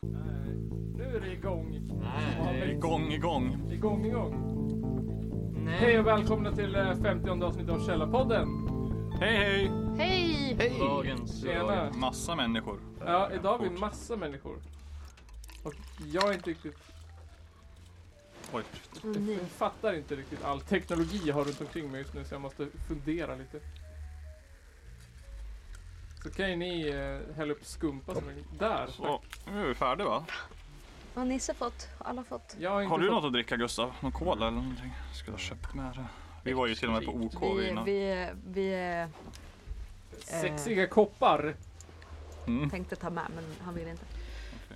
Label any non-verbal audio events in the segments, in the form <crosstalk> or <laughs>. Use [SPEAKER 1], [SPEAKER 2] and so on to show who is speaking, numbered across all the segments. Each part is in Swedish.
[SPEAKER 1] Nej, Nu är det igång.
[SPEAKER 2] Det är igång, igång.
[SPEAKER 1] Igång, igång. Hej
[SPEAKER 3] Nej.
[SPEAKER 1] och välkomna till eh, 50 avsnitt av Källarpodden.
[SPEAKER 2] Hej, hej!
[SPEAKER 4] Hej!
[SPEAKER 3] Hej! Dagens
[SPEAKER 1] Tjena.
[SPEAKER 2] Massa människor.
[SPEAKER 1] Ja, idag har vi massa människor. Och jag är inte riktigt,
[SPEAKER 2] Oj.
[SPEAKER 1] jag fattar inte riktigt all teknologi jag har runt omkring mig just nu så jag måste fundera lite. Så kan ju ni eh, hälla upp skumpa som är där.
[SPEAKER 2] Så, nu är vi färdiga va?
[SPEAKER 4] Har Nisse fått? Alla fått?
[SPEAKER 1] Jag har inte
[SPEAKER 2] Har du
[SPEAKER 1] fått-
[SPEAKER 2] något att dricka Gustav? Någon cola eller någonting? Skulle ha köpt med det. Vi var ju till och med på OK
[SPEAKER 4] Vi,
[SPEAKER 2] innan.
[SPEAKER 4] vi, vi
[SPEAKER 1] Sexiga koppar.
[SPEAKER 2] Mm.
[SPEAKER 4] tänkte ta med men han ville inte.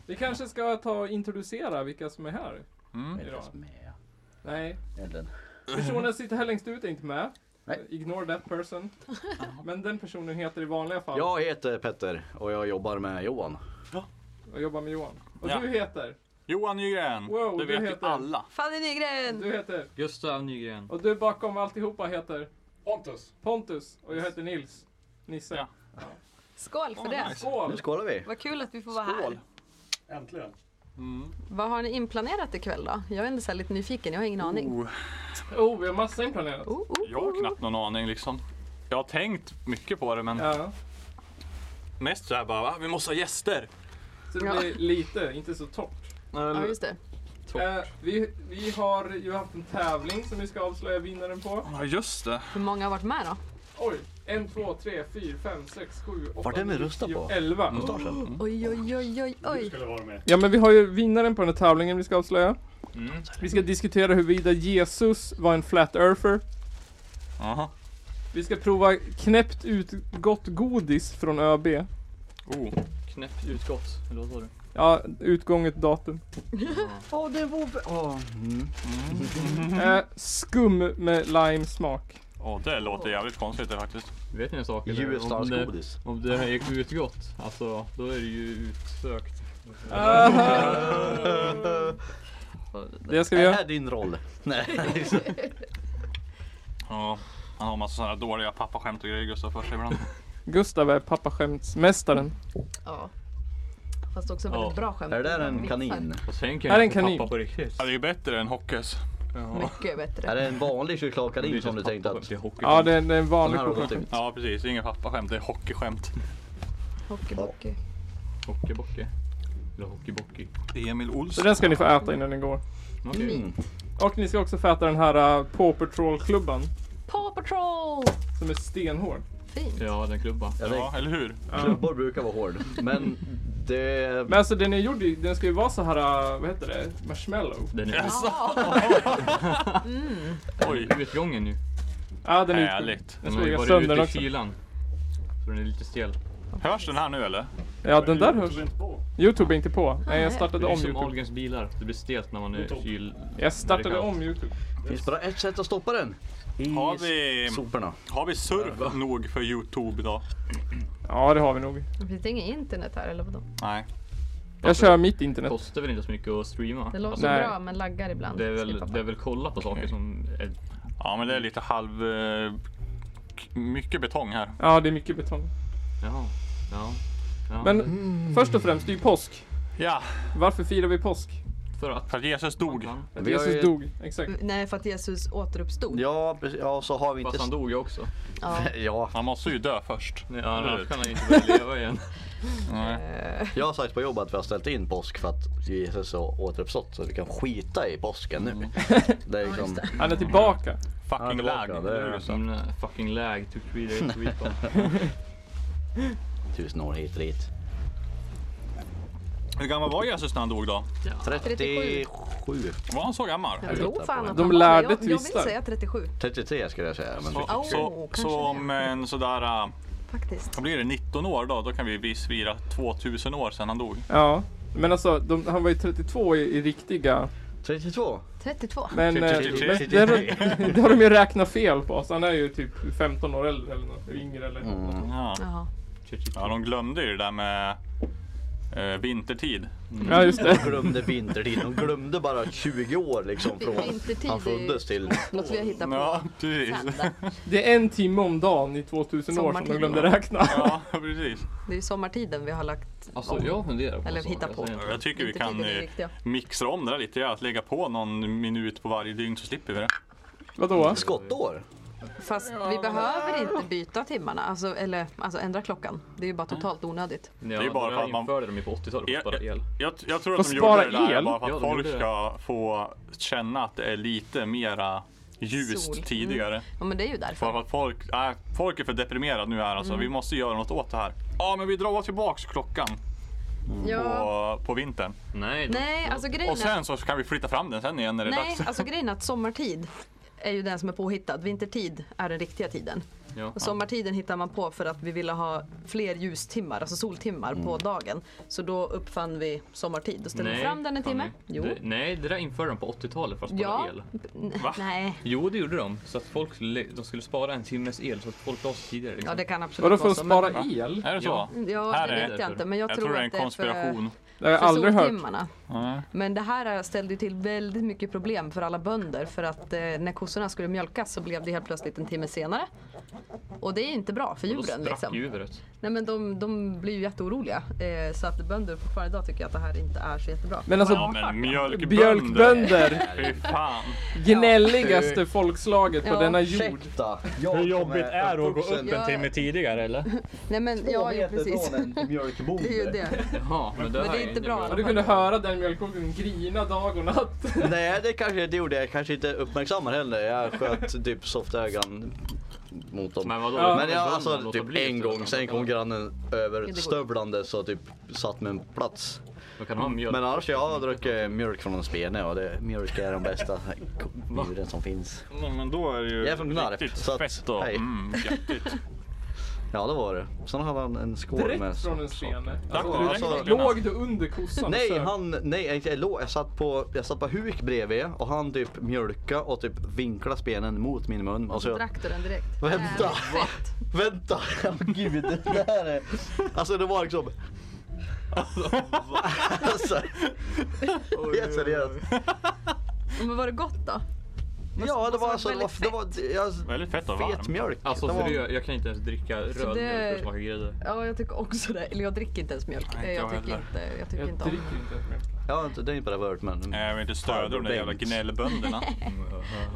[SPEAKER 1] Vi kanske ska ta och introducera vilka som är här
[SPEAKER 2] Mm.
[SPEAKER 1] idag.
[SPEAKER 5] med
[SPEAKER 1] Nej,
[SPEAKER 5] elden.
[SPEAKER 1] Personen som sitter här längst ut är inte med.
[SPEAKER 5] Nej.
[SPEAKER 1] Ignore that
[SPEAKER 4] <laughs>
[SPEAKER 1] person. Men den personen heter i vanliga fall
[SPEAKER 5] Jag heter Petter och jag jobbar med Johan.
[SPEAKER 1] och jobbar med Johan. Och
[SPEAKER 2] Ja.
[SPEAKER 1] du heter?
[SPEAKER 2] Johan Nygren!
[SPEAKER 1] Wow,
[SPEAKER 2] det
[SPEAKER 1] du
[SPEAKER 2] vet ju
[SPEAKER 1] heter-
[SPEAKER 2] alla.
[SPEAKER 4] Fanny Nygren!
[SPEAKER 1] Du heter?
[SPEAKER 3] Gustav Nygren.
[SPEAKER 1] Och du bakom alltihopa heter
[SPEAKER 6] Pontus.
[SPEAKER 1] Pontus och jag heter Nils. Nisse.
[SPEAKER 2] Ja.
[SPEAKER 4] Skål för
[SPEAKER 2] Åh,
[SPEAKER 4] det!
[SPEAKER 2] nice.
[SPEAKER 1] Skål!
[SPEAKER 5] Nu skålar vi.
[SPEAKER 4] Vad kul att vi får vara här.
[SPEAKER 6] Äntligen.
[SPEAKER 2] Mm.
[SPEAKER 4] Vad har ni inplanerat ikväll då? Jag är ändå så här lite nyfiken, jag har ingen aning.
[SPEAKER 2] Oh,
[SPEAKER 1] Oh, vi har massa inplanerat.
[SPEAKER 4] Oh, oh,
[SPEAKER 2] jag har knappt någon aning liksom. Jag har tänkt mycket på det men
[SPEAKER 1] Ja.
[SPEAKER 2] mest så här bara va? Vi måste ha gäster!
[SPEAKER 1] Så det
[SPEAKER 4] Ja.
[SPEAKER 1] blir lite, inte så torrt.
[SPEAKER 4] Ja just det.
[SPEAKER 1] Eh, vi, vi har ju haft en tävling som vi ska avslöja vinnaren på.
[SPEAKER 2] Ja just det.
[SPEAKER 4] Hur många har varit med då?
[SPEAKER 1] Oj! En, två, tre, fyra, fem, sex, sju, åtta,
[SPEAKER 5] Vart är min
[SPEAKER 1] nio,
[SPEAKER 5] rösta
[SPEAKER 1] tio,
[SPEAKER 5] på?
[SPEAKER 1] elva.
[SPEAKER 2] Mm.
[SPEAKER 4] Oj oj oj oj
[SPEAKER 6] Du
[SPEAKER 4] oj.
[SPEAKER 6] skulle vara med.
[SPEAKER 1] Ja men vi har ju vinnaren på den här tävlingen vi ska avslöja. Vi ska diskutera huruvida Jesus var en flat earther.
[SPEAKER 2] Aha.
[SPEAKER 1] Vi ska prova knäppt utgått godis från ÖB.
[SPEAKER 2] Oh.
[SPEAKER 3] Knäppt utgått. Eller vad sa du?
[SPEAKER 1] Ja, utgånget datum.
[SPEAKER 5] <laughs> Åh, det var... Åh, mm.
[SPEAKER 1] Eh, skum med lime smak.
[SPEAKER 2] Åh, det låter jävligt konstigt det faktiskt.
[SPEAKER 3] Vet ni en sak? eller?
[SPEAKER 5] US
[SPEAKER 3] Om
[SPEAKER 5] stars
[SPEAKER 3] det-
[SPEAKER 5] godis.
[SPEAKER 3] Om det här är utgått, alltså då är det ju utsökt.
[SPEAKER 2] <laughs>
[SPEAKER 1] Det
[SPEAKER 5] <laughs>
[SPEAKER 1] ska vi
[SPEAKER 5] Det
[SPEAKER 1] göra.
[SPEAKER 5] är din roll. Nej,
[SPEAKER 2] Ja. Han har massa sådana här dåliga pappaskämt och grejer Gustav för sig
[SPEAKER 3] <laughs>
[SPEAKER 2] ibland.
[SPEAKER 1] Gustav är pappaskämtsmästaren.
[SPEAKER 4] Ja. Fast också väldigt
[SPEAKER 3] Ja.
[SPEAKER 4] bra skämt.
[SPEAKER 5] är det där en kanin?
[SPEAKER 3] Och sen kan
[SPEAKER 1] Här är
[SPEAKER 3] jag
[SPEAKER 1] en
[SPEAKER 3] få
[SPEAKER 1] kanin.
[SPEAKER 3] pappa på riktigt.
[SPEAKER 2] Ja, det är ju bättre än Hockes.
[SPEAKER 4] Mycket
[SPEAKER 5] Är
[SPEAKER 4] bättre.
[SPEAKER 5] det en vanlig chokladkanin som du tänkte att...
[SPEAKER 3] Det är hockey.
[SPEAKER 1] Ja, det är, det är en
[SPEAKER 5] Den
[SPEAKER 1] vanlig
[SPEAKER 5] här har gått
[SPEAKER 1] pappaskämt.
[SPEAKER 5] ut.
[SPEAKER 2] Ja precis, inga pappaskämt, det är hockeyskämt.
[SPEAKER 4] Hockeybockey.
[SPEAKER 3] Hockeybockey. Eller hockeybockey.
[SPEAKER 2] Det är Emil
[SPEAKER 1] Så
[SPEAKER 2] Olsson.
[SPEAKER 1] den ska ni få äta innan den går.
[SPEAKER 3] Okej.
[SPEAKER 5] Fint.
[SPEAKER 1] Och ni ska också få äta den här uh, Paw Patrol-klubban.
[SPEAKER 4] Paw Patrol!
[SPEAKER 1] Som är stenhård. Eh,
[SPEAKER 4] Fint.
[SPEAKER 3] Ja, den klubban.
[SPEAKER 5] Ja, det,
[SPEAKER 2] Ja, eller hur?
[SPEAKER 5] klubbor brukar vara hård. Men det...
[SPEAKER 1] Men alltså den är gjord i, den ska ju vara så här, uh, vad heter det, marshmallow.
[SPEAKER 3] Den är
[SPEAKER 2] Jaså? Oj,
[SPEAKER 3] utgången nu.
[SPEAKER 1] Ja, den är utgången.
[SPEAKER 2] härligt.
[SPEAKER 1] Den
[SPEAKER 3] Den har
[SPEAKER 1] slog
[SPEAKER 3] ju
[SPEAKER 1] jag
[SPEAKER 3] varit
[SPEAKER 1] sönder
[SPEAKER 3] ute i
[SPEAKER 1] också.
[SPEAKER 3] kylan. Så den är lite stel.
[SPEAKER 2] Hörs den här nu eller?
[SPEAKER 1] Ja, den där hörs.
[SPEAKER 6] Du är inte på.
[SPEAKER 1] Youtube är inte på. Nej, jag
[SPEAKER 4] Nej.
[SPEAKER 1] startade
[SPEAKER 3] Det är
[SPEAKER 1] om
[SPEAKER 3] som
[SPEAKER 1] Youtube.
[SPEAKER 3] Ahlgrens bilar. Det blir stelt när man är
[SPEAKER 6] Tom.
[SPEAKER 3] kyl...
[SPEAKER 1] Jag
[SPEAKER 3] Det
[SPEAKER 1] startade
[SPEAKER 3] är kallt.
[SPEAKER 1] om Youtube.
[SPEAKER 5] Det finns bara ett sätt att stoppa den. I
[SPEAKER 2] Har vi,
[SPEAKER 5] soporna.
[SPEAKER 2] har vi surf nog för Youtube idag?
[SPEAKER 1] Ja, det har vi nog.
[SPEAKER 4] <laughs> Finns det inget internet här eller vadå?
[SPEAKER 2] Nej.
[SPEAKER 1] Jag kör mitt internet.
[SPEAKER 3] Kostar väl inte så mycket att streama?
[SPEAKER 4] Det låter
[SPEAKER 3] Alltså,
[SPEAKER 1] Nej.
[SPEAKER 4] bra men laggar ibland.
[SPEAKER 3] det, är väl,
[SPEAKER 4] skriver pappa.
[SPEAKER 3] det är väl kolla på saker som... Är,
[SPEAKER 2] Ja men det är lite halv... eh, k- mycket betong här.
[SPEAKER 1] Ja, det är mycket betong.
[SPEAKER 3] jaha. Ja. ja. Mm.
[SPEAKER 1] Men först och främst, det är ju påsk.
[SPEAKER 2] Ja,
[SPEAKER 1] Varför firar vi påsk?
[SPEAKER 3] för att...
[SPEAKER 2] för att Jesus dog.
[SPEAKER 1] Att
[SPEAKER 5] Vi har
[SPEAKER 1] Jesus
[SPEAKER 5] ju-
[SPEAKER 1] dog. Exakt.
[SPEAKER 4] Nej, för att Jesus återuppstod.
[SPEAKER 5] Ja, precis. ja, så har vi inte...
[SPEAKER 3] Fast han dog ju också.
[SPEAKER 4] Ja.
[SPEAKER 5] <laughs> Ja,
[SPEAKER 2] Han måste ju dö först.
[SPEAKER 3] Nej, annars kan han ju inte börja leva
[SPEAKER 2] <laughs>
[SPEAKER 3] igen.
[SPEAKER 2] Nej.
[SPEAKER 5] jag har sagt på jobbet att vi har ställt in påsk för att Jesus har återuppstått så vi kan skita i påsken
[SPEAKER 6] Mm.
[SPEAKER 5] nu. <laughs> Det är liksom...
[SPEAKER 1] Han är tillbaka.
[SPEAKER 5] Ja,
[SPEAKER 2] Fucking
[SPEAKER 5] tillbaka,
[SPEAKER 2] lag.
[SPEAKER 5] det är-
[SPEAKER 2] eller hur, Gustav?
[SPEAKER 3] Som eh, fucking lag, to tweet, to tweet on.
[SPEAKER 5] Tusen år hit och dit.
[SPEAKER 2] Hur gammal var Jesus när han dog då?
[SPEAKER 5] 37.
[SPEAKER 4] 37.
[SPEAKER 2] Var han så gammal?
[SPEAKER 4] Jag tror fan att
[SPEAKER 1] De
[SPEAKER 4] han var det.
[SPEAKER 1] lärde
[SPEAKER 4] jag, jag vill
[SPEAKER 1] tvistar.
[SPEAKER 4] säga 37
[SPEAKER 5] 33 skulle jag säga. Men
[SPEAKER 2] Så,
[SPEAKER 4] Åh,
[SPEAKER 2] så,
[SPEAKER 4] Oh, kanske
[SPEAKER 2] så
[SPEAKER 4] det.
[SPEAKER 2] om en sådär... eh,
[SPEAKER 4] faktiskt.
[SPEAKER 2] Vad blir det? 19 år då? Då kan vi vi svira 2000 år sedan han dog.
[SPEAKER 1] Ja. Men alltså, de, han var ju 32 i, i riktiga.
[SPEAKER 5] 32?
[SPEAKER 4] 32.
[SPEAKER 1] Men, eh, men
[SPEAKER 2] 33.
[SPEAKER 1] det, har de- <laughs> det har de ju räknat fel på. Så han är ju typ 15 år
[SPEAKER 2] Mm.
[SPEAKER 1] äldre eller något. Yngre eller något.
[SPEAKER 2] Ja.
[SPEAKER 4] Jaha.
[SPEAKER 2] ja, de glömde ju det där med Eh, vintertid.
[SPEAKER 1] Ja, just
[SPEAKER 5] De
[SPEAKER 1] det.
[SPEAKER 5] <laughs> glömde vintertid, de glömde bara 20 år liksom från
[SPEAKER 4] Vintertid
[SPEAKER 5] han
[SPEAKER 4] är-
[SPEAKER 5] föddes till...
[SPEAKER 4] Något vi har hittat på.
[SPEAKER 2] Ja, precis.
[SPEAKER 4] Sända.
[SPEAKER 1] Det är en timme om dagen i 2000 år som de
[SPEAKER 4] Sommartid,
[SPEAKER 1] glömde
[SPEAKER 4] va?
[SPEAKER 1] räkna.
[SPEAKER 2] Ja, precis.
[SPEAKER 4] Det är ju sommartiden vi har lagt
[SPEAKER 3] Alltså
[SPEAKER 4] om.
[SPEAKER 3] jag funderar på
[SPEAKER 4] Eller
[SPEAKER 3] en sak,
[SPEAKER 4] hitta
[SPEAKER 3] alltså,
[SPEAKER 4] på.
[SPEAKER 3] egentligen.
[SPEAKER 2] Jag tycker vi
[SPEAKER 4] Vintertiden
[SPEAKER 2] kan
[SPEAKER 4] är det
[SPEAKER 2] eh,
[SPEAKER 4] riktiga.
[SPEAKER 2] mixa om det där lite. ja. Att lägga på någon minut på varje dygn så slipper vi det.
[SPEAKER 1] <laughs> Vadå?
[SPEAKER 5] Skottår?
[SPEAKER 4] Fast vi behöver inte byta timmarna, alltså, eller alltså ändra klockan. Det är ju bara totalt onödigt.
[SPEAKER 3] Ja,
[SPEAKER 2] Det är bara för att man-
[SPEAKER 3] införde dem ju på 80-talet
[SPEAKER 2] Ja,
[SPEAKER 3] och bara el.
[SPEAKER 2] Jag, jag tror
[SPEAKER 1] Får
[SPEAKER 2] att de
[SPEAKER 1] spara
[SPEAKER 2] gjorde det där
[SPEAKER 1] el?
[SPEAKER 2] bara för att
[SPEAKER 3] Ja, de
[SPEAKER 2] folk
[SPEAKER 3] gjorde det.
[SPEAKER 2] ska få känna att det är lite mera ljust
[SPEAKER 4] Sol. Mm.
[SPEAKER 2] tidigare.
[SPEAKER 4] Ja, men det är ju
[SPEAKER 2] För
[SPEAKER 4] därför.
[SPEAKER 2] att folk, äh, folk är för deprimerade nu här alltså.
[SPEAKER 4] Mm.
[SPEAKER 2] Vi måste göra något åt det här. Ja, men vi drar tillbaks klockan
[SPEAKER 4] Ja.
[SPEAKER 2] på, på vintern.
[SPEAKER 3] Nej,
[SPEAKER 4] Nej,
[SPEAKER 3] de-
[SPEAKER 4] alltså grejen
[SPEAKER 2] Och
[SPEAKER 4] är...
[SPEAKER 2] sen så kan vi flytta fram den sen igen när det är
[SPEAKER 4] Nej,
[SPEAKER 2] dags.
[SPEAKER 4] alltså grejen är att sommartid är ju den som är påhittad. Vintertid är den riktiga tiden.
[SPEAKER 3] ja.
[SPEAKER 4] Och sommartiden hittar man på för att vi ville ha fler ljustimmar, alltså soltimmar på dagen. Så då uppfann vi sommartid och ställde
[SPEAKER 3] Nej,
[SPEAKER 4] fram den en
[SPEAKER 3] Fanny.
[SPEAKER 4] timme. Jo.
[SPEAKER 3] Det, nej, det där införde de på 80-talet för att spara
[SPEAKER 4] ja.
[SPEAKER 3] el.
[SPEAKER 2] Va?
[SPEAKER 4] Nej.
[SPEAKER 3] Jo, det gjorde de. Så att folk skulle, de skulle spara en timmes el så att folk la sig tidigare. Liksom.
[SPEAKER 4] Ja, det kan absolut
[SPEAKER 1] Vadå
[SPEAKER 4] vara
[SPEAKER 1] för att
[SPEAKER 4] så,
[SPEAKER 1] spara
[SPEAKER 4] men-
[SPEAKER 1] el?
[SPEAKER 2] Är det så?
[SPEAKER 3] Ja.
[SPEAKER 4] Ja,
[SPEAKER 2] Här
[SPEAKER 4] det
[SPEAKER 2] är
[SPEAKER 4] vet
[SPEAKER 3] det
[SPEAKER 4] jag
[SPEAKER 3] för-
[SPEAKER 4] inte. Men jag,
[SPEAKER 2] Jag tror det är en
[SPEAKER 4] att det är för,
[SPEAKER 2] konspiration.
[SPEAKER 1] Det har jag
[SPEAKER 4] för
[SPEAKER 1] aldrig hört.
[SPEAKER 4] soltimmarna.
[SPEAKER 2] Nej.
[SPEAKER 4] Men det här ställde ju till väldigt mycket problem för alla bönder för att eh, när kossorna skulle mjölkas så blev det helt plötsligt en timme senare. Och det är ju inte bra för
[SPEAKER 3] Då
[SPEAKER 4] djuren
[SPEAKER 3] sprack
[SPEAKER 4] liksom.
[SPEAKER 3] ju huvudet.
[SPEAKER 4] Nej men de, de blir ju jätteoroliga. Eh, så att bönder fortfarande idag tycker jag att det här inte är så jättebra.
[SPEAKER 1] Men alltså,
[SPEAKER 2] Ja, men mjölkbönder.
[SPEAKER 1] Mjölkbönder.
[SPEAKER 2] Fy fan.
[SPEAKER 1] Gnälligaste folkslaget på
[SPEAKER 4] Ja.
[SPEAKER 1] denna jord.
[SPEAKER 5] Ursäkta! jag
[SPEAKER 6] Hur
[SPEAKER 5] som
[SPEAKER 6] jobbigt är det att gå upp
[SPEAKER 4] Ja.
[SPEAKER 6] en timme tidigare
[SPEAKER 3] <laughs>
[SPEAKER 6] eller?
[SPEAKER 4] Nej men ja, ja precis.
[SPEAKER 5] en
[SPEAKER 4] <laughs> Det är ju
[SPEAKER 5] mjölkbonde.
[SPEAKER 4] det.
[SPEAKER 3] Jaha, men det,
[SPEAKER 4] Men
[SPEAKER 3] här
[SPEAKER 4] det är inte bra.
[SPEAKER 1] Och du kunde höra den mjölkkocken grina dag och natt.
[SPEAKER 5] Nej det kanske det gjorde jag kanske inte uppmärksammar heller. Jag sköt typ softögon mot dem.
[SPEAKER 3] Men vadå?
[SPEAKER 1] Ja.
[SPEAKER 5] Men jag,
[SPEAKER 3] Bönderna
[SPEAKER 5] alltså
[SPEAKER 3] låter
[SPEAKER 5] typ
[SPEAKER 3] bli
[SPEAKER 5] en
[SPEAKER 3] efter
[SPEAKER 5] gång,
[SPEAKER 3] den.
[SPEAKER 5] sen kom grannen
[SPEAKER 4] går.
[SPEAKER 5] överstövlande så typ satt med en plats.
[SPEAKER 3] Då kan de ha mjölk.
[SPEAKER 5] Men annars jag har druckit mjölk från en spene och det, mjölk är
[SPEAKER 1] <laughs>
[SPEAKER 5] de bästa djuren som finns.
[SPEAKER 2] Ja, Men då är det ju
[SPEAKER 5] Jag är från Gnarp,
[SPEAKER 2] riktigt
[SPEAKER 5] så att-
[SPEAKER 2] fett då.
[SPEAKER 5] hej.
[SPEAKER 2] Mm,
[SPEAKER 5] <laughs>
[SPEAKER 2] göttigt.
[SPEAKER 5] Ja det var det. Sen hade han en skål med
[SPEAKER 1] Direkt från en
[SPEAKER 5] socker.
[SPEAKER 1] spene.
[SPEAKER 2] Alltså,
[SPEAKER 1] Alltså,
[SPEAKER 5] alltså-
[SPEAKER 1] låg du under kossan?
[SPEAKER 5] Nej,
[SPEAKER 1] så-
[SPEAKER 5] han, nej jag, jag, låg- jag, satt på, jag satt på huk bredvid och han typ mjölka och typ vinkla spenen mot min mun. Alltså, jag,
[SPEAKER 4] Drack du den direkt?
[SPEAKER 5] vänta,
[SPEAKER 4] Jävligt fett.
[SPEAKER 5] vänta, oh, <laughs> gud det där är... Alltså det var liksom... Alltså, helt seriöst.
[SPEAKER 4] Men var det gott då?
[SPEAKER 5] Ja det var alltså, det var,
[SPEAKER 4] väldigt
[SPEAKER 5] det var, jag,
[SPEAKER 2] Väldigt fett och varmt.
[SPEAKER 5] fet mjölk.
[SPEAKER 3] Alltså
[SPEAKER 5] det var,
[SPEAKER 3] seriöst, jag kan inte ens dricka röd mjölk för
[SPEAKER 4] det-
[SPEAKER 3] att smaka grädde.
[SPEAKER 4] Ja, jag tycker också det. Eller jag dricker inte ens mjölk.
[SPEAKER 2] Nej, inte
[SPEAKER 4] Eh, jag,
[SPEAKER 2] jag
[SPEAKER 4] tycker
[SPEAKER 2] heller.
[SPEAKER 4] inte, jag
[SPEAKER 1] Jag
[SPEAKER 4] tycker inte
[SPEAKER 1] dricker
[SPEAKER 4] om
[SPEAKER 1] inte ens mjölk.
[SPEAKER 5] ja inte- det är inte pervert men...
[SPEAKER 2] Nej, Jag vill inte stödja de där jävla
[SPEAKER 5] Bengt. <laughs>
[SPEAKER 2] gnällbönderna.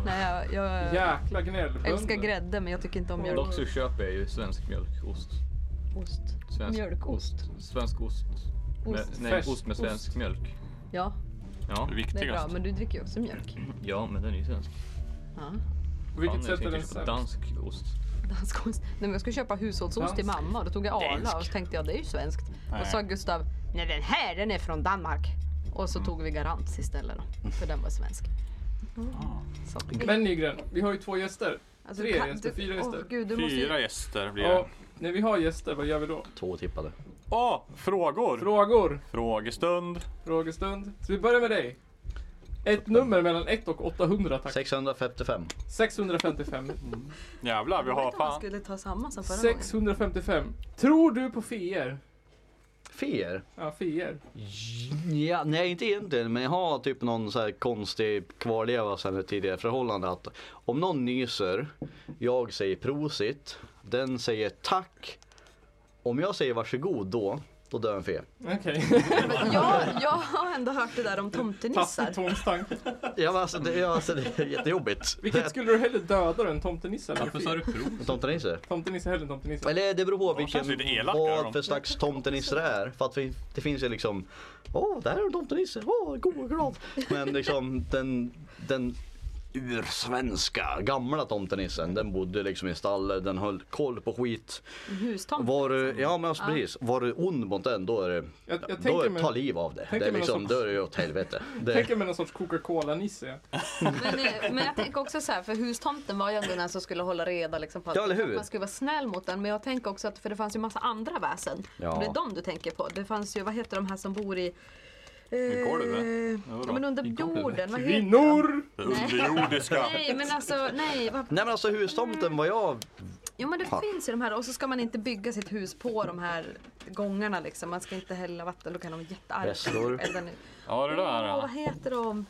[SPEAKER 4] Nej, jag, jag
[SPEAKER 1] Jäkla gnällbönder.
[SPEAKER 4] älskar grädde men jag tycker inte om mjölk.
[SPEAKER 3] Dock så köper jag ju svensk mjölkost.
[SPEAKER 4] Ost.
[SPEAKER 3] Svensk
[SPEAKER 4] Mjölkost.
[SPEAKER 3] ost. Svensk ost. Med,
[SPEAKER 4] Ost.
[SPEAKER 3] nej,
[SPEAKER 1] Färsk
[SPEAKER 3] ost med svensk
[SPEAKER 1] ost.
[SPEAKER 3] mjölk.
[SPEAKER 4] Ja,
[SPEAKER 2] Det
[SPEAKER 3] Ja.
[SPEAKER 4] det är bra.
[SPEAKER 2] viktigaste.
[SPEAKER 4] Men du dricker ju också
[SPEAKER 3] <clears throat>
[SPEAKER 4] mjölk.
[SPEAKER 3] ja, men den är ju svensk.
[SPEAKER 4] Ja.
[SPEAKER 1] På vilket
[SPEAKER 3] Fan, jag
[SPEAKER 1] sätt är den
[SPEAKER 3] tänkte
[SPEAKER 1] sämst?
[SPEAKER 3] på Dansk ost.
[SPEAKER 4] Dansk ost. Nej, men jag skulle köpa hushållsost till
[SPEAKER 1] Dansk.
[SPEAKER 4] mamma och då tog jag Arla och så tänkte jag det är ju svenskt. Och
[SPEAKER 2] Nej.
[SPEAKER 4] så sa Gustav, nej den här den är från Danmark. Och
[SPEAKER 2] Mm.
[SPEAKER 4] så tog vi Garants istället då, för den var svensk.
[SPEAKER 2] Ah.
[SPEAKER 4] Så,
[SPEAKER 1] Men Nygren, vi har ju två gäster.
[SPEAKER 4] alltså,
[SPEAKER 1] tre
[SPEAKER 4] kan-
[SPEAKER 1] gäster,
[SPEAKER 4] du-
[SPEAKER 1] fyra
[SPEAKER 4] åh,
[SPEAKER 1] gäster.
[SPEAKER 4] Gud, du måste ju-
[SPEAKER 2] Fyra gäster blir det.
[SPEAKER 1] Och när vi har gäster, vad gör vi då?
[SPEAKER 5] Två tippade.
[SPEAKER 2] Åh, frågor!
[SPEAKER 1] Frågor,
[SPEAKER 2] Frågestund.
[SPEAKER 1] frågestund. Så vi börjar med dig. Ett nummer mellan 1 och 800 tack.
[SPEAKER 5] 655.
[SPEAKER 1] 655.
[SPEAKER 2] Jävlar, vi
[SPEAKER 4] Jag vet
[SPEAKER 2] har
[SPEAKER 4] inte om man
[SPEAKER 2] fan...
[SPEAKER 4] skulle ta samma som förra gången.
[SPEAKER 1] 655. Tror du på fier?
[SPEAKER 5] Fer?
[SPEAKER 1] Ja, fier.
[SPEAKER 5] Ja, nej inte egentligen men jag har typ någon så här konstig kvarleva sen ett tidigare förhållande att om någon nyser, jag säger prosit, den säger tack. Om jag säger varsågod då, då dör en fe.
[SPEAKER 1] Okej.
[SPEAKER 4] Men jag, jag har ändå hört det där om tomtenissar.
[SPEAKER 1] Taskig tomtanke.
[SPEAKER 5] Ja men alltså det, ja, alltså, det är jättejobbigt.
[SPEAKER 1] Vilket skulle du hellre döda då, en tomtenisse eller en
[SPEAKER 3] Varför sa du
[SPEAKER 1] fier?
[SPEAKER 3] prov?
[SPEAKER 5] Tomtenisse?
[SPEAKER 1] Tomtenisse hellre än tomtenisse.
[SPEAKER 5] Eller det beror på
[SPEAKER 2] känns lite
[SPEAKER 5] vilken,
[SPEAKER 2] elaka,
[SPEAKER 5] vad
[SPEAKER 2] de.
[SPEAKER 5] för slags tomtenisse det är. För att vi, det finns ju liksom, åh där är en tomtenisse, åh god och glad. Men liksom den, den ursvenska gamla tomtenissen den bodde liksom i stallet, den höll koll på skit.
[SPEAKER 4] Hustomten.
[SPEAKER 5] Var du, ja men alltså,
[SPEAKER 4] Ja.
[SPEAKER 5] precis, var du ond mot den då är det,
[SPEAKER 1] Jag, jag
[SPEAKER 5] då
[SPEAKER 1] tänker
[SPEAKER 5] är ta
[SPEAKER 1] mig,
[SPEAKER 5] liv av det.
[SPEAKER 1] tänker
[SPEAKER 5] det är
[SPEAKER 1] mig
[SPEAKER 5] liksom,
[SPEAKER 1] någon
[SPEAKER 5] då
[SPEAKER 1] sorts-
[SPEAKER 5] är det ju åt helvete. Det,
[SPEAKER 1] tänker mig någon sorts Coca-Cola-nisse.
[SPEAKER 4] Men, eh, men jag tänker också så här, för hustomten var ju ändå den som skulle hålla reda liksom, på att
[SPEAKER 5] Ja, eller hur?
[SPEAKER 4] man skulle vara snäll mot den. Men jag tänker också att, för det fanns ju massa andra väsen.
[SPEAKER 5] Ja.
[SPEAKER 4] Och Det är de du tänker på. Det fanns ju, vad heter de här som bor i... Eh,
[SPEAKER 2] golvet?
[SPEAKER 4] ja, men under jorden, vad heter de?
[SPEAKER 1] Kvinnor!
[SPEAKER 2] <laughs> Underjordiska.
[SPEAKER 4] Nej men alltså, nej. Vad,
[SPEAKER 5] Nej men alltså hustomten vad jag
[SPEAKER 4] Jo men det
[SPEAKER 5] Fuck.
[SPEAKER 4] finns ju de här och så ska man inte bygga sitt hus på de här gångarna liksom. Man ska inte hälla vatten, då kan de vara jättearga.
[SPEAKER 5] Vesslor.
[SPEAKER 4] Elda nu.
[SPEAKER 2] Ja det där
[SPEAKER 4] Åh, vad
[SPEAKER 2] ja.
[SPEAKER 4] heter de?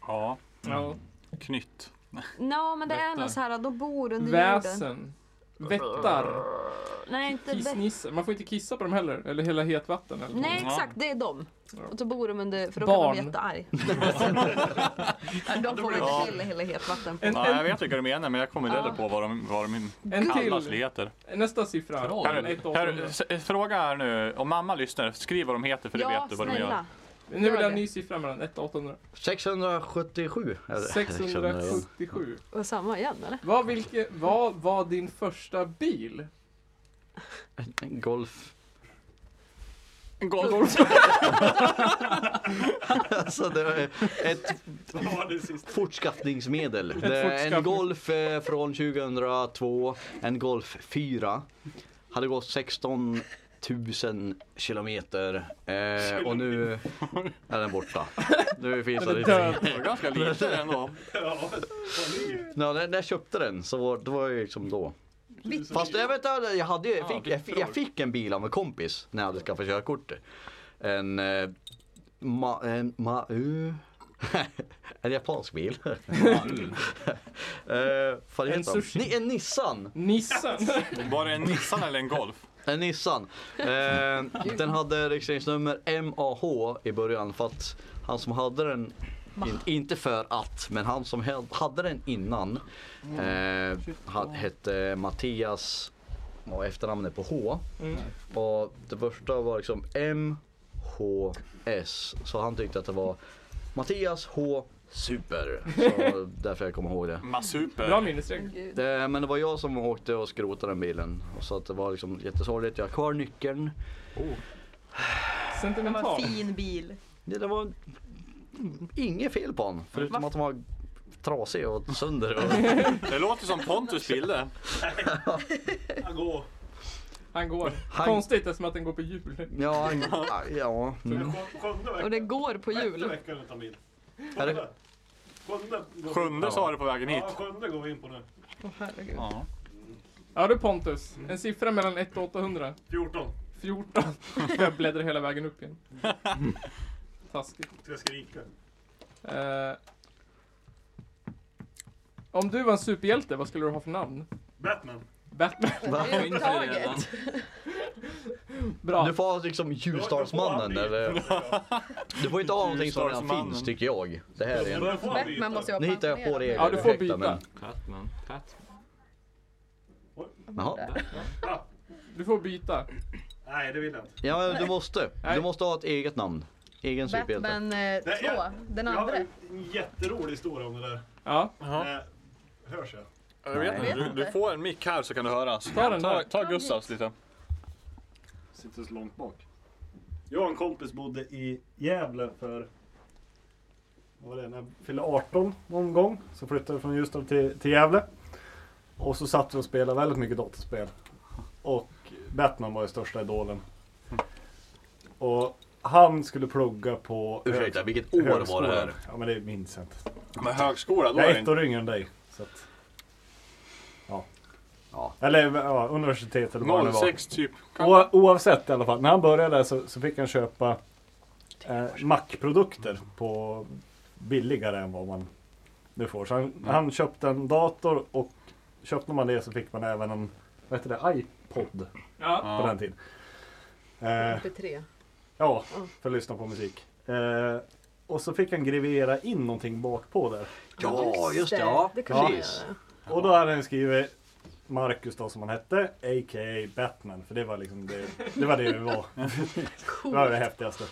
[SPEAKER 2] Ja,
[SPEAKER 1] Ja.
[SPEAKER 2] knytt.
[SPEAKER 4] Nå men det är
[SPEAKER 2] Vättar.
[SPEAKER 4] något så här, de bor under jorden.
[SPEAKER 1] Väsen. Vättar.
[SPEAKER 4] Nej inte väsen.
[SPEAKER 1] Kissnisse. Man får inte kissa på dem heller. Eller hela hetvatten. Eller
[SPEAKER 4] Nej
[SPEAKER 2] Ja.
[SPEAKER 4] exakt, det är de. Och så bor de under, för då
[SPEAKER 1] Barn.
[SPEAKER 4] kan de bli
[SPEAKER 1] <laughs>
[SPEAKER 4] jättearg. Nej, <laughs> de får
[SPEAKER 2] Ja.
[SPEAKER 4] inte heller hela hetvatten.
[SPEAKER 1] En,
[SPEAKER 2] <laughs> Nej, jag
[SPEAKER 1] en,
[SPEAKER 2] vet vilka du menar men jag kommer inte heller på vad de, vad de
[SPEAKER 1] en
[SPEAKER 2] kallas eller
[SPEAKER 1] till.
[SPEAKER 2] heter.
[SPEAKER 1] Nästa siffra.
[SPEAKER 3] Bra.
[SPEAKER 2] Här,
[SPEAKER 1] Från ett år
[SPEAKER 2] här,
[SPEAKER 1] till hundra.
[SPEAKER 2] s- eh, fråga här nu, om mamma lyssnar, skriv vad de heter för det
[SPEAKER 4] Ja
[SPEAKER 2] vet du vad de gör.
[SPEAKER 4] snälla.
[SPEAKER 1] Nu vill jag en
[SPEAKER 4] det.
[SPEAKER 1] ny siffra mellan 1 och 800.
[SPEAKER 5] 677. eller?
[SPEAKER 1] 677.
[SPEAKER 4] Och samma igen eller?
[SPEAKER 1] Vad, vilke, vad var din första bil?
[SPEAKER 5] En Golf.
[SPEAKER 2] Golf.
[SPEAKER 5] Alltså det är ett fortskaffningsmedel. Det är en
[SPEAKER 1] fortskaffning-
[SPEAKER 5] Golf eh, från 2002. En Golf 4. Hade gått 16 000 kilometer. Eh, och nu är den borta. Nu finns det inte.
[SPEAKER 2] Det var <laughs> ganska lite ändå.
[SPEAKER 5] Ja, när när jag köpte den så var det var ju liksom då. Fast jag vet inte, jag, hade, ju- jag, fick, jag, fick, jag fick en bil av en kompis när jag hade skaffat körkort. En... Eh, ma, en ma, uh, <laughs> en japansk bil. eh, <laughs> vad
[SPEAKER 1] En
[SPEAKER 5] heter de?
[SPEAKER 1] sushi.
[SPEAKER 5] Ni, en Nissan.
[SPEAKER 1] Nissan.
[SPEAKER 2] Var det en Nissan eller en Golf?
[SPEAKER 5] En Nissan. Eh, den hade registreringsnummer MAH i början för att han som hade den in, inte för att, men han som he- hade den innan eh, ha, hette Mattias och efternamnet på H.
[SPEAKER 1] Mm.
[SPEAKER 5] Och det första var liksom MHS. Så han tyckte att det var Mattias H Super. Så därför jag kommer ihåg
[SPEAKER 1] <laughs>
[SPEAKER 5] det.
[SPEAKER 1] Bra
[SPEAKER 2] Masuper.
[SPEAKER 1] minnesregel.
[SPEAKER 4] Gud.
[SPEAKER 5] det. Men det var jag som åkte och skrotade den bilen. Så att det var liksom jättesorgligt. Jag har kvar nyckeln.
[SPEAKER 4] Det var
[SPEAKER 1] Sentimental.
[SPEAKER 4] en fin bil.
[SPEAKER 5] Ja, det var inget fel på honom. Förutom att han var trasig och <laughs> sönder. Och...
[SPEAKER 2] Det låter som Pontus bilde.
[SPEAKER 1] Han går.
[SPEAKER 5] Han-
[SPEAKER 1] Konstigt eftersom att den går på hjul.
[SPEAKER 5] ja, han- ja. Mm.
[SPEAKER 4] Och det går på jul.
[SPEAKER 7] veckan utan bil.
[SPEAKER 5] Är det...
[SPEAKER 7] Sjunde.
[SPEAKER 2] Sjunde sa du på vägen hit.
[SPEAKER 7] Ja, sjunde går vi in på nu.
[SPEAKER 2] Ja.
[SPEAKER 1] Ja du Pontus, en siffra mellan 1 och 800.
[SPEAKER 7] 14.
[SPEAKER 1] 14. <laughs> Jag bläddrar hela vägen upp
[SPEAKER 5] <laughs>
[SPEAKER 1] igen. Taskigt.
[SPEAKER 7] Ska jag skrika.
[SPEAKER 1] Eh, om du var en superhjälte, vad skulle du ha för namn?
[SPEAKER 7] Batman.
[SPEAKER 1] Batman.
[SPEAKER 4] Det är taget.
[SPEAKER 1] Bra.
[SPEAKER 5] Du får ha liksom Ljusdalsmannen eller? <laughs> Du får inte ha någonting som redan
[SPEAKER 2] Ljusdalsmannen.
[SPEAKER 5] finns tycker jag. Det här är en...
[SPEAKER 7] Men får han byta?
[SPEAKER 4] Batman måste ju
[SPEAKER 5] Nu
[SPEAKER 4] vara
[SPEAKER 5] hittar jag på regler.
[SPEAKER 1] Ja, du får
[SPEAKER 5] ursäkta,
[SPEAKER 1] byta.
[SPEAKER 3] Catman. Cat.
[SPEAKER 5] Men... Jaha.
[SPEAKER 1] Du får byta.
[SPEAKER 7] Nej, det vill jag inte.
[SPEAKER 5] Ja, men du måste.
[SPEAKER 1] Nej.
[SPEAKER 5] Du måste ha ett eget namn. Egen superhjälte.
[SPEAKER 4] Batman 2,
[SPEAKER 7] ja.
[SPEAKER 4] eh, den
[SPEAKER 7] Jag har
[SPEAKER 4] andra.
[SPEAKER 7] en en jätterolig historia om det där.
[SPEAKER 1] Ja,
[SPEAKER 2] Ja.
[SPEAKER 7] Eh, hörs jag?
[SPEAKER 2] Jag vet inte. Du, du får en mick här så kan du höras.
[SPEAKER 1] Ta den
[SPEAKER 2] ta,
[SPEAKER 1] där.
[SPEAKER 2] ta Gustavs lite.
[SPEAKER 7] Sitter så långt bak. Jag och en kompis bodde i Gävle för... Vad var det? När jag fyllde 18 någon gång. Så flyttade vi från Ljusdal till, till Gävle. Och så satt vi och spelade väldigt mycket datorspel. Och Batman var ju största idolen. Och han skulle plugga på...
[SPEAKER 5] Ursäkta, vilket år var det
[SPEAKER 7] högskolan.
[SPEAKER 5] här?
[SPEAKER 7] Ja men det minns jag inte.
[SPEAKER 2] Men högskola, då
[SPEAKER 7] Jag
[SPEAKER 2] är
[SPEAKER 7] är
[SPEAKER 2] det
[SPEAKER 7] ett
[SPEAKER 2] inte...
[SPEAKER 7] år yngre än dig. Så att, ja.
[SPEAKER 5] Ja.
[SPEAKER 7] Eller ja, universitet eller vad det var.
[SPEAKER 2] 06 typ.
[SPEAKER 7] O- oavsett i alla fall. När han började där så, så fick han köpa eh, Mac-produkter på billigare än vad man nu får. Så han, han köpte en dator och köpte man det så fick man även en vad heter det, iPod
[SPEAKER 1] ja.
[SPEAKER 2] Ja.
[SPEAKER 7] på den tiden. Eh, ja, för att lyssna på musik. Eh, och så fick han gravera in någonting bak på där.
[SPEAKER 5] Ja, just det. Ja,
[SPEAKER 7] kan
[SPEAKER 5] precis.
[SPEAKER 7] Och då hade han skrivit Marcus då som han hette, a.k.a. Batman. För det var liksom det, det var det vi var. Det var det häftigaste.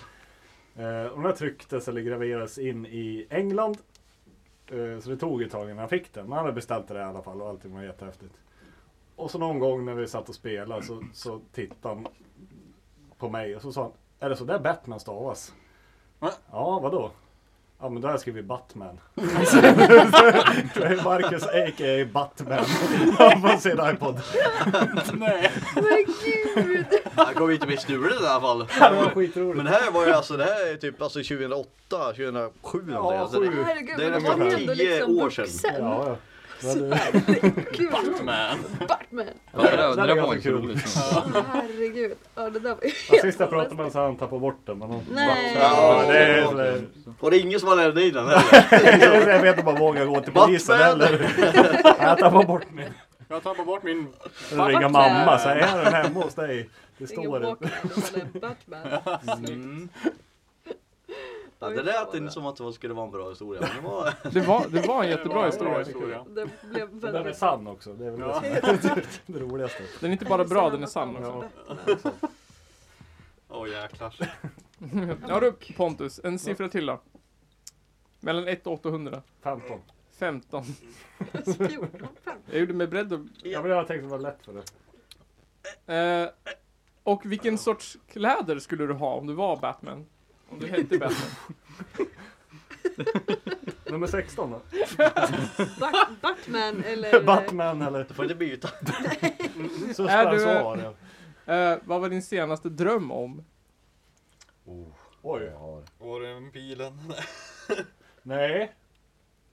[SPEAKER 7] Eh, och den här trycktes eller graverades in i England. Eh, så det tog ett tag innan han fick den. Men han hade beställt det i alla fall och allting var jättehäftigt. Och så någon gång när vi satt och spelade så, så tittade han på mig och så sa han Är det så där Batman stavas?
[SPEAKER 2] Va?
[SPEAKER 7] Ja, vadå? Ja men då har jag skrivit Batman. Det är Marcus a.k.a.
[SPEAKER 4] <laughs>
[SPEAKER 7] Batman. Han får se en iPod.
[SPEAKER 2] Nej.
[SPEAKER 4] Men gud!
[SPEAKER 5] Han kommer inte bli stulen i alla fall.
[SPEAKER 7] Det var skitroligt.
[SPEAKER 5] Men det här var ju alltså, det här är typ alltså 2008, 2007 eller
[SPEAKER 7] Ja,
[SPEAKER 5] alltså, det,
[SPEAKER 7] sju.
[SPEAKER 4] Herregud,
[SPEAKER 5] Det är
[SPEAKER 4] men
[SPEAKER 5] nästan
[SPEAKER 4] då var han ändå
[SPEAKER 5] tio
[SPEAKER 4] liksom
[SPEAKER 5] år sedan.
[SPEAKER 4] vuxen.
[SPEAKER 7] Ja, eh, ja. Vad är
[SPEAKER 4] Gud,
[SPEAKER 2] Men
[SPEAKER 4] Batman!
[SPEAKER 3] Ja, det,
[SPEAKER 7] det
[SPEAKER 3] där, det
[SPEAKER 7] där
[SPEAKER 3] där var
[SPEAKER 7] var
[SPEAKER 3] inte
[SPEAKER 7] kul.
[SPEAKER 3] roligt.
[SPEAKER 4] Herregud. Ja, det där var ju
[SPEAKER 7] Ja,
[SPEAKER 4] helt
[SPEAKER 7] sist jag pratade med
[SPEAKER 4] fantastiskt.
[SPEAKER 7] honom så han tappade bort den. Men hon
[SPEAKER 4] Nej.
[SPEAKER 7] Ja, det är sådär.
[SPEAKER 5] Och det är ingen som har lärt dig den heller.
[SPEAKER 7] Jag vet inte om man vågar gå till polisen
[SPEAKER 5] Batman!
[SPEAKER 7] eller. Nej, Jag tappade bort min.
[SPEAKER 2] jag tappar bort min...
[SPEAKER 7] Eller ringa mamma. Så här, är den hemma hos dig? Det
[SPEAKER 4] Ingen
[SPEAKER 7] står det.
[SPEAKER 4] Walkman, utan en Batman.
[SPEAKER 5] Ja, det lät inte som att det skulle vara en bra historia. Men det var...
[SPEAKER 1] Det var, det var en jättebra
[SPEAKER 2] Bra
[SPEAKER 1] historia.
[SPEAKER 2] historia.
[SPEAKER 4] Det blev
[SPEAKER 7] Den är
[SPEAKER 4] <laughs> väldigt...
[SPEAKER 7] sann också. Det är väl det, som är det <laughs> roligaste.
[SPEAKER 1] Den är inte bara bra, den är sann också.
[SPEAKER 5] Åh jäklar.
[SPEAKER 1] Ja du Pontus, en siffra till då. Mellan 1 och 800.
[SPEAKER 7] 15.
[SPEAKER 1] 15.
[SPEAKER 4] 14,
[SPEAKER 1] Jag gjorde mig beredd och...
[SPEAKER 7] Jag vill ha tänkt att det var lätt för det.
[SPEAKER 1] Eh, och vilken sorts kläder skulle du ha om du var Batman? Om du hette Batman?
[SPEAKER 7] Nummer 16 då?
[SPEAKER 4] Bat- Batman eller...
[SPEAKER 7] <laughs> Batman eller?
[SPEAKER 5] Du får inte byta.
[SPEAKER 7] Så
[SPEAKER 1] Är
[SPEAKER 7] ska
[SPEAKER 1] du-
[SPEAKER 7] du... svara.
[SPEAKER 1] Eh, vad var din senaste dröm om?
[SPEAKER 7] Oj.
[SPEAKER 2] Var det med bilen?
[SPEAKER 7] <laughs> Nej.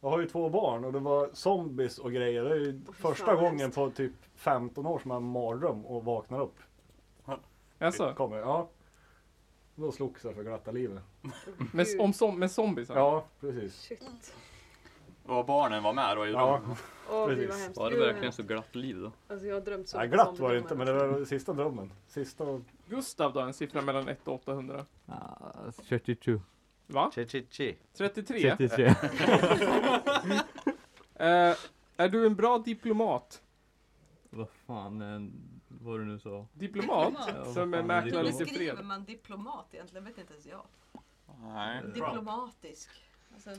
[SPEAKER 7] Jag har ju två barn och det var zombies och grejer. Det är ju första
[SPEAKER 4] fan, vad
[SPEAKER 7] gången på typ 15 år som jag har en mardröm och vaknar upp.
[SPEAKER 1] Alltså,
[SPEAKER 7] Kommer, ja. Då slogs jag för glatta livet.
[SPEAKER 1] med, om som, med zombies? Ja.
[SPEAKER 7] Ja, precis.
[SPEAKER 4] Shit.
[SPEAKER 2] Och barnen var med då i
[SPEAKER 7] Ja.
[SPEAKER 2] drömmen.
[SPEAKER 4] Åh, det
[SPEAKER 7] Precis.
[SPEAKER 4] var hemskt.
[SPEAKER 3] Var det
[SPEAKER 4] Gud, vad
[SPEAKER 3] verkligen
[SPEAKER 4] hemskt.
[SPEAKER 3] så glatt liv då?
[SPEAKER 4] Alltså jag har drömt så
[SPEAKER 7] Nej,
[SPEAKER 4] mycket
[SPEAKER 7] glatt
[SPEAKER 4] om
[SPEAKER 7] var det
[SPEAKER 4] drömmar.
[SPEAKER 7] inte, men det var sista drömmen. Sista...
[SPEAKER 1] Gustav då, en siffra mellan 1 och 800?
[SPEAKER 6] 32.
[SPEAKER 1] Va?
[SPEAKER 5] Chi, chi, chi.
[SPEAKER 1] 33?
[SPEAKER 6] 33.
[SPEAKER 1] <laughs> Eh, är du en bra diplomat?
[SPEAKER 6] Vad fan eh, vad du nu sa.
[SPEAKER 1] Diplomat?
[SPEAKER 6] Ja,
[SPEAKER 1] Som
[SPEAKER 6] vad
[SPEAKER 1] är
[SPEAKER 6] fan,
[SPEAKER 1] mäklare
[SPEAKER 6] diplomat.
[SPEAKER 1] lite fred.
[SPEAKER 4] man diplomat egentligen? Vet inte ens jag.
[SPEAKER 2] Nej.
[SPEAKER 4] Diplomatisk. Alltså,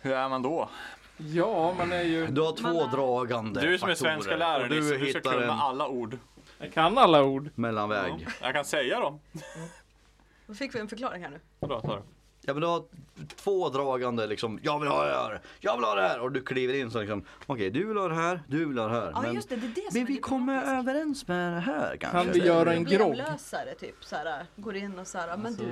[SPEAKER 2] Hur är man då?
[SPEAKER 1] Ja, man är ju...
[SPEAKER 5] Du har två
[SPEAKER 4] Man-
[SPEAKER 5] dragande
[SPEAKER 2] Du som är
[SPEAKER 5] faktorer.
[SPEAKER 2] svenska lärare,
[SPEAKER 5] Och
[SPEAKER 2] du,
[SPEAKER 5] du
[SPEAKER 2] du ska
[SPEAKER 5] hittar
[SPEAKER 2] kunna
[SPEAKER 5] en
[SPEAKER 2] alla ord.
[SPEAKER 1] Jag kan alla ord.
[SPEAKER 5] mellanväg.
[SPEAKER 2] Ja, jag kan säga dem.
[SPEAKER 4] Då fick vi en förklaring här nu.
[SPEAKER 2] Vadå, tar du?
[SPEAKER 5] Ja men du har två dragande liksom, jag vill ha det här, jag vill ha det här och du kliver in så liksom, okej du vill ha det här, du vill ha det här.
[SPEAKER 4] Ja
[SPEAKER 5] men,
[SPEAKER 4] just det, det är det som
[SPEAKER 5] men
[SPEAKER 4] är
[SPEAKER 5] vi kommer
[SPEAKER 4] diplomatisk.
[SPEAKER 5] överens med det här kanske.
[SPEAKER 1] Kan vi göra en grogg?
[SPEAKER 4] Problemlösare typ såhär, går in och såhär, men
[SPEAKER 3] Alltså,
[SPEAKER 4] du.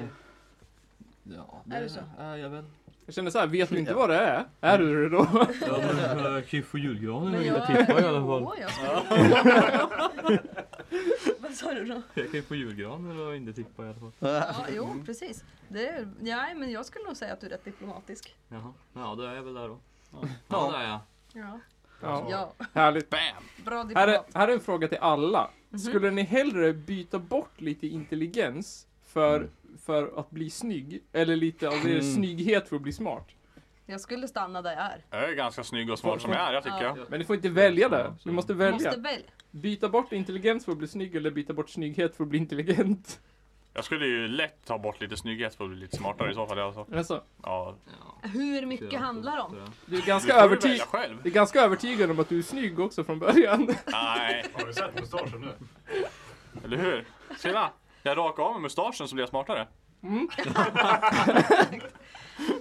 [SPEAKER 3] Ja,
[SPEAKER 4] Är det så?
[SPEAKER 3] Ja, jag vet.
[SPEAKER 1] Jag känner så här, vet du inte vad det är? Är du det då?
[SPEAKER 6] Ja, men eh, kyff och julgranen
[SPEAKER 4] Men
[SPEAKER 6] vill jag
[SPEAKER 4] jag,
[SPEAKER 6] tippa i alla
[SPEAKER 4] <laughs>
[SPEAKER 6] fall.
[SPEAKER 4] Jo, jag ska... <laughs> Vad sa du då?
[SPEAKER 6] Jag kan ju få julgranen och inte tippa i alla fall.
[SPEAKER 4] Ja, jo precis. Det är, nej men jag skulle nog säga att du är rätt diplomatisk.
[SPEAKER 6] Jaha, ja då är jag väl där då. Ja, där är jag.
[SPEAKER 4] Ja.
[SPEAKER 1] Ja.
[SPEAKER 4] ja.
[SPEAKER 1] Härligt.
[SPEAKER 2] Bam!
[SPEAKER 4] Bra
[SPEAKER 1] Här är,
[SPEAKER 4] diplomat.
[SPEAKER 1] här är en fråga till alla. Skulle ni hellre byta bort lite intelligens för,
[SPEAKER 6] Mm.
[SPEAKER 1] för att bli snygg? Eller lite av er snygghet för att bli smart?
[SPEAKER 4] Jag skulle stanna där jag är.
[SPEAKER 2] Jag är ganska snygg och smart som jag är, jag tycker jag.
[SPEAKER 1] Men ni får inte välja det.
[SPEAKER 6] Ja, så-
[SPEAKER 1] Ni måste
[SPEAKER 4] Du
[SPEAKER 1] välja.
[SPEAKER 4] måste välja.
[SPEAKER 1] Byta bort intelligens för att bli snygg eller byta bort snygghet för att bli intelligent. <laughs>
[SPEAKER 2] Jag skulle ju lätt ta bort lite snygghet för att bli lite smartare i så fall. Alltså.
[SPEAKER 1] Alltså,
[SPEAKER 2] Ja.
[SPEAKER 4] Hur mycket
[SPEAKER 6] Ja,
[SPEAKER 4] handlar det om?
[SPEAKER 1] du är
[SPEAKER 2] Du
[SPEAKER 1] ganska,
[SPEAKER 2] får ju
[SPEAKER 1] överty
[SPEAKER 2] välja själv.
[SPEAKER 1] du är ganska övertygad om att du är snygg också från början. <laughs>
[SPEAKER 2] Nej.
[SPEAKER 7] Har du sett mustaschen nu?
[SPEAKER 2] Eller hur? Tjena! Jag rakade av mig mustaschen så blir jag smartare.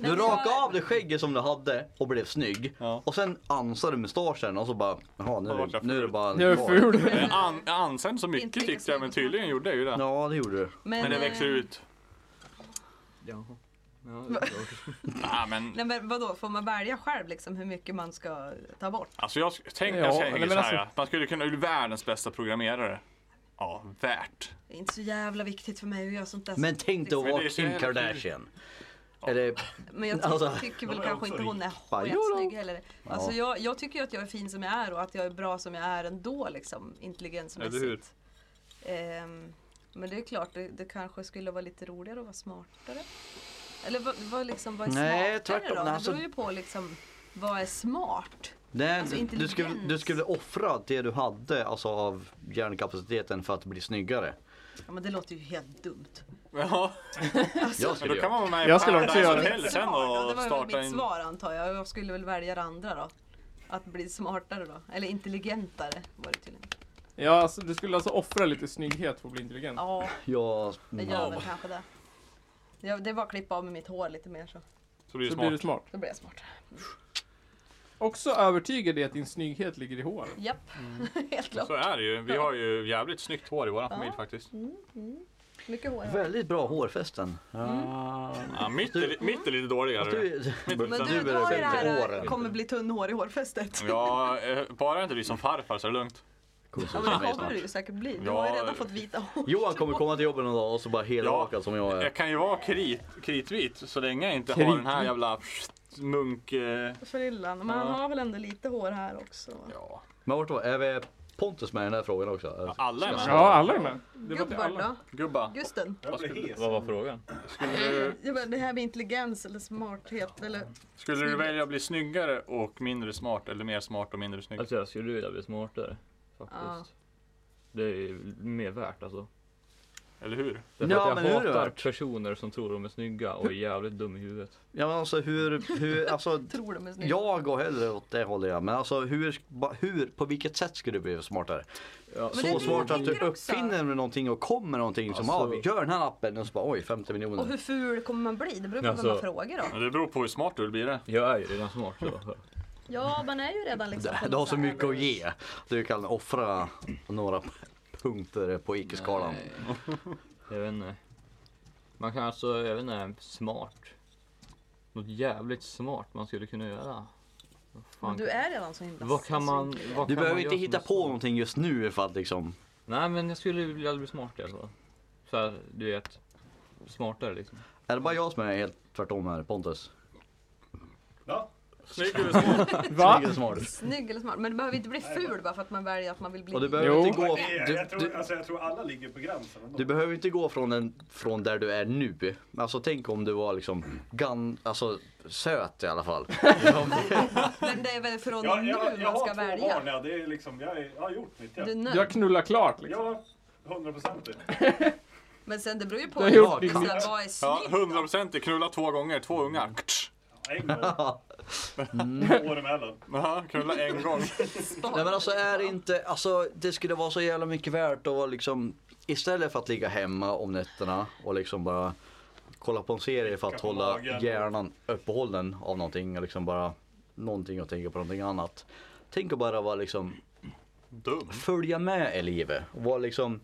[SPEAKER 5] Du rakade av det skägget som du hade och blev snygg
[SPEAKER 2] Ja.
[SPEAKER 5] och sen ansade mustaschen och så bara, jaha nu,
[SPEAKER 2] Då vart
[SPEAKER 5] är
[SPEAKER 2] jag
[SPEAKER 5] det- nu är det
[SPEAKER 2] ful.
[SPEAKER 5] bara en
[SPEAKER 1] Jag är
[SPEAKER 5] kvar.
[SPEAKER 1] ful.
[SPEAKER 4] Mm.
[SPEAKER 2] Jag an- jag ansände så mycket
[SPEAKER 4] lika
[SPEAKER 2] tyckte jag, men
[SPEAKER 4] snygg.
[SPEAKER 2] tydligen gjorde jag ju det.
[SPEAKER 5] Ja det gjorde du.
[SPEAKER 2] Men det
[SPEAKER 4] eh,
[SPEAKER 2] växer ut.
[SPEAKER 6] Jaha. Ja, det är klart.
[SPEAKER 2] Nej men,
[SPEAKER 4] Nej men vadå, får man välja själv liksom hur mycket man ska ta bort?
[SPEAKER 2] alltså jag tänker
[SPEAKER 1] Ja,
[SPEAKER 2] jag
[SPEAKER 1] nej,
[SPEAKER 2] tänker
[SPEAKER 1] men
[SPEAKER 2] så här.
[SPEAKER 1] alltså-
[SPEAKER 2] ja. Man skulle kunna bli världens bästa programmerare. Ja, värt.
[SPEAKER 4] Det är inte så jävla viktigt för mig att göra sånt där.
[SPEAKER 5] Men tänk dig att
[SPEAKER 2] Men
[SPEAKER 5] vara
[SPEAKER 2] det är så jävla
[SPEAKER 5] Kim
[SPEAKER 2] kul.
[SPEAKER 5] Kardashian. Eller,
[SPEAKER 4] Men jag ty-
[SPEAKER 5] Alltså,
[SPEAKER 4] tycker väl kanske inte hon är
[SPEAKER 5] Bara,
[SPEAKER 4] skitsnygg
[SPEAKER 5] jodå.
[SPEAKER 4] heller. Alltså jag, jag tycker ju att jag är fin som jag är och att jag är bra som jag är ändå liksom intelligensmässigt. Ehm, men det är klart, det, det kanske skulle vara lite roligare att vara smartare. Eller vad, vad, liksom, vad är
[SPEAKER 5] Nej,
[SPEAKER 4] smartare
[SPEAKER 5] tvärtom.
[SPEAKER 4] då? Det
[SPEAKER 5] Alltså-
[SPEAKER 4] beror ju på liksom, vad är smart?
[SPEAKER 5] nej,
[SPEAKER 4] Alltså,
[SPEAKER 5] du, skulle,
[SPEAKER 4] intelligens.
[SPEAKER 5] du skulle offra det du hade alltså av hjärnkapaciteten för att bli snyggare.
[SPEAKER 4] Ja men det låter ju helt dumt.
[SPEAKER 2] Ja,
[SPEAKER 4] Alltså,
[SPEAKER 5] Jag
[SPEAKER 2] men
[SPEAKER 5] skulle
[SPEAKER 2] då
[SPEAKER 5] göra
[SPEAKER 2] kan man vara med i
[SPEAKER 1] Jag skulle också
[SPEAKER 2] Paradise
[SPEAKER 1] göra det.
[SPEAKER 2] Hotel sen
[SPEAKER 4] ja, det
[SPEAKER 2] och
[SPEAKER 4] var väl
[SPEAKER 2] starta
[SPEAKER 4] mitt
[SPEAKER 2] en...
[SPEAKER 4] svar antar jag. Jag skulle väl välja det andra då. Att bli smartare då. Eller intelligentare var det tydligen.
[SPEAKER 1] Ja, alltså, du skulle alltså offra lite snygghet för att bli intelligent.
[SPEAKER 4] Ja,
[SPEAKER 5] Ja,
[SPEAKER 4] jag
[SPEAKER 5] mm,
[SPEAKER 4] gör
[SPEAKER 5] ja.
[SPEAKER 4] väl kanske det. Jag, det är bara att klippa av med mitt hår lite mer så.
[SPEAKER 2] Så blir
[SPEAKER 1] Så
[SPEAKER 2] det
[SPEAKER 1] blir du
[SPEAKER 2] smart.
[SPEAKER 1] smart.
[SPEAKER 4] Då blir jag smart.
[SPEAKER 1] Också övertygad i att din snygghet ligger i håret.
[SPEAKER 4] Japp, <laughs> helt klart.
[SPEAKER 2] Så är det ju. Vi har ju jävligt snyggt hår i våran familj faktiskt.
[SPEAKER 4] Mycket hår.
[SPEAKER 5] Väldigt bra hårfästen.
[SPEAKER 2] Ja, Ja, mitt är, li- mitt är lite dåligare.
[SPEAKER 5] Du,
[SPEAKER 2] Men
[SPEAKER 4] Men
[SPEAKER 2] Sen
[SPEAKER 4] du,
[SPEAKER 2] blir
[SPEAKER 4] du har ju det här
[SPEAKER 5] åren.
[SPEAKER 4] äh, kommer bli tunnhårig i hårfästet. <laughs>
[SPEAKER 2] Ja, eh, bara inte blir som farfar så är det lugnt.
[SPEAKER 4] Ja, men det kommer du ju säkert bli. Du har ju
[SPEAKER 2] Ja.
[SPEAKER 4] redan fått vita hår.
[SPEAKER 5] Johan kommer komma till jobbet någon dag och så bara helrakad som jag är.
[SPEAKER 2] Jag kan ju vara krit, kritvit så länge jag inte har
[SPEAKER 1] Kritvit.
[SPEAKER 2] den här jävla munk... eh,
[SPEAKER 4] Frillan. Men han
[SPEAKER 2] Ja.
[SPEAKER 4] har väl ändå lite hår här också. va?
[SPEAKER 2] Ja,
[SPEAKER 5] Men vart var, är vi Pontus med i den här frågan också? Alltså,
[SPEAKER 2] alla är med.
[SPEAKER 1] Ja, alla är med. Det var till
[SPEAKER 4] Gubbar
[SPEAKER 1] alla.
[SPEAKER 4] då?
[SPEAKER 2] Gubba.
[SPEAKER 4] Gusten?
[SPEAKER 7] Jag blir hes.
[SPEAKER 3] Vad var frågan?
[SPEAKER 4] <laughs> Ja, men det här med intelligens eller smarthet eller...
[SPEAKER 2] Skulle du välja att bli snyggare och mindre smart eller mer smart och mindre snygg?
[SPEAKER 3] Alltså jag skulle vilja bli smartare. Faktiskt.
[SPEAKER 4] Ja.
[SPEAKER 3] Det är mer värt alltså.
[SPEAKER 2] Eller hur?
[SPEAKER 3] Därför
[SPEAKER 5] Ja,
[SPEAKER 3] att
[SPEAKER 5] men
[SPEAKER 3] jag
[SPEAKER 5] hur är det
[SPEAKER 3] hatar
[SPEAKER 5] värt?
[SPEAKER 3] personer som tror de är snygga och är jävligt dum i huvudet.
[SPEAKER 5] Ja men alltså hur, hur alltså,
[SPEAKER 4] Tror de är snygga.
[SPEAKER 5] jag går hellre åt det hållet ja. Men alltså hur, ba- hur, på vilket sätt skulle du bli smartare?
[SPEAKER 3] Ja,
[SPEAKER 4] det är
[SPEAKER 5] Så
[SPEAKER 4] det
[SPEAKER 5] smart
[SPEAKER 4] jag
[SPEAKER 5] att du
[SPEAKER 4] tänker också.
[SPEAKER 5] uppfinner någonting och kommer någonting som
[SPEAKER 3] Alltså-
[SPEAKER 5] ja vi gör den här appen och så bara oj 50 miljoner.
[SPEAKER 4] Och hur ful kommer man bli? Det beror på vem man
[SPEAKER 3] Alltså-
[SPEAKER 4] frågar
[SPEAKER 2] Ja,
[SPEAKER 4] då.
[SPEAKER 2] Det beror på hur smart du vill bli det.
[SPEAKER 3] Jag är ju redan smart
[SPEAKER 6] <laughs>
[SPEAKER 3] så.
[SPEAKER 4] Ja, man är ju
[SPEAKER 5] <laughs>
[SPEAKER 4] redan liksom...
[SPEAKER 5] Du, du har så mycket att ge. Du kan offra några p- punkter på icke-skalan.
[SPEAKER 3] Jag vet inte. Man kan alltså, jag vet inte, smart. Något jävligt smart man skulle kunna göra. Vad
[SPEAKER 4] Men
[SPEAKER 3] fan-
[SPEAKER 4] du är redan så himla
[SPEAKER 3] Vad kan man...
[SPEAKER 4] snygg.
[SPEAKER 3] Vad
[SPEAKER 5] Du
[SPEAKER 3] kan
[SPEAKER 5] behöver
[SPEAKER 3] man
[SPEAKER 5] inte
[SPEAKER 3] göra
[SPEAKER 5] hitta
[SPEAKER 3] som är
[SPEAKER 5] på
[SPEAKER 3] smart?
[SPEAKER 5] någonting just nu för att liksom
[SPEAKER 3] Nej men jag skulle vilja bli smart i alla fall. Såhär, du vet. Smartare liksom.
[SPEAKER 5] Är det bara jag som är helt tvärtom här Pontus?
[SPEAKER 2] Snygg eller smart?
[SPEAKER 1] Va?
[SPEAKER 5] Snygg eller smart?
[SPEAKER 4] Snygg eller smart. Men du behöver inte bli ful bara för att man väljer att man vill bli...
[SPEAKER 5] Och du behöver
[SPEAKER 1] Jo.
[SPEAKER 5] inte gå... Du,
[SPEAKER 7] jag, tror,
[SPEAKER 5] du,
[SPEAKER 7] alltså, jag tror alla ligger på gränsen ändå.
[SPEAKER 5] du behöver inte gå från, en, från där du är nu. Alltså tänk om du var liksom gan, alltså, söt i alla fall.
[SPEAKER 4] Men det är väl från
[SPEAKER 7] Jag, jag,
[SPEAKER 4] nu
[SPEAKER 7] jag
[SPEAKER 4] man
[SPEAKER 7] har
[SPEAKER 4] ska
[SPEAKER 7] två
[SPEAKER 4] välja.
[SPEAKER 7] barn, ja, det är liksom, jag, är, jag har gjort mitt. Ja,
[SPEAKER 4] Du är nöjd.
[SPEAKER 1] Jag knullar klart liksom.
[SPEAKER 7] ja 100 procent.
[SPEAKER 4] Men sen det beror ju på
[SPEAKER 1] Det har
[SPEAKER 4] hur-
[SPEAKER 1] gjort
[SPEAKER 4] så
[SPEAKER 1] inget.
[SPEAKER 4] här, vad är
[SPEAKER 2] Ja,
[SPEAKER 4] snyggt.
[SPEAKER 2] 100 procent. Knulla två gånger, två ungar.
[SPEAKER 1] <laughs>
[SPEAKER 7] En gång. Mm. År emellan.
[SPEAKER 2] Jaha, knulla en gång.
[SPEAKER 5] Nej men alltså är det inte, alltså det skulle vara så jävla mycket värt att vara liksom Istället för att ligga hemma om nätterna och liksom bara kolla på en serie för att
[SPEAKER 7] Klicka på
[SPEAKER 5] hålla
[SPEAKER 7] magen.
[SPEAKER 5] hjärnan uppehållen av någonting och liksom bara Någonting och tänka på någonting annat. Tänk att bara vara liksom
[SPEAKER 2] Dum.
[SPEAKER 5] följa med i livet och vara liksom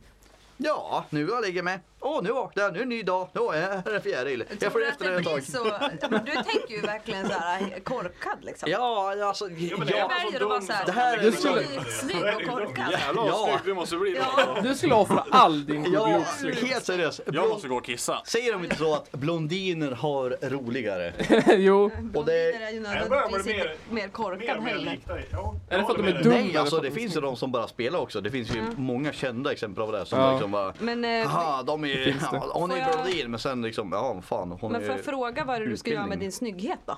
[SPEAKER 5] Ja, nu har jag lägger mig. Åh, nu vaknar jag. Nu är en ny dag. Åh, jag är en fjäril. Jag
[SPEAKER 4] Tror
[SPEAKER 5] får
[SPEAKER 4] du
[SPEAKER 5] efter det
[SPEAKER 4] att
[SPEAKER 5] ett
[SPEAKER 4] det blir
[SPEAKER 5] tag.
[SPEAKER 4] så... Ja, men Du tänker ju verkligen så här korkad liksom.
[SPEAKER 5] Ja, alltså.
[SPEAKER 4] Jag
[SPEAKER 5] Ja,
[SPEAKER 4] väljer att vara så här...
[SPEAKER 5] Det här är-
[SPEAKER 4] du
[SPEAKER 1] skulle-
[SPEAKER 4] är snygg och korkad.
[SPEAKER 2] Jävlar vad
[SPEAKER 5] Ja.
[SPEAKER 2] snygg du måste bli.
[SPEAKER 4] Ja.
[SPEAKER 1] Du skulle offra all din
[SPEAKER 5] ja
[SPEAKER 1] looks liksom.
[SPEAKER 5] helt seriöst.
[SPEAKER 2] Jag måste gå och kissa.
[SPEAKER 5] Säger de inte så att blondiner har roligare?
[SPEAKER 1] <laughs> Jo.
[SPEAKER 5] Och det-
[SPEAKER 4] Blondiner är ju
[SPEAKER 7] Jag börjar bli
[SPEAKER 4] nödvändigtvis inte mer
[SPEAKER 7] Mer
[SPEAKER 4] korkad
[SPEAKER 7] och mer
[SPEAKER 4] heller.
[SPEAKER 7] lik dig. Ja,
[SPEAKER 1] Är det för att de är
[SPEAKER 7] dumma?
[SPEAKER 1] dumma?
[SPEAKER 5] Nej, alltså det finns ju de som bara spelar också. Det finns ju
[SPEAKER 4] Mm.
[SPEAKER 5] många kända exempel av det som
[SPEAKER 1] Ja.
[SPEAKER 5] liksom bara
[SPEAKER 4] Men, eh,
[SPEAKER 5] Jaha, de är ju,
[SPEAKER 1] det.
[SPEAKER 5] ja, hon är
[SPEAKER 4] Får jag-
[SPEAKER 5] blondin men sen liksom, ja fan hon
[SPEAKER 4] men
[SPEAKER 5] är
[SPEAKER 4] får
[SPEAKER 5] ju
[SPEAKER 4] jag fråga vad det är du ska göra med
[SPEAKER 5] utbildning.
[SPEAKER 4] din snygghet då?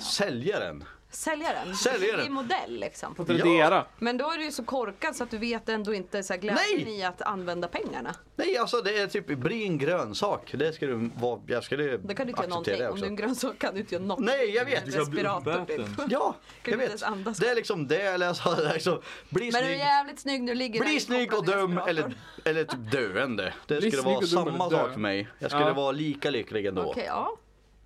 [SPEAKER 5] sälja den.
[SPEAKER 4] Sälja den?
[SPEAKER 5] Sälja den.
[SPEAKER 4] I modell liksom.
[SPEAKER 1] På Tradera.
[SPEAKER 4] Men då är du ju så korkad så att du vet ändå inte så här glädjen
[SPEAKER 5] Nej!
[SPEAKER 4] i att använda pengarna.
[SPEAKER 5] Nej alltså det är typ, bli en grönsak. Det skulle vara, jag skulle
[SPEAKER 4] Då kan du inte göra
[SPEAKER 5] acceptera
[SPEAKER 4] någonting.
[SPEAKER 5] det
[SPEAKER 4] Om
[SPEAKER 5] också.
[SPEAKER 4] du är en grönsak kan du inte göra något.
[SPEAKER 5] Nej, jag vet.
[SPEAKER 4] En respirator typ.
[SPEAKER 5] Ja,
[SPEAKER 4] inte
[SPEAKER 5] jag vet.
[SPEAKER 4] ens andas.
[SPEAKER 5] Det är liksom det jag läser. Liksom, bli
[SPEAKER 4] Men du är
[SPEAKER 5] snygg,
[SPEAKER 4] jävligt snygg när du ligger där
[SPEAKER 5] bli snygg och
[SPEAKER 4] inkopplad i
[SPEAKER 5] dum
[SPEAKER 4] respiratorn.
[SPEAKER 5] eller, eller typ
[SPEAKER 1] <laughs>
[SPEAKER 5] döende. Det
[SPEAKER 1] Bli
[SPEAKER 5] skulle
[SPEAKER 1] snygg
[SPEAKER 5] vara
[SPEAKER 1] och dum eller
[SPEAKER 5] samma
[SPEAKER 1] dö.
[SPEAKER 5] sak för mig. Jag skulle
[SPEAKER 1] Ja.
[SPEAKER 5] vara lika lycklig ändå.
[SPEAKER 4] Okej, ja.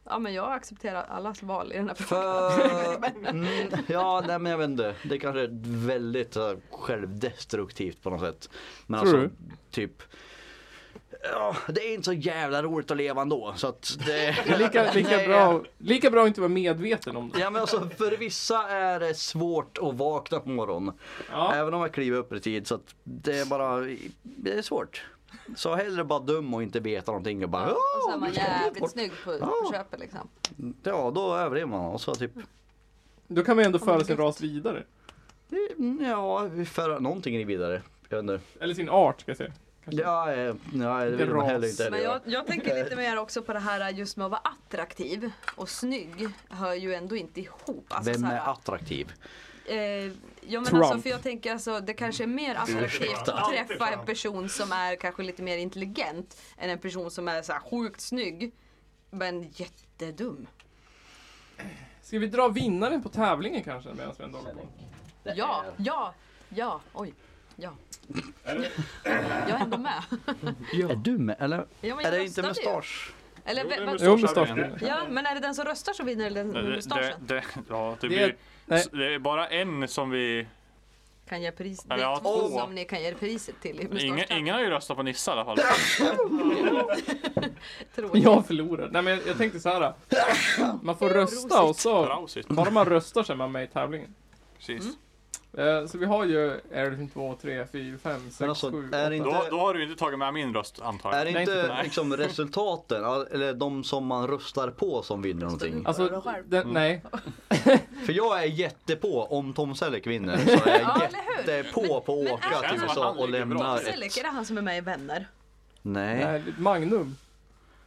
[SPEAKER 4] Ja men jag accepterar allas val i den här frågan.
[SPEAKER 5] För... Mm, ja, nej men jag vet inte. Det kanske är väldigt så här, självdestruktivt på något sätt. Men
[SPEAKER 1] Tror
[SPEAKER 5] alltså, typ... Ja, det är inte så jävla roligt att leva ändå så att
[SPEAKER 1] <laughs>
[SPEAKER 5] det...
[SPEAKER 1] Lika, lika,
[SPEAKER 5] Nej,
[SPEAKER 1] bra, lika bra att inte vara medveten om det.
[SPEAKER 5] Ja men alltså för vissa är det svårt att vakna på morgonen.
[SPEAKER 1] Ja.
[SPEAKER 5] Även om jag kliver upp i tid så att det är bara, det är svårt. Så hellre bara dum och inte veta någonting och bara
[SPEAKER 4] Ja, och så är
[SPEAKER 5] "Åh,
[SPEAKER 4] man
[SPEAKER 5] nu ska jag bort."
[SPEAKER 4] jävligt snygg på, på
[SPEAKER 5] Ja.
[SPEAKER 4] köpet liksom.
[SPEAKER 5] Ja då överlever man och så typ
[SPEAKER 1] Då kan man ju ändå föra sin ras vidare.
[SPEAKER 5] "Mm, Ja, vi för någonting är vidare. Jag vet inte.
[SPEAKER 1] Eller sin art ska jag säga.
[SPEAKER 5] Ja, eh, nej, det vill
[SPEAKER 1] Lite
[SPEAKER 5] man
[SPEAKER 1] ras.
[SPEAKER 5] heller inte heller
[SPEAKER 4] Men jag,
[SPEAKER 5] göra.
[SPEAKER 4] jag
[SPEAKER 5] <laughs>
[SPEAKER 4] tänker lite mer också på det här just med att vara attraktiv och snygg hör ju ändå inte ihop. Alltså,
[SPEAKER 5] Vem
[SPEAKER 4] så här,
[SPEAKER 5] är attraktiv?
[SPEAKER 4] eh, ja, men
[SPEAKER 1] Trump.
[SPEAKER 4] alltså, för jag tänker alltså, det kanske är mer attraktivt att
[SPEAKER 7] Alltid
[SPEAKER 4] träffa en
[SPEAKER 7] Trump.
[SPEAKER 4] person som är kanske lite mer intelligent än en person som är så här sjukt snygg men jättedum.
[SPEAKER 1] Ska vi dra vinnaren på tävlingen kanske medan vi ändå håller på?
[SPEAKER 4] Ja, ja, ja, oj, ja. Jag är ändå med.
[SPEAKER 5] Är du med? Eller
[SPEAKER 4] Ja, men
[SPEAKER 5] är
[SPEAKER 4] jag
[SPEAKER 5] det inte
[SPEAKER 4] röstade ju.
[SPEAKER 5] mustasch?
[SPEAKER 4] Eller, vem- vem-
[SPEAKER 1] Jo, mustaschen.
[SPEAKER 4] ja, men är det den som röstar som vinner eller den med
[SPEAKER 2] Det, det,
[SPEAKER 4] mustaschen?
[SPEAKER 2] det, ja, det,
[SPEAKER 1] Det är-
[SPEAKER 2] blir,
[SPEAKER 1] nej.
[SPEAKER 2] det är bara en som vi
[SPEAKER 4] kan ge pris. Det
[SPEAKER 2] Eller ja,
[SPEAKER 4] är två
[SPEAKER 2] två.
[SPEAKER 4] som ni kan ge priset till i
[SPEAKER 2] Ingen,
[SPEAKER 4] mustaschkamp.
[SPEAKER 2] ingen har ju röstat på Nissa i alla fall.
[SPEAKER 4] Tråkigt.
[SPEAKER 1] Jag förlorar. Nej men jag, jag tänkte så här. Man får rösta och så,
[SPEAKER 2] Brausigt.
[SPEAKER 1] bara man röstar så är man med i tävlingen.
[SPEAKER 2] Precis.
[SPEAKER 1] Eh, så vi har ju Airline 2, 3, 4, 5, 6,
[SPEAKER 5] Men alltså,
[SPEAKER 1] 7,
[SPEAKER 5] är
[SPEAKER 1] 8.
[SPEAKER 5] inte-
[SPEAKER 2] Då, då har du ju inte tagit med min röst antar
[SPEAKER 5] Är
[SPEAKER 2] jag.
[SPEAKER 5] det
[SPEAKER 1] Nej, inte på
[SPEAKER 5] inte
[SPEAKER 1] mig.
[SPEAKER 5] liksom resultaten, eller de som man röstar på som vinner någonting?
[SPEAKER 1] Alltså, den, nej.
[SPEAKER 5] För jag är jättepå om Tom Selleck vinner. Så är
[SPEAKER 4] Ja,
[SPEAKER 5] jag
[SPEAKER 4] eller hur?
[SPEAKER 5] jättepå på att
[SPEAKER 4] men
[SPEAKER 5] åka till
[SPEAKER 4] är-
[SPEAKER 2] Känns som
[SPEAKER 5] USA
[SPEAKER 2] att han
[SPEAKER 5] och
[SPEAKER 2] ligger bra
[SPEAKER 5] lämna
[SPEAKER 2] till.
[SPEAKER 5] ett...
[SPEAKER 4] Selleck, är det han som är med i Vänner?
[SPEAKER 5] Nej,
[SPEAKER 1] nej. Magnum.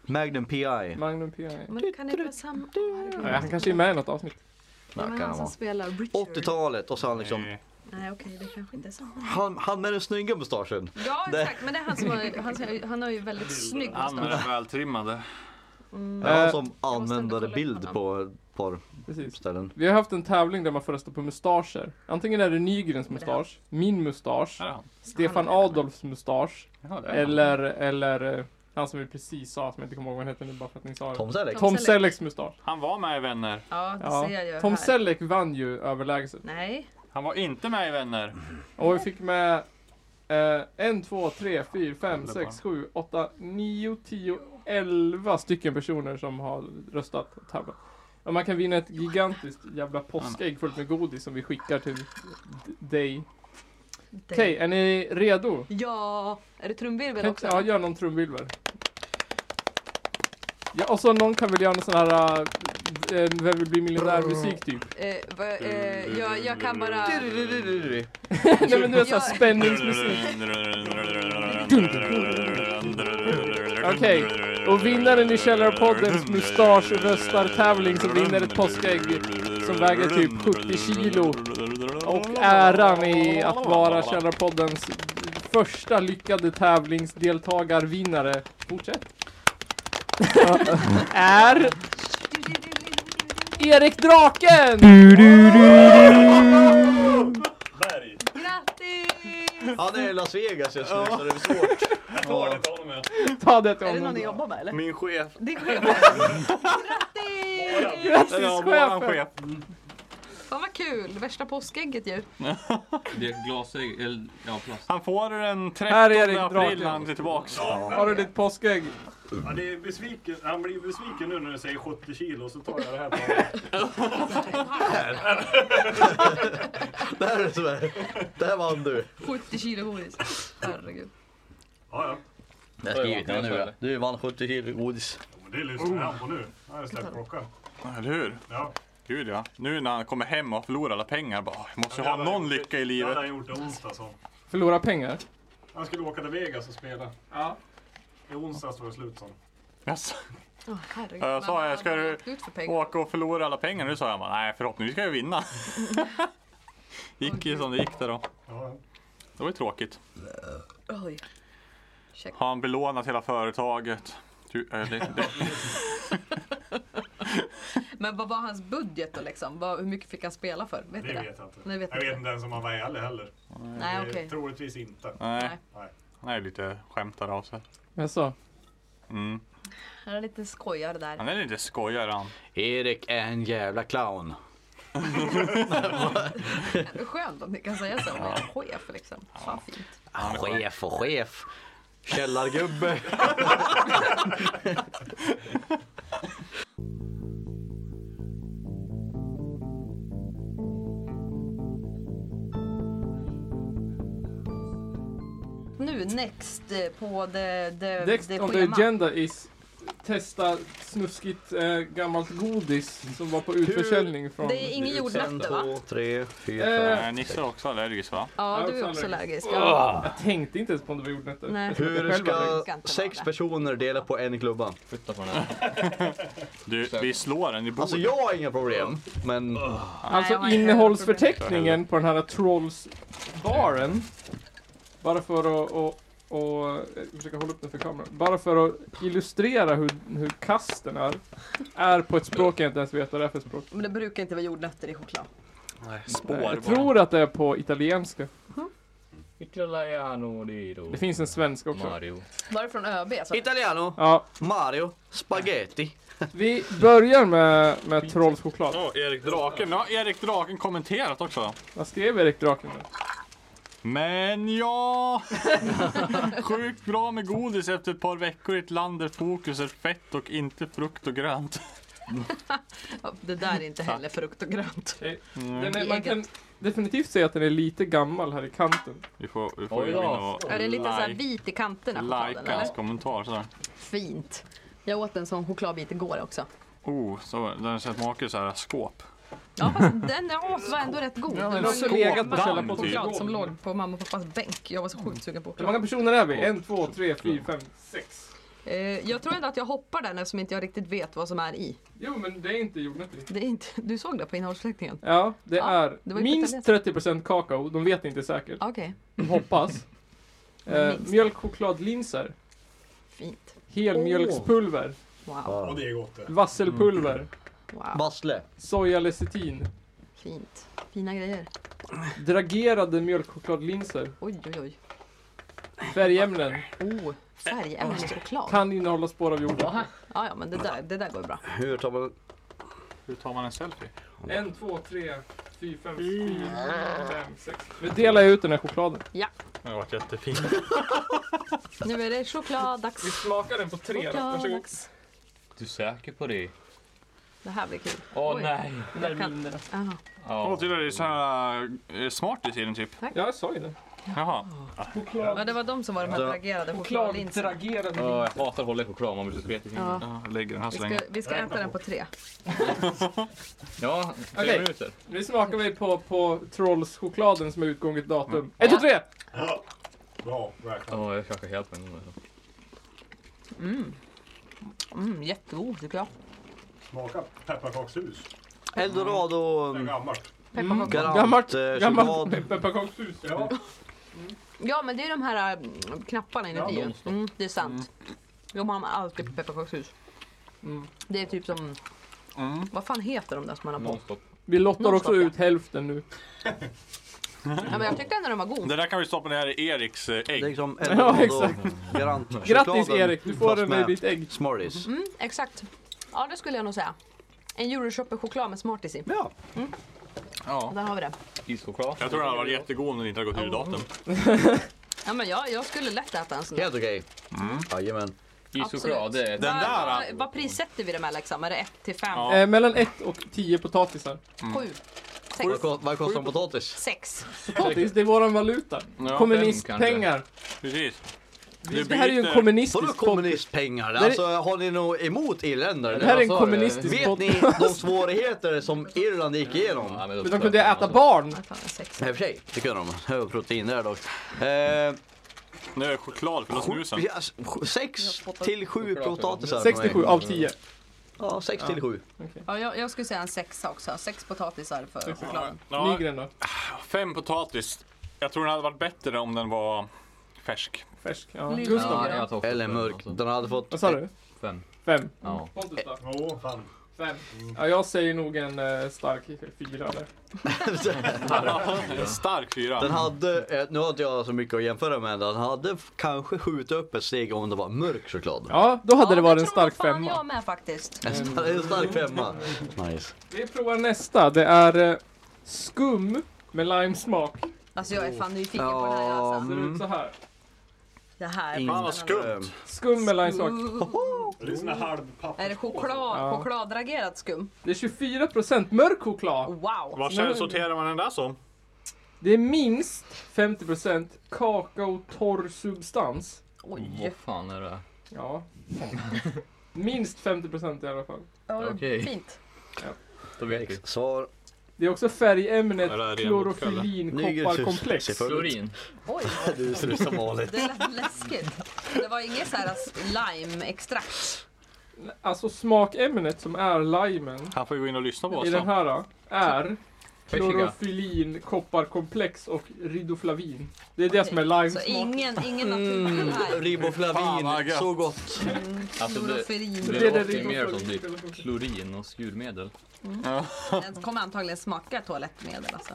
[SPEAKER 5] Magnum P.I.
[SPEAKER 1] Magnum P.I.
[SPEAKER 4] Men kan det vara samma?
[SPEAKER 1] Nej, han kanske är med i något avsnitt.
[SPEAKER 4] Det
[SPEAKER 5] Nej,
[SPEAKER 4] var
[SPEAKER 5] kan
[SPEAKER 4] han
[SPEAKER 5] han
[SPEAKER 4] som
[SPEAKER 5] vara.
[SPEAKER 4] spelar Richard.
[SPEAKER 5] 80-talet och så han liksom,
[SPEAKER 2] Nej.
[SPEAKER 4] Nej okej, det kanske inte är samma.
[SPEAKER 5] han, han med den snygga mustaschen.
[SPEAKER 4] Ja
[SPEAKER 5] Det-
[SPEAKER 4] exakt, men det är han som har, han, som- han har ju väldigt Mm. snygg
[SPEAKER 2] Han med
[SPEAKER 4] mustasch.
[SPEAKER 2] den vältrimmade.
[SPEAKER 5] Det är
[SPEAKER 1] Eh,
[SPEAKER 5] han som
[SPEAKER 4] måste ändå kolla
[SPEAKER 5] använder
[SPEAKER 4] upp
[SPEAKER 5] bild
[SPEAKER 4] honom.
[SPEAKER 5] på ett par
[SPEAKER 1] Precis.
[SPEAKER 5] ställen.
[SPEAKER 1] Vi har haft en tävling där man får rösta på mustascher. Antingen är det Nygrens mustasch, min mustasch,
[SPEAKER 2] Här är han.
[SPEAKER 1] Stefan Adolfs mustasch,
[SPEAKER 2] Ja, det är han.
[SPEAKER 1] eller, eller eh, han som vi precis sa, som jag inte kommer ihåg vad han heter nu bara för att ni sa det.
[SPEAKER 5] Tom Selleck?
[SPEAKER 1] Tom
[SPEAKER 4] Selleck.
[SPEAKER 1] Sellecks mustasch.
[SPEAKER 2] Han var med i Vänner.
[SPEAKER 4] Ja, det ser jag ju
[SPEAKER 1] Ja. Tom
[SPEAKER 4] här.
[SPEAKER 1] Selleck vann ju överlägset.
[SPEAKER 4] Nej,
[SPEAKER 2] Han var inte med i Vänner.
[SPEAKER 1] Och vi fick med eh, en, två, tre, fyra, fem, sex, sju, åtta, nio, tio, elva stycken personer som har röstat och tävlat. Och man kan vinna ett gigantiskt jävla påskägg fullt med godis som vi skickar till d- dig.
[SPEAKER 4] det.
[SPEAKER 1] Okej, är ni redo?
[SPEAKER 4] Ja, är det trumvirvel
[SPEAKER 1] Kan
[SPEAKER 4] också?
[SPEAKER 1] inte- Ja, gör någon trumvirvel. Ja, och så någon kan väl göra någon sån här eh, eh, Vem vill bli miljonär-musik
[SPEAKER 4] <laughs>
[SPEAKER 1] typ.
[SPEAKER 4] Eh, va, eh, jag, jag
[SPEAKER 1] <laughs>
[SPEAKER 4] kan bara...
[SPEAKER 1] Nej men du vet såhär
[SPEAKER 4] Jag-
[SPEAKER 1] spänningsmusik.
[SPEAKER 2] <laughs>
[SPEAKER 1] Okej, och vinnaren i Källarpoddens mustasch-röstartävling som vinner ett påskägg som väger typ 70 kilo och äran i att vara Källarpoddens första lyckade tävlingsdeltagarvinnare.
[SPEAKER 4] <laughs>
[SPEAKER 1] Fortsätt. är Erik Draken!
[SPEAKER 4] Mm.
[SPEAKER 7] Berg!
[SPEAKER 4] Grattis!
[SPEAKER 5] Ja, det är Las Vegas just nu så det är svårt.
[SPEAKER 7] Ta det honom med.
[SPEAKER 1] Ta det till
[SPEAKER 4] Är det någon
[SPEAKER 1] honom.
[SPEAKER 4] ni jobbar med eller?
[SPEAKER 2] Min chef.
[SPEAKER 4] Det är chefen. Grattis!
[SPEAKER 1] Grattis
[SPEAKER 2] Ja, våran
[SPEAKER 1] chefen!
[SPEAKER 2] chef.
[SPEAKER 4] Fan vad kul, värsta påskägget ju.
[SPEAKER 3] Det är glasägg, eller ja plast.
[SPEAKER 2] Han får den 13
[SPEAKER 1] Här är Erik
[SPEAKER 2] april
[SPEAKER 1] Draken.
[SPEAKER 2] när han är tillbaks.
[SPEAKER 1] Har du ditt påskägg?
[SPEAKER 7] Ja, det är besviken. Han blir besviken nu när du säger 70 kilo så tar jag det här bara.
[SPEAKER 5] Det här är tyvärr. Det här vann du.
[SPEAKER 4] 70 kilo godis. Herregud.
[SPEAKER 7] Ja, ja.
[SPEAKER 5] Det har jag skrivit ner nu. ja. Du vann 70 kilo godis.
[SPEAKER 7] Ja, men Det lyssnar han på nu. Han har släppt klockan.
[SPEAKER 2] Eller hur?
[SPEAKER 7] Ja.
[SPEAKER 2] Gud ja. Nu när han kommer hem och förlorar alla pengar bara, "Åh, jag måste ju
[SPEAKER 7] Ja,
[SPEAKER 2] ha
[SPEAKER 7] det
[SPEAKER 2] någon
[SPEAKER 7] hade-
[SPEAKER 2] lycka i
[SPEAKER 7] Det hade
[SPEAKER 2] livet.
[SPEAKER 7] han gjort i onsdags. om.
[SPEAKER 1] Förlora pengar?
[SPEAKER 7] Han skulle åka till Vegas och spela.
[SPEAKER 1] Ja.
[SPEAKER 7] I onsdags var det slut sånt.
[SPEAKER 2] Yes.
[SPEAKER 4] Åh, herregud.
[SPEAKER 2] Ja, jag sa,
[SPEAKER 4] Man-
[SPEAKER 2] jag ska
[SPEAKER 4] man
[SPEAKER 2] ju-
[SPEAKER 4] har åkt ut för pengar.
[SPEAKER 2] Åka och förlora alla pengar. Nu sa jag bara, nej förhoppningsvis ska jag vinna. gick ju som det gick där då.
[SPEAKER 7] Ja, ja.
[SPEAKER 2] Det var ju tråkigt.
[SPEAKER 4] Oj. Check.
[SPEAKER 2] Har han belånat hela företaget? Du, eh, det, det,
[SPEAKER 4] Men vad var hans budget då liksom? Vad, hur mycket fick han spela för? Vet
[SPEAKER 7] det
[SPEAKER 4] du
[SPEAKER 7] vet jag inte.
[SPEAKER 4] Nej, vet
[SPEAKER 7] jag
[SPEAKER 4] inte.
[SPEAKER 7] vet inte ens om han var ärlig heller.
[SPEAKER 4] Nej
[SPEAKER 7] Det-
[SPEAKER 4] okej.
[SPEAKER 7] Troligtvis inte.
[SPEAKER 2] nej,
[SPEAKER 7] Nej.
[SPEAKER 2] han är ju lite skämtare av sig.
[SPEAKER 1] Jag sa.
[SPEAKER 2] Mm.
[SPEAKER 4] Han är lite skojare där.
[SPEAKER 2] Han är lite skojare han.
[SPEAKER 5] Erik är en jävla clown.
[SPEAKER 4] Det är skönt att ni kan säga så om en chef liksom. Fan fint.
[SPEAKER 5] Chef och chef. Källargubbe.
[SPEAKER 4] Nu next eh, på the, the,
[SPEAKER 1] Next
[SPEAKER 4] the
[SPEAKER 1] on the
[SPEAKER 4] Eh, schema.
[SPEAKER 1] agenda is testa snuskigt eh, gammalt godis som var på utförsäljning från...
[SPEAKER 4] Det är inget
[SPEAKER 5] En,
[SPEAKER 4] jordnötter va?
[SPEAKER 5] två, tre, fyra,
[SPEAKER 1] Eh,
[SPEAKER 5] fem.
[SPEAKER 2] Eh, Nisse är också allergisk va?
[SPEAKER 4] Ja,
[SPEAKER 1] Jag
[SPEAKER 4] du
[SPEAKER 1] är
[SPEAKER 4] är
[SPEAKER 1] också
[SPEAKER 4] också allergisk.
[SPEAKER 1] Jag tänkte inte ens på om det var jordnötter.
[SPEAKER 4] Nej.
[SPEAKER 1] Jag trodde
[SPEAKER 5] Hur
[SPEAKER 1] själv att det-
[SPEAKER 5] ska
[SPEAKER 4] ska inte
[SPEAKER 5] sex
[SPEAKER 4] vara.
[SPEAKER 5] personer dela på en klubba?
[SPEAKER 3] Flytta på den här.
[SPEAKER 2] Du, vi slår den i bordet.
[SPEAKER 5] Alltså jag har inga problem, men
[SPEAKER 4] jag
[SPEAKER 1] Alltså
[SPEAKER 4] har inga
[SPEAKER 1] innehållsförteckningen på den här Trolls-baren. Bara för att... Och, och, jag ska försöka hålla upp den för kameran. Bara för att illustrera hur, hur kass den är. Är på ett språk jag inte ens vet vad det är för språk.
[SPEAKER 4] Men det brukar inte vara jordnötter i choklad.
[SPEAKER 2] Spår
[SPEAKER 1] Jag
[SPEAKER 2] bara.
[SPEAKER 1] tror att det är på italienska.
[SPEAKER 3] Italiano diro.
[SPEAKER 1] Det finns en svensk också.
[SPEAKER 3] Mario.
[SPEAKER 4] Var det från ÖB? Så?
[SPEAKER 5] Italiano,
[SPEAKER 1] Ja,
[SPEAKER 5] Mario, spaghetti.
[SPEAKER 1] vi börjar med, med Trolls choklad.
[SPEAKER 2] Åh, Erik Draken. Nu har Erik Draken kommenterat också.
[SPEAKER 1] Vad skrev Erik Draken då?
[SPEAKER 2] Men ja! <laughs> Sjukt bra med godis efter ett par veckor i ett land där fokus är fett och inte frukt och grönt.
[SPEAKER 4] Ja, Det där är inte heller frukt och grönt.
[SPEAKER 2] Mm.
[SPEAKER 1] Den är, man kan definitivt säga att den är lite gammal här i kanten.
[SPEAKER 2] Vi får, vi får
[SPEAKER 3] Oj
[SPEAKER 2] ju
[SPEAKER 3] då.
[SPEAKER 2] gå in och
[SPEAKER 4] Är det lite så här
[SPEAKER 2] like-
[SPEAKER 4] vit i kanterna? chokladen,
[SPEAKER 2] Like alltså. hans
[SPEAKER 4] eller?
[SPEAKER 2] kommentar sådär.
[SPEAKER 4] Fint. Jag åt en sån chokladbit igår också.
[SPEAKER 2] Oh, så, den smakar ju såhär skåp.
[SPEAKER 4] Ja fast den ja, var ändå rätt god.
[SPEAKER 2] Ja, men
[SPEAKER 4] det var
[SPEAKER 1] också
[SPEAKER 4] ju
[SPEAKER 1] legat på
[SPEAKER 4] varm
[SPEAKER 1] källarpottis.
[SPEAKER 4] choklad som låg på mamma och pappas bänk. Jag var så sjukt sugen på
[SPEAKER 1] Hur
[SPEAKER 4] choklad.
[SPEAKER 1] många personer är vi? En, två, tre, fyra, fem, sex.
[SPEAKER 4] Eh, jag tror ändå att jag hoppar den eftersom inte jag riktigt vet vad som är i.
[SPEAKER 1] Jo, men det är inte jordnötter.
[SPEAKER 4] Det är inte, du såg det på innehållsförteckningen?
[SPEAKER 1] Ja, det
[SPEAKER 4] Ja,
[SPEAKER 1] är
[SPEAKER 4] det var ju
[SPEAKER 1] minst 30% kakao. De vet inte säkert.
[SPEAKER 4] Okej,
[SPEAKER 1] De
[SPEAKER 4] <laughs>
[SPEAKER 1] hoppas. Eh,
[SPEAKER 4] Minst.
[SPEAKER 1] mjölkchokladlinser.
[SPEAKER 4] fint.
[SPEAKER 1] Helmjölkspulver.
[SPEAKER 4] Wow,
[SPEAKER 7] Och det är gott det.
[SPEAKER 1] Vasselpulver.
[SPEAKER 4] wow,
[SPEAKER 5] Vassle.
[SPEAKER 1] Sojalecitin.
[SPEAKER 4] fint. Fina grejer.
[SPEAKER 1] Dragerade mjölkchokladlinser.
[SPEAKER 4] Oj, oj, oj.
[SPEAKER 1] Färgämnen.
[SPEAKER 4] Oh, färgämnen i choklad.
[SPEAKER 1] Kan innehålla spår av jordnötter.
[SPEAKER 4] Ja, ja, men det där, det där går ju bra.
[SPEAKER 5] Hur tar man...
[SPEAKER 2] Hur tar man en selfie?
[SPEAKER 1] En, två, tre, fyra, fem, fyra, fem, sex. Nu delar jag ut den här chokladen.
[SPEAKER 2] Det har varit jättefint.
[SPEAKER 4] Nu är det chokladdags.
[SPEAKER 1] Vi smakar den på tre. då. Varsågod.
[SPEAKER 4] Chokladdags.
[SPEAKER 3] Du är säker på det?
[SPEAKER 4] Det här blir kul.
[SPEAKER 3] Åh
[SPEAKER 4] Oj.
[SPEAKER 3] nej!
[SPEAKER 4] Jag kan, aha.
[SPEAKER 2] Åh,
[SPEAKER 3] Ja.
[SPEAKER 2] tydligen är det såhär eh, smarties i den typ.
[SPEAKER 1] Ja, jag sa ju det.
[SPEAKER 2] Jaha.
[SPEAKER 1] Choklad.
[SPEAKER 4] Ja, det var de som var de här
[SPEAKER 5] Ja.
[SPEAKER 4] dragerade chokladlinserna.
[SPEAKER 1] Chokladdragerade
[SPEAKER 3] Åh, jag hatar att hålla i choklad, man blir så spretig. Ja,
[SPEAKER 4] Ja,
[SPEAKER 2] Ja, Jag lägger den här
[SPEAKER 4] vi
[SPEAKER 2] så
[SPEAKER 4] ska,
[SPEAKER 2] länge.
[SPEAKER 4] vi ska äta den på tre.
[SPEAKER 3] ja tre
[SPEAKER 1] Okej.
[SPEAKER 3] minuter.
[SPEAKER 1] Nu smakar vi på, på Trolls-chokladen som är utgånget datum. 1, 2, 3!
[SPEAKER 7] Bra räknat.
[SPEAKER 3] Ja, jag kanske helt med
[SPEAKER 4] Mm, jättegod tycker jag.
[SPEAKER 7] Smaka pepparkakshus.
[SPEAKER 5] Eldorado...
[SPEAKER 7] Det är gammalt.
[SPEAKER 4] Pepparkakor.
[SPEAKER 5] Garant
[SPEAKER 1] Gammalt-
[SPEAKER 5] eh,
[SPEAKER 1] Gammalt
[SPEAKER 5] choklad.
[SPEAKER 1] pe- pepparkakshus.
[SPEAKER 7] Ja.
[SPEAKER 4] Ja men det är de här mm, knapparna inuti
[SPEAKER 7] Ja,
[SPEAKER 4] ju. Mm, det är sant. De har man alltid på pepparkakshus.
[SPEAKER 1] Mm.
[SPEAKER 4] Det är typ som,
[SPEAKER 2] Mm.
[SPEAKER 4] vad fan heter de där som man har på?
[SPEAKER 3] Nonstop.
[SPEAKER 1] Vi lottar också
[SPEAKER 4] Någon
[SPEAKER 1] ut hälften nu.
[SPEAKER 4] Ja, men jag tyckte ändå de var god.
[SPEAKER 2] Det där kan vi stoppa ner i Eriks eh,
[SPEAKER 5] Det är
[SPEAKER 2] ägg.
[SPEAKER 5] liksom
[SPEAKER 1] Ja,
[SPEAKER 5] Eldorado.
[SPEAKER 1] exakt.
[SPEAKER 5] Garant.
[SPEAKER 1] Grattis
[SPEAKER 5] chokladen,
[SPEAKER 1] Erik, du får
[SPEAKER 5] fast
[SPEAKER 1] den med ditt ägg.
[SPEAKER 5] Smarties.
[SPEAKER 4] Mm, exakt. Ja det skulle jag nog säga. En Euroshopper-choklad med Smarties i.
[SPEAKER 5] Ja.
[SPEAKER 2] Ja.
[SPEAKER 4] Där har vi det.
[SPEAKER 3] Ischoklad.
[SPEAKER 2] Jag tror den hade varit jättegod om den inte hade gått ur datum.
[SPEAKER 4] Ja men jag, jag skulle lätt äta en sån där.
[SPEAKER 5] Helt okej. Mm. Jajamän.
[SPEAKER 3] Ischoklad, det är...
[SPEAKER 2] Den där,
[SPEAKER 4] Vad-
[SPEAKER 2] då?
[SPEAKER 4] Vad prissätter vi det med liksom? Är det 1 till 5?
[SPEAKER 2] Ja.
[SPEAKER 1] Eh, mellan 1 och 10 potatisar.
[SPEAKER 4] 7?
[SPEAKER 5] Mm. Vad
[SPEAKER 4] 6?
[SPEAKER 5] ko- Vad kostar en potatis?
[SPEAKER 4] 6?
[SPEAKER 1] Potatis, det är våran valuta.
[SPEAKER 2] Ja,
[SPEAKER 1] Kommunistpengar.
[SPEAKER 2] Precis.
[SPEAKER 1] Vi-
[SPEAKER 2] Det
[SPEAKER 1] Det här är ju en
[SPEAKER 2] byter-
[SPEAKER 5] Vadå
[SPEAKER 1] kommunistisk podd.
[SPEAKER 5] kommunistpengar?
[SPEAKER 1] är-
[SPEAKER 5] Alltså har ni något emot irländare?
[SPEAKER 1] Det här är en
[SPEAKER 3] Vad sa du?
[SPEAKER 1] kommunistisk
[SPEAKER 5] Vet
[SPEAKER 1] podd.
[SPEAKER 5] ni de svårigheter som Irland gick igenom?
[SPEAKER 3] Ja, men då
[SPEAKER 1] Men de
[SPEAKER 3] tror
[SPEAKER 1] kunde
[SPEAKER 3] jag
[SPEAKER 1] äta
[SPEAKER 3] att-
[SPEAKER 1] barn.
[SPEAKER 4] Jag tar en 6.
[SPEAKER 5] I och för sig, det kunde de. Hög protein där dock. Eh,
[SPEAKER 2] Nu är det choklad för snusen.
[SPEAKER 5] ja, s- sju- sex till sju
[SPEAKER 3] Choklad.
[SPEAKER 5] potatisar.
[SPEAKER 1] 67 av 10.
[SPEAKER 5] Ja, sex till sju.
[SPEAKER 4] Ja, jag, jag skulle säga en 6 också. 6 potatisar för chokladen.
[SPEAKER 2] Ja,
[SPEAKER 1] Nygren då?
[SPEAKER 2] fem potatis. Jag tror den hade varit bättre om den var färsk.
[SPEAKER 1] Färsk. Ja.
[SPEAKER 4] Lite.
[SPEAKER 1] Gustav?
[SPEAKER 3] Ja, jag tar också
[SPEAKER 5] Eller
[SPEAKER 3] fem,
[SPEAKER 5] mörk.
[SPEAKER 3] alltså.
[SPEAKER 5] Den hade fått...
[SPEAKER 1] Vad sa du?
[SPEAKER 3] Fem.
[SPEAKER 1] Fem?
[SPEAKER 3] Ja.
[SPEAKER 1] Pontus då? Mm.
[SPEAKER 7] Åh, fan.
[SPEAKER 1] Fem. Ja, jag säger nog en eh, stark fyra där.
[SPEAKER 2] En stark fyra.
[SPEAKER 5] Den hade, eh, nu har inte jag så mycket att jämföra med, den hade f- kanske skjutit upp ett steg om det var mörk choklad.
[SPEAKER 1] Ja, då hade
[SPEAKER 4] Ja,
[SPEAKER 1] det varit en
[SPEAKER 4] tror
[SPEAKER 1] stark
[SPEAKER 4] fan
[SPEAKER 1] femma.
[SPEAKER 4] jag med faktiskt.
[SPEAKER 5] Det är En stark femma. Nice.
[SPEAKER 1] Vi provar nästa. Det är eh, skum med limesmak.
[SPEAKER 4] Alltså jag är fan nyfiken på det här alltså.
[SPEAKER 1] Ser ut så här.
[SPEAKER 4] Det här alltså. är
[SPEAKER 5] Ingen-
[SPEAKER 2] Fan vad skumt.
[SPEAKER 5] Eh,
[SPEAKER 1] Skum med limesmak.
[SPEAKER 7] Det är sån här halvpapper.
[SPEAKER 4] Är det choklad,
[SPEAKER 1] Ja.
[SPEAKER 4] chokladragerat skum?
[SPEAKER 1] Det är 24% mörk choklad.
[SPEAKER 4] Wow!
[SPEAKER 2] Vad sen sorterar man den där som?
[SPEAKER 1] Det är minst 50% kakao torr substans.
[SPEAKER 4] Oj!
[SPEAKER 3] Vad fan är det?
[SPEAKER 1] Ja. Minst 50% i alla fall.
[SPEAKER 4] Ja,
[SPEAKER 3] Okej.
[SPEAKER 4] Fint.
[SPEAKER 3] Då vet vi.
[SPEAKER 5] Eh, Svar.
[SPEAKER 1] Det är också färgämnet
[SPEAKER 2] Ja, det här är ren
[SPEAKER 1] klorofyllin
[SPEAKER 5] bokkväll.
[SPEAKER 1] kopparkomplex.
[SPEAKER 5] Nygrus-
[SPEAKER 3] Florin.
[SPEAKER 4] Oj,
[SPEAKER 5] Du ser ut som vanligt.
[SPEAKER 4] det lät <laughs> läskigt. Det var inget så här alltså, lime-extrakt.
[SPEAKER 1] Alltså smakämnet som är limen
[SPEAKER 2] Han får ju gå in och lyssna på oss
[SPEAKER 1] i den
[SPEAKER 2] då.
[SPEAKER 1] här då, är
[SPEAKER 3] Persika.
[SPEAKER 1] klorofyllin kopparkomplex och ridoflavin. Det är det
[SPEAKER 4] Okej,
[SPEAKER 1] som är lime
[SPEAKER 4] Så
[SPEAKER 1] smak.
[SPEAKER 4] ingen, ingen
[SPEAKER 2] Mm.
[SPEAKER 4] naturlig här.
[SPEAKER 2] Fan, vad
[SPEAKER 5] Riboflavin,
[SPEAKER 2] gött.
[SPEAKER 5] så gott.
[SPEAKER 3] Alltså det,
[SPEAKER 4] Kloreferin.
[SPEAKER 3] det
[SPEAKER 1] Det är det
[SPEAKER 3] låter ju mer som
[SPEAKER 1] ridoflavin
[SPEAKER 3] typ klorin och skurmedel.
[SPEAKER 4] Den kommer antagligen smaka toalettmedel alltså.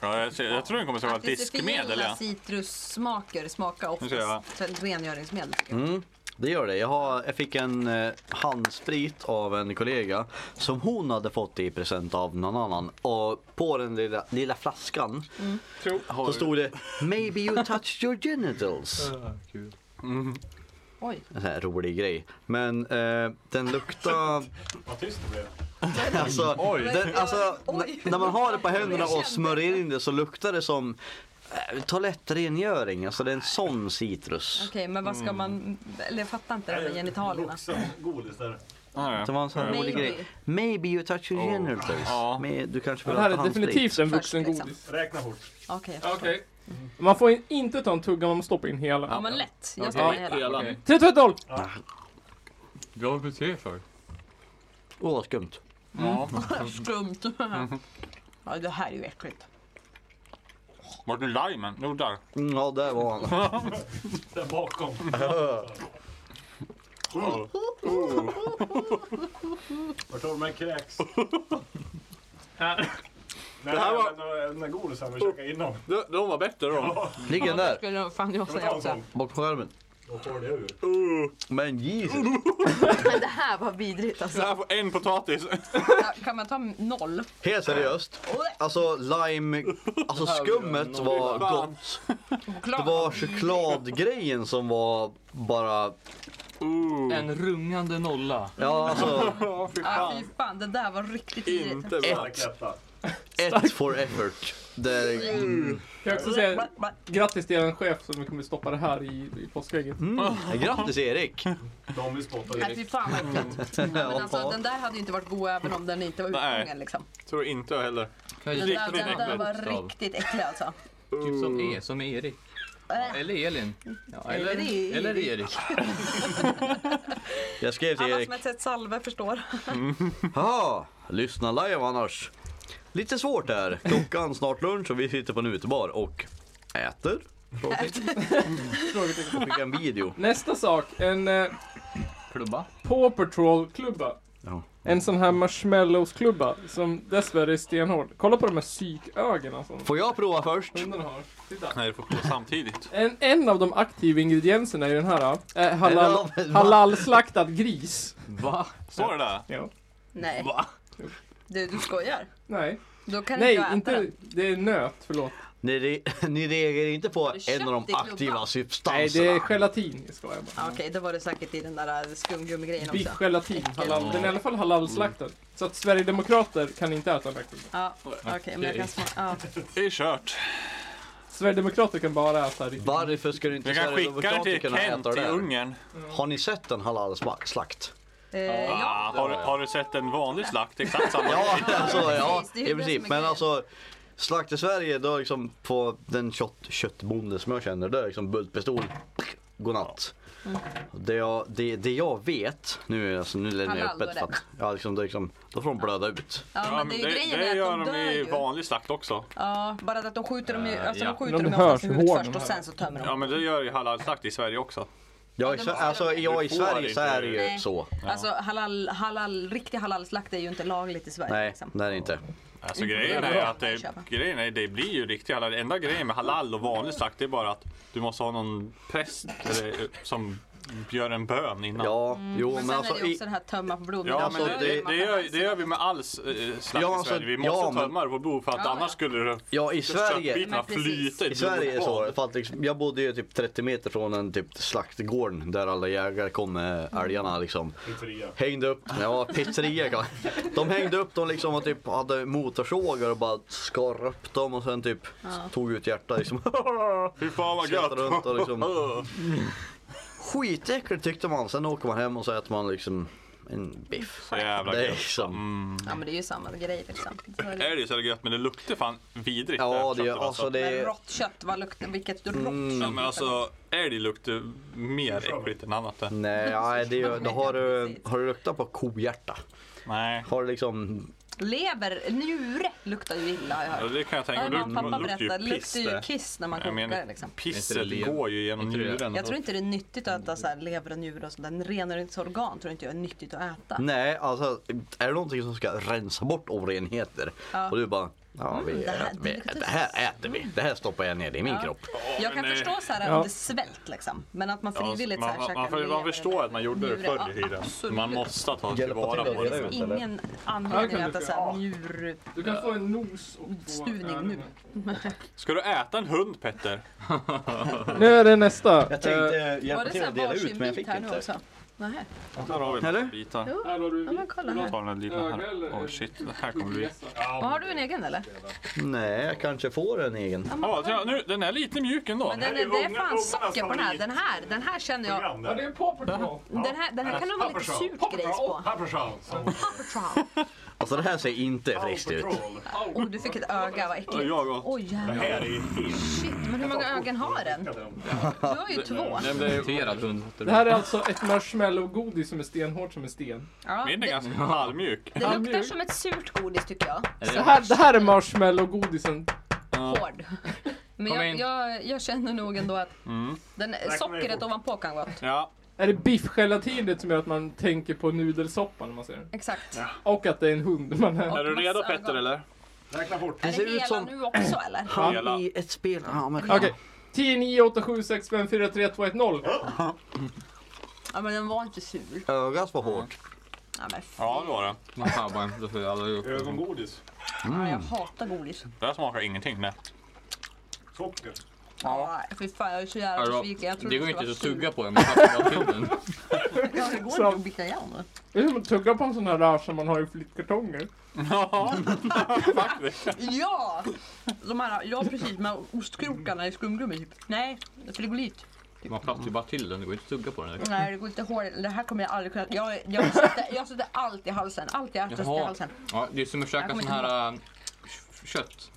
[SPEAKER 2] Ja, jag, ser- jag tror den kommer att vara diskmedel.
[SPEAKER 4] Artificiella
[SPEAKER 2] Ja.
[SPEAKER 4] citrussmaker smakar
[SPEAKER 2] Nu ser jag.
[SPEAKER 4] oftast rengöringsmedel. tycker jag.
[SPEAKER 5] Mm. Det gör det. Jag, har, jag fick en eh, handsprit av en kollega som hon hade fått i present av någon annan. Och på den lilla, lilla flaskan
[SPEAKER 1] Tro.
[SPEAKER 5] så stod det Maybe you touched your genitals.
[SPEAKER 6] Kul.
[SPEAKER 4] Oj.
[SPEAKER 5] En sån här rolig grej. Men eh, den
[SPEAKER 1] <laughs>
[SPEAKER 5] luktar...
[SPEAKER 7] Vad tyst det blev.
[SPEAKER 5] Alltså, den, alltså
[SPEAKER 4] Oj.
[SPEAKER 5] n- när man har det på händerna
[SPEAKER 4] Jag
[SPEAKER 5] och
[SPEAKER 4] kände.
[SPEAKER 5] smörjer in det så luktar det som eh, toalettrengöring. Alltså det är en sån citrus.
[SPEAKER 4] Okej, men vad ska man... Eller jag fattar inte det här med genitalerna.
[SPEAKER 7] Godis där.
[SPEAKER 2] Ja,
[SPEAKER 5] Det var en sån här rolig
[SPEAKER 4] Maybe.
[SPEAKER 5] grej. Maybe you touch your
[SPEAKER 2] Oh.
[SPEAKER 5] genitals.
[SPEAKER 2] Ja.
[SPEAKER 5] Men du kanske
[SPEAKER 1] Det
[SPEAKER 5] vill
[SPEAKER 1] här
[SPEAKER 5] ha
[SPEAKER 1] är
[SPEAKER 5] handsprit?
[SPEAKER 1] definitivt en
[SPEAKER 4] Först,
[SPEAKER 1] vuxen
[SPEAKER 4] liksom.
[SPEAKER 1] godis.
[SPEAKER 7] Räkna fort.
[SPEAKER 4] Okej, jag
[SPEAKER 1] Okej.
[SPEAKER 4] förstår.
[SPEAKER 1] Man får in- inte ta en tugga, man måste stoppa in hela.
[SPEAKER 4] Ja, men lätt. Jag stoppar i <laughs> hela.
[SPEAKER 3] Hela.
[SPEAKER 1] Tre, två, ett, noll!
[SPEAKER 6] Du har väl te för?
[SPEAKER 5] Åh vad skumt.
[SPEAKER 2] Ja.
[SPEAKER 4] Skumt. Ja, det här är ju äckligt.
[SPEAKER 2] Vart är limen? Jo, där.
[SPEAKER 5] Mm, ja där var han.
[SPEAKER 7] Där
[SPEAKER 2] <laughs>
[SPEAKER 7] bakom. Vart har du med kräks? Nej, det
[SPEAKER 2] här
[SPEAKER 7] här
[SPEAKER 2] var-
[SPEAKER 7] var... Den där godisen vi käkade innan.
[SPEAKER 2] De, de var bättre de.
[SPEAKER 5] Ligger den där?
[SPEAKER 4] Skulle fan jag
[SPEAKER 7] Ska vi ta
[SPEAKER 4] säga
[SPEAKER 7] en
[SPEAKER 4] också.
[SPEAKER 7] sån?
[SPEAKER 5] Bak på skärmen.
[SPEAKER 7] Då får det ur.
[SPEAKER 5] Men Jesus.
[SPEAKER 4] Men det här var vidrigt
[SPEAKER 2] Det
[SPEAKER 4] alltså.
[SPEAKER 2] här får en potatis.
[SPEAKER 4] Kan man ta noll?
[SPEAKER 5] Helt seriöst. Alltså lime, alltså skummet var
[SPEAKER 2] Fan.
[SPEAKER 5] gott. Det var chokladgrejen som var bara,
[SPEAKER 3] En rungande nolla.
[SPEAKER 5] ja alltså
[SPEAKER 2] Ja, fy
[SPEAKER 4] Ja, fy fan, det där var riktigt vidrigt.
[SPEAKER 2] Inte bra.
[SPEAKER 7] Stark etta.
[SPEAKER 5] ett for effort. Det är,
[SPEAKER 1] Kan jag också säga grattis till er chef som kommer stoppa det här i, i påskägget.
[SPEAKER 5] mm. Grattis Erik.
[SPEAKER 7] De vi spottar
[SPEAKER 4] Nej, fy fan vad
[SPEAKER 5] <laughs>
[SPEAKER 4] äckligt.
[SPEAKER 5] Mm.
[SPEAKER 4] Men alltså, den där hade ju inte varit god även om den inte var
[SPEAKER 2] Nej.
[SPEAKER 4] utgången liksom.
[SPEAKER 2] Tror inte jag heller.
[SPEAKER 3] Kan
[SPEAKER 4] Den
[SPEAKER 3] jag
[SPEAKER 4] där,
[SPEAKER 2] Riktigt
[SPEAKER 4] den där
[SPEAKER 2] äckligt.
[SPEAKER 4] var
[SPEAKER 3] Bokstav.
[SPEAKER 4] riktigt äcklig alltså.
[SPEAKER 3] Typ som
[SPEAKER 2] Mm.
[SPEAKER 3] E, som Erik.
[SPEAKER 4] Äh.
[SPEAKER 3] Eller Elin. Ja, eller,
[SPEAKER 4] Eller Erik.
[SPEAKER 3] eller Erik.
[SPEAKER 5] Jag skrev till
[SPEAKER 4] Alla
[SPEAKER 5] Erik.
[SPEAKER 4] som har sett salve förstår.
[SPEAKER 5] Ja, lyssna live annars. Lite svårt här. Klockan snart lunch och vi sitter på en utebar och äter.
[SPEAKER 1] Frågetecken.
[SPEAKER 5] Skicka en video.
[SPEAKER 1] Nästa sak, en eh,
[SPEAKER 3] Klubba.
[SPEAKER 1] Paw Patrol-klubba.
[SPEAKER 5] Ja.
[SPEAKER 1] En sån här marshmallows-klubba som dessvärre är stenhård. Kolla på de här psykögonen som
[SPEAKER 5] Får jag prova först?
[SPEAKER 1] hunden har. Titta.
[SPEAKER 2] Nej, du får gå samtidigt.
[SPEAKER 1] En, en av de aktiva ingredienserna i den här är halal,
[SPEAKER 5] En av-
[SPEAKER 1] halal-slaktad gris.
[SPEAKER 3] Va?
[SPEAKER 2] Står det där?
[SPEAKER 4] Nej. Du, du skojar.
[SPEAKER 1] Nej,
[SPEAKER 4] Då kan
[SPEAKER 1] nej,
[SPEAKER 4] jag äta
[SPEAKER 1] inte,
[SPEAKER 4] den.
[SPEAKER 1] det är nöt, förlåt.
[SPEAKER 5] Ni, re- <laughs> ni reagerar inte på
[SPEAKER 4] du
[SPEAKER 5] en av
[SPEAKER 4] köpt i
[SPEAKER 5] de
[SPEAKER 4] klubban?
[SPEAKER 5] aktiva
[SPEAKER 1] Nej, det
[SPEAKER 5] substanserna?
[SPEAKER 1] är gelatin, jag skojar
[SPEAKER 4] Ja,
[SPEAKER 1] bara.
[SPEAKER 4] Okej, då var det säkert i den där äh, skumgummigrejen också.
[SPEAKER 1] Biffgelatin, halal,
[SPEAKER 4] Äckligt.
[SPEAKER 1] den är i alla fall halalslaktad. Så att Sverigedemokrater kan inte äta den här klubban.
[SPEAKER 4] Ja, okej, men jag kan smaka. Ja.
[SPEAKER 2] Det är kört.
[SPEAKER 1] Sverigedemokrater kan bara äta riktigt.
[SPEAKER 5] Varför skulle inte
[SPEAKER 2] Vi kan skicka den till
[SPEAKER 5] Sverigedemokraterna
[SPEAKER 2] Kent
[SPEAKER 5] äta det
[SPEAKER 2] i
[SPEAKER 5] där?
[SPEAKER 2] Ungern.
[SPEAKER 5] Har ni sett en
[SPEAKER 4] <laughs>
[SPEAKER 5] halalslakt?
[SPEAKER 4] Eh, ja.
[SPEAKER 2] Ah, har, du- har du sett en vanlig slakt? Exakt samma.
[SPEAKER 5] Ja, alltså, ja
[SPEAKER 4] precis. Det är ju
[SPEAKER 5] i
[SPEAKER 4] det som
[SPEAKER 5] princip.
[SPEAKER 4] är
[SPEAKER 5] Men
[SPEAKER 4] grejen.
[SPEAKER 5] alltså Slakt i Sverige, då liksom på den kött, köttbonde som jag känner, det är liksom bultpistol, godnatt.
[SPEAKER 4] Mm.
[SPEAKER 5] Det, jag, det, det jag vet, nu, alltså, nu lämnar jag
[SPEAKER 4] Halal,
[SPEAKER 5] öppet
[SPEAKER 4] då
[SPEAKER 5] för
[SPEAKER 4] är
[SPEAKER 5] att,
[SPEAKER 4] det.
[SPEAKER 5] ja, liksom, det är liksom, då får de blöda ut.
[SPEAKER 4] ja, men det är ju grejen
[SPEAKER 2] det
[SPEAKER 4] är
[SPEAKER 2] gör
[SPEAKER 4] att de
[SPEAKER 2] de
[SPEAKER 4] dör
[SPEAKER 2] i
[SPEAKER 4] ju.
[SPEAKER 2] vanlig slakt också.
[SPEAKER 4] Ja, bara att de skjuter dem i, alltså
[SPEAKER 3] ja.
[SPEAKER 4] de skjuter
[SPEAKER 1] Men de
[SPEAKER 4] dem i oftast
[SPEAKER 1] hörs hur
[SPEAKER 4] i huvudet
[SPEAKER 1] hård
[SPEAKER 4] först
[SPEAKER 1] de
[SPEAKER 4] och
[SPEAKER 1] här
[SPEAKER 4] sen så tömmer de.
[SPEAKER 2] Ja, men det gör ju halalslakt i Sverige också.
[SPEAKER 5] Ja, i,
[SPEAKER 4] det
[SPEAKER 5] Sve-
[SPEAKER 4] måste
[SPEAKER 5] alltså,
[SPEAKER 4] de ju.
[SPEAKER 5] ja, i
[SPEAKER 2] Du får
[SPEAKER 5] Sverige
[SPEAKER 2] inte
[SPEAKER 5] så är det ju
[SPEAKER 4] Nej.
[SPEAKER 5] så.
[SPEAKER 4] Alltså halal, halal, riktig halalslakt är ju inte lagligt i Sverige.
[SPEAKER 5] Nej,
[SPEAKER 4] liksom.
[SPEAKER 5] det är det inte.
[SPEAKER 2] Alltså
[SPEAKER 4] Mm.
[SPEAKER 2] grejen är att det,
[SPEAKER 4] Köpa.
[SPEAKER 2] grejen är, det blir ju riktigt halal. Enda grejen med halal och vanlig slakt det är bara att du måste ha någon präst eller, eh, som gör en bön innan. Ja,
[SPEAKER 5] Ja, jo,
[SPEAKER 4] Men
[SPEAKER 5] men,
[SPEAKER 4] sen
[SPEAKER 5] alltså,
[SPEAKER 4] är det ju
[SPEAKER 5] i,
[SPEAKER 4] också den här tömma på blod.
[SPEAKER 2] men
[SPEAKER 5] alltså,
[SPEAKER 2] det, det,
[SPEAKER 5] det-
[SPEAKER 2] gör, det gör vi med all s- eh, slakt
[SPEAKER 5] Ja,
[SPEAKER 2] i
[SPEAKER 5] alltså,
[SPEAKER 2] Sverige. Vi måste
[SPEAKER 5] ja, men-
[SPEAKER 2] tömma det på blod för att
[SPEAKER 4] Ja,
[SPEAKER 2] annars
[SPEAKER 4] ja.
[SPEAKER 2] skulle det-
[SPEAKER 5] ja, i Sverige.
[SPEAKER 2] köttbitarna
[SPEAKER 4] Men precis.
[SPEAKER 2] flyta
[SPEAKER 5] I Sverige är det så.
[SPEAKER 2] blodbad.
[SPEAKER 5] För att liksom, jag bodde ju typ 30 meter från en typ slaktgård där alla jägare kom med älgarna liksom.
[SPEAKER 7] Pizzeria.
[SPEAKER 5] Hängde upp, <laughs> ja pizzeria kan De hängde upp dem liksom och typ hade motorsågar och bara skar upp dem och sen typ tog ut hjärta <laughs> liksom.
[SPEAKER 2] Fy fan vad
[SPEAKER 5] Skrattade runt och liksom. <laughs>
[SPEAKER 2] gött!
[SPEAKER 5] Skitäckligt tyckte man. Sen åker man hem och så äter man liksom en biff.
[SPEAKER 2] Så jävla
[SPEAKER 5] Det är
[SPEAKER 2] gött.
[SPEAKER 5] liksom.
[SPEAKER 4] Ja men det är ju samma grej liksom. Så är det.
[SPEAKER 2] Är det så jävla gött men det luktar fan vidrigt.
[SPEAKER 5] Ja, det,
[SPEAKER 2] köttet,
[SPEAKER 5] är- alltså det
[SPEAKER 4] Men
[SPEAKER 5] är...
[SPEAKER 4] rått kött, vad luktar, vilket rått
[SPEAKER 2] Ja,
[SPEAKER 4] kött.
[SPEAKER 2] men alltså älg luktar mer äckligt än annat. det.
[SPEAKER 5] Nej, <laughs> nej, det är, då har, du, har du luktat på kohjärta?
[SPEAKER 2] Nej.
[SPEAKER 5] Har du liksom
[SPEAKER 4] Lever, njure luktar ju illa har jag
[SPEAKER 2] Ja,
[SPEAKER 4] hört.
[SPEAKER 2] det kan jag
[SPEAKER 4] Ja,
[SPEAKER 2] tänka mig.
[SPEAKER 4] men pappa
[SPEAKER 2] Det luktar
[SPEAKER 4] berättade,
[SPEAKER 2] ju
[SPEAKER 4] det
[SPEAKER 2] piss
[SPEAKER 4] luktar ju
[SPEAKER 2] det.
[SPEAKER 4] kiss när man
[SPEAKER 2] Jag
[SPEAKER 4] kokar
[SPEAKER 2] menar,
[SPEAKER 4] liksom.
[SPEAKER 3] Är
[SPEAKER 2] Pisset
[SPEAKER 3] inte det
[SPEAKER 2] går ju genom
[SPEAKER 3] Inte det-
[SPEAKER 2] njuren.
[SPEAKER 4] Jag tror inte det är nyttigt att äta så här lever och njure och sånt där. Renhållningsorgan tror inte jag är nyttigt att äta.
[SPEAKER 5] Nej, alltså är det någonting som ska rensa bort orenheter
[SPEAKER 4] Ja.
[SPEAKER 5] och du bara Ja, vi,
[SPEAKER 4] Mm, det här-
[SPEAKER 5] ät- vi, det här äter vi. Det här stoppar jag ner i min
[SPEAKER 4] Ja.
[SPEAKER 5] kropp.
[SPEAKER 4] Jag kan
[SPEAKER 2] men, eh,
[SPEAKER 4] förstå så här
[SPEAKER 1] Ja.
[SPEAKER 4] om det svält liksom. Men att man
[SPEAKER 2] Ja, alltså,
[SPEAKER 4] frivilligt så
[SPEAKER 2] man,
[SPEAKER 4] här
[SPEAKER 2] man,
[SPEAKER 4] käkar
[SPEAKER 2] man, för- man
[SPEAKER 4] lever
[SPEAKER 2] förstår att man gjorde det
[SPEAKER 4] njure,
[SPEAKER 2] förr i
[SPEAKER 4] ja,
[SPEAKER 2] tiden.
[SPEAKER 4] absolut.
[SPEAKER 2] Man måste ta
[SPEAKER 6] Hjälpa
[SPEAKER 2] tillvara
[SPEAKER 6] till att
[SPEAKER 2] på
[SPEAKER 6] reda
[SPEAKER 2] det.
[SPEAKER 6] ut.
[SPEAKER 4] Det finns
[SPEAKER 6] eller?
[SPEAKER 4] ingen
[SPEAKER 1] Här
[SPEAKER 4] anledning
[SPEAKER 1] kan
[SPEAKER 4] att
[SPEAKER 1] du-
[SPEAKER 4] äta så här njur...
[SPEAKER 1] Du kan få en nos och två
[SPEAKER 4] Stuvning
[SPEAKER 1] öron.
[SPEAKER 4] nu.
[SPEAKER 2] Ska du äta en hund Petter?
[SPEAKER 1] Nu är det nästa.
[SPEAKER 6] Jag
[SPEAKER 1] Eh,
[SPEAKER 6] tänkte
[SPEAKER 4] Var
[SPEAKER 6] hjälpa
[SPEAKER 4] det så
[SPEAKER 6] till
[SPEAKER 4] här
[SPEAKER 6] att dela ut
[SPEAKER 4] varsin
[SPEAKER 6] men jag
[SPEAKER 4] bit
[SPEAKER 6] fick
[SPEAKER 4] här nu
[SPEAKER 6] inte.
[SPEAKER 4] också? Nähä.
[SPEAKER 2] Här har vi några
[SPEAKER 5] Eller?
[SPEAKER 2] bitar.
[SPEAKER 4] Jo.
[SPEAKER 1] här har du
[SPEAKER 4] Ja, men kolla här.
[SPEAKER 2] Ta den här liten
[SPEAKER 1] Öga eller-
[SPEAKER 2] här. Oj shit, det här kommer bli...
[SPEAKER 4] Och har du en egen eller?
[SPEAKER 5] Nej, jag kanske får en egen.
[SPEAKER 2] Ja, titta, nu, den är lite mjuk ändå.
[SPEAKER 4] Men den,
[SPEAKER 7] Det är
[SPEAKER 4] är- det är
[SPEAKER 7] unga-
[SPEAKER 4] fan
[SPEAKER 7] ungarnas
[SPEAKER 4] socker på den här.
[SPEAKER 7] favorit.
[SPEAKER 4] Den här, den här känner jag...
[SPEAKER 7] Program
[SPEAKER 1] Ja, det
[SPEAKER 7] där.
[SPEAKER 1] är Paw Patrol.
[SPEAKER 4] Den här, den här kan nog vara lite surt grejs på. Patrol.
[SPEAKER 5] Alltså det här ser inte friskt ut.
[SPEAKER 4] Oh, du fick ett öga,
[SPEAKER 2] Ja,
[SPEAKER 4] vad äckligt.
[SPEAKER 2] jag och...
[SPEAKER 4] Oj jävlar.
[SPEAKER 7] Här är ju helt...
[SPEAKER 4] Shit, men hur många ögon har den? Du har ju två.
[SPEAKER 2] Nej, men det är,
[SPEAKER 3] Irriterad hund.
[SPEAKER 1] Det här är alltså ett marshmallow-godis som är stenhårt som en sten.
[SPEAKER 4] Ja,
[SPEAKER 2] min är
[SPEAKER 4] det,
[SPEAKER 2] ganska halvmjuk.
[SPEAKER 4] det luktar som ett surt godis tycker jag.
[SPEAKER 1] Det här, det här är marshmallow-godisen.
[SPEAKER 4] Hård. <laughs> Men
[SPEAKER 3] Kom
[SPEAKER 4] jag,
[SPEAKER 3] in.
[SPEAKER 4] jag, jag känner nog ändå att den, sockret
[SPEAKER 7] fort.
[SPEAKER 4] ovanpå kan gå åt.
[SPEAKER 2] Ja,
[SPEAKER 1] Är det biffgelatinet som gör att man tänker på nudelsoppa när man ser den?
[SPEAKER 4] Exakt.
[SPEAKER 1] Och att det är en hund man är.
[SPEAKER 2] är du
[SPEAKER 4] massa
[SPEAKER 2] redo Petter
[SPEAKER 4] ögon.
[SPEAKER 2] eller?
[SPEAKER 7] Räkna fort.
[SPEAKER 4] Är
[SPEAKER 5] ser
[SPEAKER 4] det
[SPEAKER 5] ut
[SPEAKER 4] hela
[SPEAKER 5] som-
[SPEAKER 4] nu också eller?
[SPEAKER 2] Hela.
[SPEAKER 5] Han i ett spel. Ja, men...
[SPEAKER 1] Okej. 10, 9, 8, 7, 6, 5, 4, 3, 2, 1, 0.
[SPEAKER 4] Ja men den var inte sur.
[SPEAKER 5] Ögat var hårt.
[SPEAKER 4] Ja, men
[SPEAKER 2] Ja, det var det.
[SPEAKER 3] Man sabbar inte för alla gjort.
[SPEAKER 7] Ögongodis.
[SPEAKER 4] fan, jag hatar godis.
[SPEAKER 2] Det här smakar ingenting. Nej.
[SPEAKER 7] Socker.
[SPEAKER 4] Ja. Fy fan jag är så jävla
[SPEAKER 3] Alltså,
[SPEAKER 4] besviken. Jag trodde
[SPEAKER 3] Det går
[SPEAKER 4] det
[SPEAKER 3] inte
[SPEAKER 4] skulle
[SPEAKER 3] att
[SPEAKER 4] vara
[SPEAKER 3] tugga på den. Man
[SPEAKER 1] <laughs>
[SPEAKER 3] tappar bara tuben.
[SPEAKER 4] sur. Ja, det går inte att bita igen nu.
[SPEAKER 1] Det är som att tugga på en sån här rör som man har i flyttkartonger.
[SPEAKER 2] Ja, faktiskt.
[SPEAKER 4] Ja! De här, ja precis med ostkrokarna i skumgummi typ. Nej, för det går dit.
[SPEAKER 3] Man plattar ju bara till den. Det går inte att tugga på den.
[SPEAKER 4] Nej det går inte hårt. Det här kommer jag aldrig kunna. Jag, jag, sätter, jag sätter allt i halsen. Allt jag äter sätter jag i
[SPEAKER 3] Jaha.
[SPEAKER 4] halsen.
[SPEAKER 3] Ja, det är som att
[SPEAKER 4] Jag
[SPEAKER 3] käka
[SPEAKER 4] kommer
[SPEAKER 3] sån
[SPEAKER 4] inte
[SPEAKER 3] här äh, k- kött.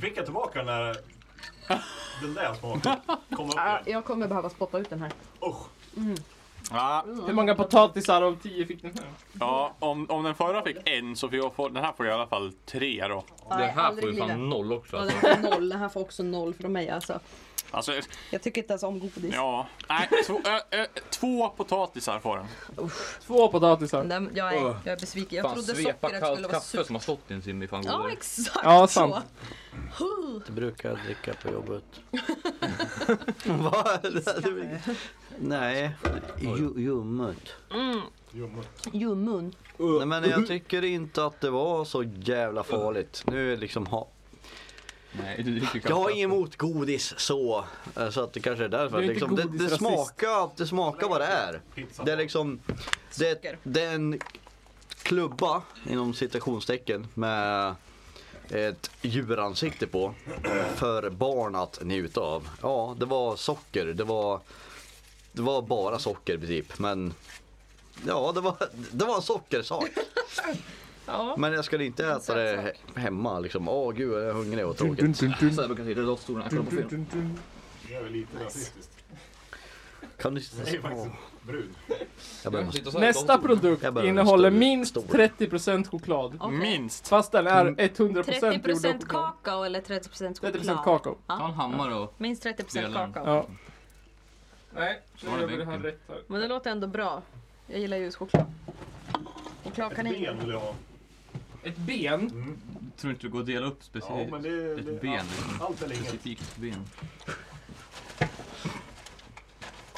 [SPEAKER 7] Fick jag tillbaka den där... Den där smaken. Kom
[SPEAKER 4] <laughs>
[SPEAKER 7] upp igen.
[SPEAKER 4] Jag kommer behöva spotta ut den här.
[SPEAKER 7] Usch.
[SPEAKER 2] Ja,
[SPEAKER 1] Hur många potatisar av 10 fick den här?
[SPEAKER 2] ja, om, om den förra fick en så får jag få, den här får jag i alla fall tre då.
[SPEAKER 3] Det här får ju fan noll också.
[SPEAKER 4] Ja, den
[SPEAKER 3] Alltså.
[SPEAKER 4] får noll. Den här får också noll från mig alltså.
[SPEAKER 2] Alltså,
[SPEAKER 4] Jag tycker inte ens om godis.
[SPEAKER 2] ja. Nej, två, ö, ö, två potatisar får den.
[SPEAKER 1] Två potatisar.
[SPEAKER 4] Nej, men jag, är, jag är besviken. Jag
[SPEAKER 3] Fan
[SPEAKER 4] trodde sockret
[SPEAKER 3] svepa
[SPEAKER 4] skulle
[SPEAKER 3] kallt
[SPEAKER 4] vara
[SPEAKER 3] kaffe
[SPEAKER 4] surt.
[SPEAKER 3] som har stått i en sim i fan
[SPEAKER 4] Ja
[SPEAKER 3] godare.
[SPEAKER 4] exakt
[SPEAKER 1] Ja,
[SPEAKER 4] så.
[SPEAKER 1] sant.
[SPEAKER 4] Huh.
[SPEAKER 5] Det brukar jag dricka på
[SPEAKER 4] <laughs>
[SPEAKER 5] jobbet. <laughs> Vad? Nej. Ju- Ljummet.
[SPEAKER 4] Ljummun.
[SPEAKER 5] Nej, men jag tycker inte att det var så jävla farligt. Nu är liksom ha...
[SPEAKER 3] Nej, du dricker kaffe.
[SPEAKER 5] Jag har inget emot godis så. eh, Så att det kanske är därför.
[SPEAKER 1] Du är
[SPEAKER 5] att
[SPEAKER 1] inte
[SPEAKER 5] liksom, det, det,
[SPEAKER 1] godisrasist.
[SPEAKER 5] smakar, det smakar vad det är.
[SPEAKER 7] Pizza.
[SPEAKER 5] Det är liksom... Det,
[SPEAKER 4] Socker.
[SPEAKER 5] det är en klubba, inom citationstecken, med ett djuransikte på. För barn att njuta av. Ja, det var socker. Det var, det var bara socker i princip. Men ja, det var, det var en sockersak.
[SPEAKER 4] <laughs> Ja.
[SPEAKER 5] Men jag skulle inte äta det he- hemma liksom. Åh gud, jag är hungrig och tråkigt.
[SPEAKER 3] Så här brukar jag sitta i rullstolen och kolla på film.
[SPEAKER 7] Det är väl lite rasistiskt.
[SPEAKER 5] Kan du...
[SPEAKER 7] Det är faktiskt brun.
[SPEAKER 5] Jag behöver
[SPEAKER 3] Sitta så här i
[SPEAKER 1] Nästa
[SPEAKER 3] rullstolen.
[SPEAKER 1] produkt
[SPEAKER 5] Jag behöver en
[SPEAKER 1] innehåller
[SPEAKER 5] stor-
[SPEAKER 1] minst
[SPEAKER 5] stor.
[SPEAKER 1] 30% choklad.
[SPEAKER 4] Okej.
[SPEAKER 2] Minst.
[SPEAKER 1] Fast den är 100% gjord av
[SPEAKER 4] 30%
[SPEAKER 1] choklad.
[SPEAKER 4] kakao eller 30% choklad?
[SPEAKER 1] 30% kakao.
[SPEAKER 3] Ta en hammare och...
[SPEAKER 4] Minst 30%
[SPEAKER 3] Delar.
[SPEAKER 4] kakao.
[SPEAKER 1] Ja. Nej, nu
[SPEAKER 3] Var det
[SPEAKER 1] gör vi det här
[SPEAKER 3] vinkeln?
[SPEAKER 1] rätt här.
[SPEAKER 4] Men det låter ändå bra. Jag gillar ju choklad.
[SPEAKER 7] Ett ben vill jag ha.
[SPEAKER 1] Ett ben.
[SPEAKER 3] Tror inte du går att dela upp
[SPEAKER 7] Ja,
[SPEAKER 3] specifikt?
[SPEAKER 7] men det...
[SPEAKER 3] Ett
[SPEAKER 7] det-
[SPEAKER 3] ben.
[SPEAKER 7] Allt eller inget.
[SPEAKER 3] Specifikt ben.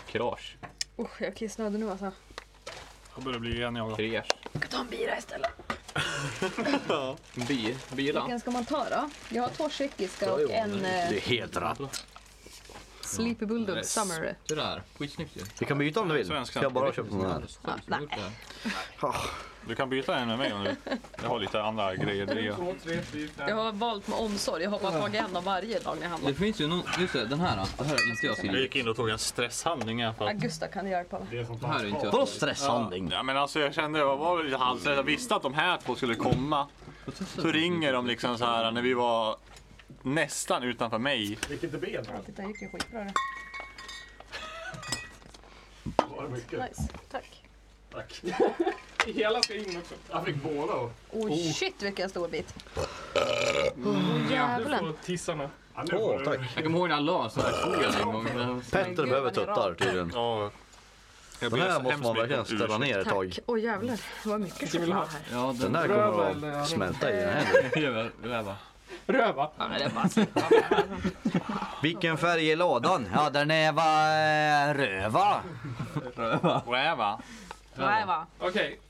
[SPEAKER 3] Krage.
[SPEAKER 4] Usch, jag är kissnödig nu alltså.
[SPEAKER 2] Jag börjar bli en jag.
[SPEAKER 3] Krage.
[SPEAKER 4] Jag kan ta en bira istället.
[SPEAKER 3] Bi. Bila.
[SPEAKER 4] Vilken ska man ta då? Jag har två tjeckiska och en
[SPEAKER 5] Det
[SPEAKER 4] eh,
[SPEAKER 5] är helt rätt.
[SPEAKER 4] Sleepy Bulldog
[SPEAKER 3] Yes.
[SPEAKER 4] Summer.
[SPEAKER 3] Det där. Skitsnyggt ju.
[SPEAKER 5] Vi kan byta om du vill.
[SPEAKER 2] Svenska.
[SPEAKER 5] Ska jag bara köpa sån här? Ah.
[SPEAKER 3] Fan, som har gjort det här.
[SPEAKER 2] Du kan byta en med mig om du Jag har lite andra grejer. Det är-
[SPEAKER 1] 2, 3, 4, 5.
[SPEAKER 4] Jag har valt med omsorg. Jag har bara tagit en av varje dag när jag handlar.
[SPEAKER 3] Det finns ju någon... Just det, den här. Det här är inte jag
[SPEAKER 2] Jag
[SPEAKER 3] skrivit.
[SPEAKER 2] gick in och tog en stresshandling i alla fall.
[SPEAKER 4] Augusta kan hjälpa mig.
[SPEAKER 7] Det är som
[SPEAKER 3] Det här är
[SPEAKER 7] fanns
[SPEAKER 3] inte
[SPEAKER 7] kvar.
[SPEAKER 3] jag.
[SPEAKER 5] Vadå stresshandling?
[SPEAKER 2] Ja, men alltså jag kände, jag var väl lite halvstressad. Jag visste att de här två skulle komma. Så ringer de liksom så här när vi var nästan utanför mig.
[SPEAKER 7] Vilket är ben?
[SPEAKER 4] Titta, gick ju skitbra det.
[SPEAKER 7] Var det mycket?
[SPEAKER 4] Nice, tack.
[SPEAKER 7] Tack.
[SPEAKER 1] Hela ska in också.
[SPEAKER 7] Jag fick båda.
[SPEAKER 4] Oj, oh. shit vilken stor bit. Oh,
[SPEAKER 1] Du
[SPEAKER 4] jävlar.
[SPEAKER 1] får tissarna.
[SPEAKER 7] Ja, nu
[SPEAKER 5] Åh,
[SPEAKER 7] får du-
[SPEAKER 5] tack.
[SPEAKER 3] Jag kommer ihåg när jag la så här skogen en gång. men-
[SPEAKER 4] Men
[SPEAKER 5] Petter
[SPEAKER 4] gud,
[SPEAKER 5] behöver
[SPEAKER 4] vad ni är
[SPEAKER 5] tuttar
[SPEAKER 4] rak.
[SPEAKER 5] tydligen.
[SPEAKER 2] Ja. Jag
[SPEAKER 5] Den
[SPEAKER 2] ber
[SPEAKER 5] här
[SPEAKER 2] så
[SPEAKER 5] måste
[SPEAKER 2] hemskt
[SPEAKER 5] man
[SPEAKER 2] mycket
[SPEAKER 5] verkligen
[SPEAKER 2] om
[SPEAKER 5] ställa
[SPEAKER 2] ursäkt.
[SPEAKER 5] ner ett
[SPEAKER 4] Tack.
[SPEAKER 5] tag.
[SPEAKER 4] Åh jävlar, vad mycket choklad här.
[SPEAKER 3] Ja, <laughs>
[SPEAKER 5] Den
[SPEAKER 3] den
[SPEAKER 5] där
[SPEAKER 1] Röv
[SPEAKER 5] kommer
[SPEAKER 1] eller-
[SPEAKER 5] att smälta i den här.
[SPEAKER 3] är väl...
[SPEAKER 1] Röva.
[SPEAKER 4] Ja, men det är bara slippa.
[SPEAKER 5] Vilken färg är lådan? Ja, den är va... röva.
[SPEAKER 2] Räva.
[SPEAKER 4] Nej, va?
[SPEAKER 1] Okej.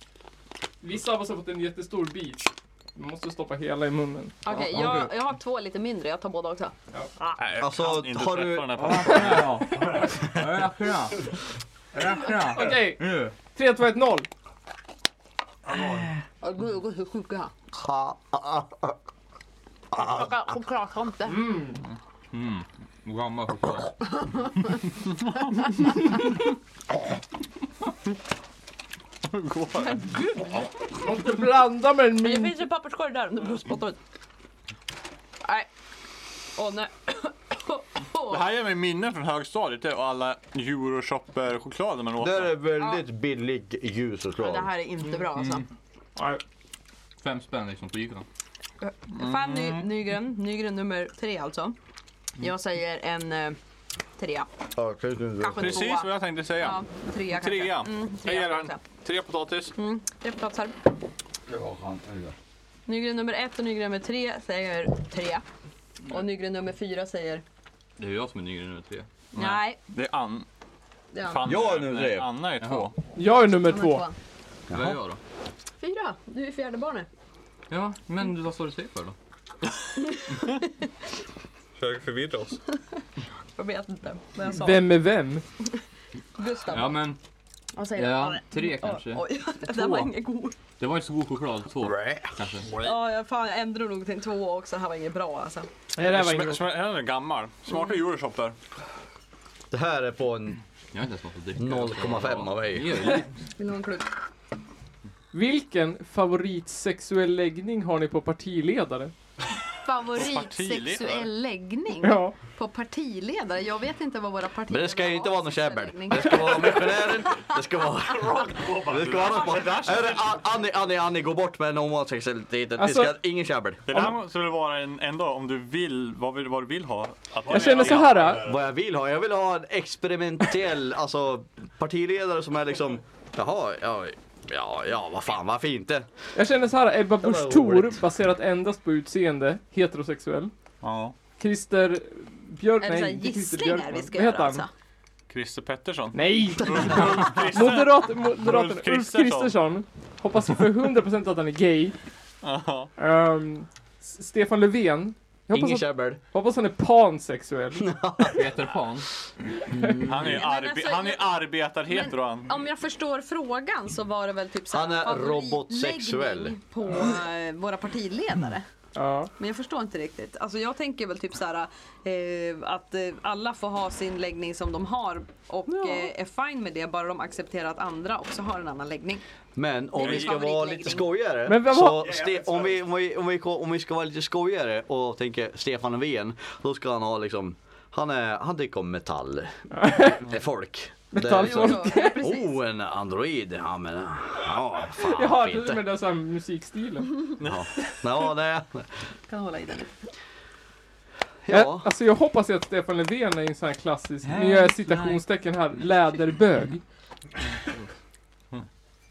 [SPEAKER 1] Vissa av oss har fått en jättestor bit. Man måste stoppa hela i munnen.
[SPEAKER 4] Okej, jag, jag har två lite mindre. Jag tar båda också.
[SPEAKER 2] Nej, jag
[SPEAKER 5] Alltså,
[SPEAKER 2] kan inte
[SPEAKER 5] har
[SPEAKER 2] träffa
[SPEAKER 5] du-
[SPEAKER 2] Den här personen.
[SPEAKER 6] Räkna! Räkna!
[SPEAKER 1] Okej,
[SPEAKER 6] Nu!
[SPEAKER 1] 3, 2, 1, 0.
[SPEAKER 4] Åh, Gud, jag går så sjuk jag är. Klockan- Chokladtomte.
[SPEAKER 6] Gammal choklad.
[SPEAKER 1] Måste blanda med en
[SPEAKER 4] Det
[SPEAKER 1] min...
[SPEAKER 4] finns en papperskorg där om du vill spotta ut. Nej. Åh nej.
[SPEAKER 2] Det här ger mig minnen från högstadiet det, och alla euroshopper-choklader man åt.
[SPEAKER 5] Det är väldigt billig ljus och
[SPEAKER 4] Det
[SPEAKER 5] klar.
[SPEAKER 4] här är inte bra alltså.
[SPEAKER 2] Mm.
[SPEAKER 1] Nej.
[SPEAKER 6] Fem spänn liksom på Ica.
[SPEAKER 4] Fanny Nygren, Nygren nummer tre
[SPEAKER 2] Mm.
[SPEAKER 4] alltså. Jag säger en eh, trea. Kanske en
[SPEAKER 2] Precis vad
[SPEAKER 4] tvåa.
[SPEAKER 2] jag tänkte säga.
[SPEAKER 4] Ja, trea kanske.
[SPEAKER 2] Trea.
[SPEAKER 4] Mm,
[SPEAKER 2] Jag ger
[SPEAKER 4] trea
[SPEAKER 2] den
[SPEAKER 4] kanske.
[SPEAKER 2] tre potatis.
[SPEAKER 4] Mm, tre potatisar. Nygren nummer ett och Nygren nummer tre säger tre. Och Nygren nummer fyra säger
[SPEAKER 3] Det är ju jag som är ny i nummer tre.
[SPEAKER 4] nej.
[SPEAKER 2] Det är Ann.
[SPEAKER 4] Det är
[SPEAKER 2] Fan,
[SPEAKER 5] Jag är nu
[SPEAKER 2] nej,
[SPEAKER 5] tre.
[SPEAKER 2] Anna är två.
[SPEAKER 1] Jag är nummer
[SPEAKER 4] nummer
[SPEAKER 1] två.
[SPEAKER 4] tvåan.
[SPEAKER 3] Vad är jag då?
[SPEAKER 4] Fyra, du är fjärde barnet.
[SPEAKER 3] Ja, men vad står det sig för då?
[SPEAKER 2] Försöker förvirra oss.
[SPEAKER 4] Jag vet inte vad jag sa.
[SPEAKER 1] Vem är vem?
[SPEAKER 4] Gustav.
[SPEAKER 3] Ja men,
[SPEAKER 4] Vad säger
[SPEAKER 3] Ja,
[SPEAKER 4] du?
[SPEAKER 3] tre
[SPEAKER 4] Oj,
[SPEAKER 3] kanske.
[SPEAKER 4] Oj, den var ingen god.
[SPEAKER 3] det var inte så god choklad. Två kanske.
[SPEAKER 4] Ja, jag, fan, jag ändrar nog till en tvåa också. Den här var ingen bra alltså.
[SPEAKER 1] Nej, det här var
[SPEAKER 2] Smä-
[SPEAKER 1] ingen
[SPEAKER 2] smä- Den är gammal. Smakar euroshopper.
[SPEAKER 5] Det här är på en
[SPEAKER 3] Jag har inte ens något att dricka.
[SPEAKER 5] 0,5 av
[SPEAKER 3] Det
[SPEAKER 5] mig.
[SPEAKER 3] gör ju-
[SPEAKER 4] Vill du ha en klunk?
[SPEAKER 1] Vilken favoritsexuell läggning har ni på partiledare?
[SPEAKER 2] Partiledare.
[SPEAKER 4] Favoritsexuell läggning
[SPEAKER 1] Ja.
[SPEAKER 4] på partiledare? Jag vet inte vad våra partiledare
[SPEAKER 5] Men det ska ju inte
[SPEAKER 4] har
[SPEAKER 5] vara
[SPEAKER 4] för
[SPEAKER 5] någon
[SPEAKER 4] sexuell
[SPEAKER 5] käbbel.
[SPEAKER 4] läggning.
[SPEAKER 5] Det ska vara missionären, det ska vara... Det ska vara något bort. Hörru, An- Annie, Annie, Annie, gå bort med den homosexualiteten. Det ska
[SPEAKER 1] Alltså-
[SPEAKER 5] ingen käbbel.
[SPEAKER 2] Det där måste väl vara en, en dag om du vill, vad, vill, vad du vill ha. Att
[SPEAKER 1] Jag känner så här.
[SPEAKER 5] Vad jag vill ha? Jag vill ha en experimentell, alltså partiledare som är liksom, jaha, ja, ja, ja vad fan, varför inte?
[SPEAKER 1] Jag känner så här. Ebba Busch Thor,
[SPEAKER 5] roligt.
[SPEAKER 1] baserat endast på utseende, heterosexuell.
[SPEAKER 2] Ja.
[SPEAKER 1] Christer Björk...
[SPEAKER 4] Är det så här
[SPEAKER 1] Nej, inte Christer
[SPEAKER 4] gissningar
[SPEAKER 1] Björkman.
[SPEAKER 4] vi ska
[SPEAKER 1] Vad heter
[SPEAKER 4] göra
[SPEAKER 1] han?
[SPEAKER 4] alltså?
[SPEAKER 2] Christer Pettersson.
[SPEAKER 1] Nej!
[SPEAKER 2] Christer.
[SPEAKER 1] Moderat, moderaten
[SPEAKER 2] Ulf
[SPEAKER 1] Ulf
[SPEAKER 2] Kristersson.
[SPEAKER 1] Kristersson. Hoppas för 100% att han är gay.
[SPEAKER 2] <laughs> Ja.
[SPEAKER 1] Ehm, S- Stefan Löfven. Jag
[SPEAKER 5] Ingen
[SPEAKER 1] hoppas, att,
[SPEAKER 5] käbbel.
[SPEAKER 1] hoppas han är
[SPEAKER 5] <laughs>
[SPEAKER 1] pansexuell.
[SPEAKER 3] Peter Pan.
[SPEAKER 5] Mm.
[SPEAKER 2] Han är ju
[SPEAKER 4] Men
[SPEAKER 2] arbe-
[SPEAKER 4] alltså,
[SPEAKER 2] han är
[SPEAKER 4] jag-
[SPEAKER 2] arbetarhetero han.
[SPEAKER 4] Om jag förstår frågan så var det väl typ så här
[SPEAKER 5] Han är
[SPEAKER 4] favoritläggning
[SPEAKER 5] robotsexuell.
[SPEAKER 4] på eh, våra partiledare.
[SPEAKER 1] Ja.
[SPEAKER 4] Men jag förstår inte riktigt. Alltså jag tänker väl typ så här eh, att eh, alla får ha sin läggning som de har och eh, är fine med det bara de accepterar att andra också har en annan läggning.
[SPEAKER 5] Men om
[SPEAKER 4] Det är
[SPEAKER 5] vi
[SPEAKER 4] min
[SPEAKER 5] ska vara
[SPEAKER 4] favoritläggning.
[SPEAKER 5] lite skojigare,
[SPEAKER 1] Men vad-
[SPEAKER 5] så ste- om, vi, om, vi, om, vi, om vi ska vara lite skojigare och tänker Stefan Löfven, då ska han ha liksom, han, är, han tycker om metall. Eh, Folk.
[SPEAKER 1] Metall-
[SPEAKER 5] Det är liksom,
[SPEAKER 4] Jo, jo, precis.
[SPEAKER 5] Oh, en android, ja men, ja fan
[SPEAKER 1] Jag har
[SPEAKER 5] varför
[SPEAKER 1] det
[SPEAKER 5] inte.
[SPEAKER 1] med
[SPEAKER 5] Mhm.
[SPEAKER 1] den här musikstilen.
[SPEAKER 5] Ja, ja, nej.
[SPEAKER 4] Kan hålla i den.
[SPEAKER 1] Ja.
[SPEAKER 5] ja.
[SPEAKER 1] Alltså jag hoppas ju att Stefan Löfven är en sån här klassisk, nu gör jag citationstecken här, läderbög.
[SPEAKER 2] Mm.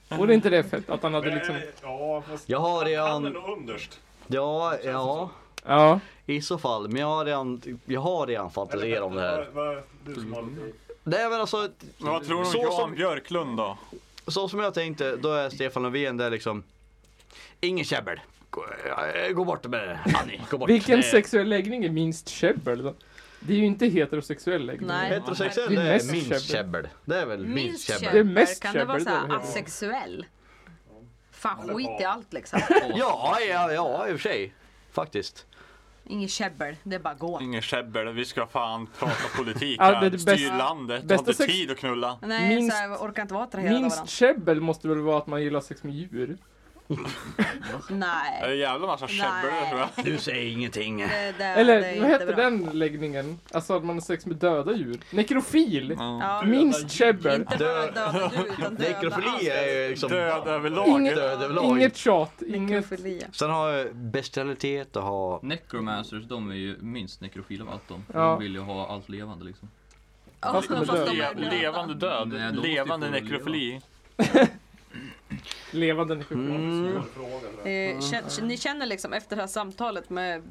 [SPEAKER 1] Vore inte det fett att han hade liksom,
[SPEAKER 7] Ja, fast
[SPEAKER 5] Jag har
[SPEAKER 7] han är
[SPEAKER 5] redan,
[SPEAKER 7] nog underst.
[SPEAKER 5] ja, ja.
[SPEAKER 1] ja.
[SPEAKER 5] I så fall, men jag har redan, jag har redan fantiserat om det här. Mm.
[SPEAKER 7] Vad- vad- Du som har lite...
[SPEAKER 5] Nej men alltså,
[SPEAKER 2] Men vad tror du
[SPEAKER 5] Så
[SPEAKER 2] om Jan
[SPEAKER 5] som-
[SPEAKER 2] Björklund då?
[SPEAKER 5] så som jag tänkte, då är Stefan Löfven där liksom. Ingen käbbel. Gå, eh, gå bort med det, Annie. Gå bort.
[SPEAKER 1] Vilken
[SPEAKER 5] Eh,
[SPEAKER 1] sexuell läggning är minst käbbel då? Det är ju inte heterosexuell läggning.
[SPEAKER 4] Nej.
[SPEAKER 5] Heterosexuell
[SPEAKER 1] Det är
[SPEAKER 5] det
[SPEAKER 1] mest
[SPEAKER 5] är minst
[SPEAKER 1] käbbel.
[SPEAKER 5] käbbel. Det är väl minst
[SPEAKER 1] Det är
[SPEAKER 5] käbbel.
[SPEAKER 1] mest
[SPEAKER 4] kan det vara
[SPEAKER 1] käbbel,
[SPEAKER 4] så här
[SPEAKER 1] det är det.
[SPEAKER 4] asexuell? Fan skit i allt liksom.
[SPEAKER 5] Ja, ja, ja i och för sig. Faktiskt.
[SPEAKER 4] Inget käbbel, det är bara gå.
[SPEAKER 2] Ingen käbbel, vi ska fan prata politik
[SPEAKER 1] Ja,
[SPEAKER 2] här.
[SPEAKER 1] det är det
[SPEAKER 2] Styr
[SPEAKER 1] bästa-
[SPEAKER 2] landet, har
[SPEAKER 1] bästa
[SPEAKER 2] inte
[SPEAKER 1] sex-
[SPEAKER 2] tid att knulla.
[SPEAKER 4] Nej,
[SPEAKER 1] Minst-
[SPEAKER 4] så här, jag orkar inte vara attraherad av
[SPEAKER 1] Minst
[SPEAKER 4] varandra.
[SPEAKER 1] käbbel måste väl vara att man gillar sex med djur?
[SPEAKER 2] Det är
[SPEAKER 4] Nej.
[SPEAKER 2] en jävla massa käbbel
[SPEAKER 4] Nej.
[SPEAKER 2] tror jag.
[SPEAKER 5] Du säger ingenting.
[SPEAKER 4] Det, det, det är
[SPEAKER 1] Eller vad
[SPEAKER 4] inte
[SPEAKER 1] hette
[SPEAKER 4] bra.
[SPEAKER 1] den läggningen? Alltså att man har sex med döda djur? Nekrofil!
[SPEAKER 4] Ja,
[SPEAKER 1] Minst käbbel!
[SPEAKER 4] inte bara döda djur utan döda
[SPEAKER 5] Nekrofili är ju liksom
[SPEAKER 2] Död överlag.
[SPEAKER 1] Inget,
[SPEAKER 5] död överlag.
[SPEAKER 1] inget tjat, inget...
[SPEAKER 4] Nekrofilia.
[SPEAKER 5] Sen har jag bestialitet och har
[SPEAKER 3] Necromancers, de är ju minst nekrofila av allt de. De
[SPEAKER 1] Ja.
[SPEAKER 3] vill ju ha allt levande liksom.
[SPEAKER 1] Fast de är
[SPEAKER 4] fast de
[SPEAKER 1] döda.
[SPEAKER 4] är
[SPEAKER 2] Le- levande
[SPEAKER 4] Eh,
[SPEAKER 2] död,
[SPEAKER 3] Nej, då måste
[SPEAKER 2] levande
[SPEAKER 3] vi få
[SPEAKER 2] nekrofili.
[SPEAKER 1] Levande nekrofil.
[SPEAKER 5] Mm.
[SPEAKER 4] Eh, kän- Ni känner liksom efter det här samtalet med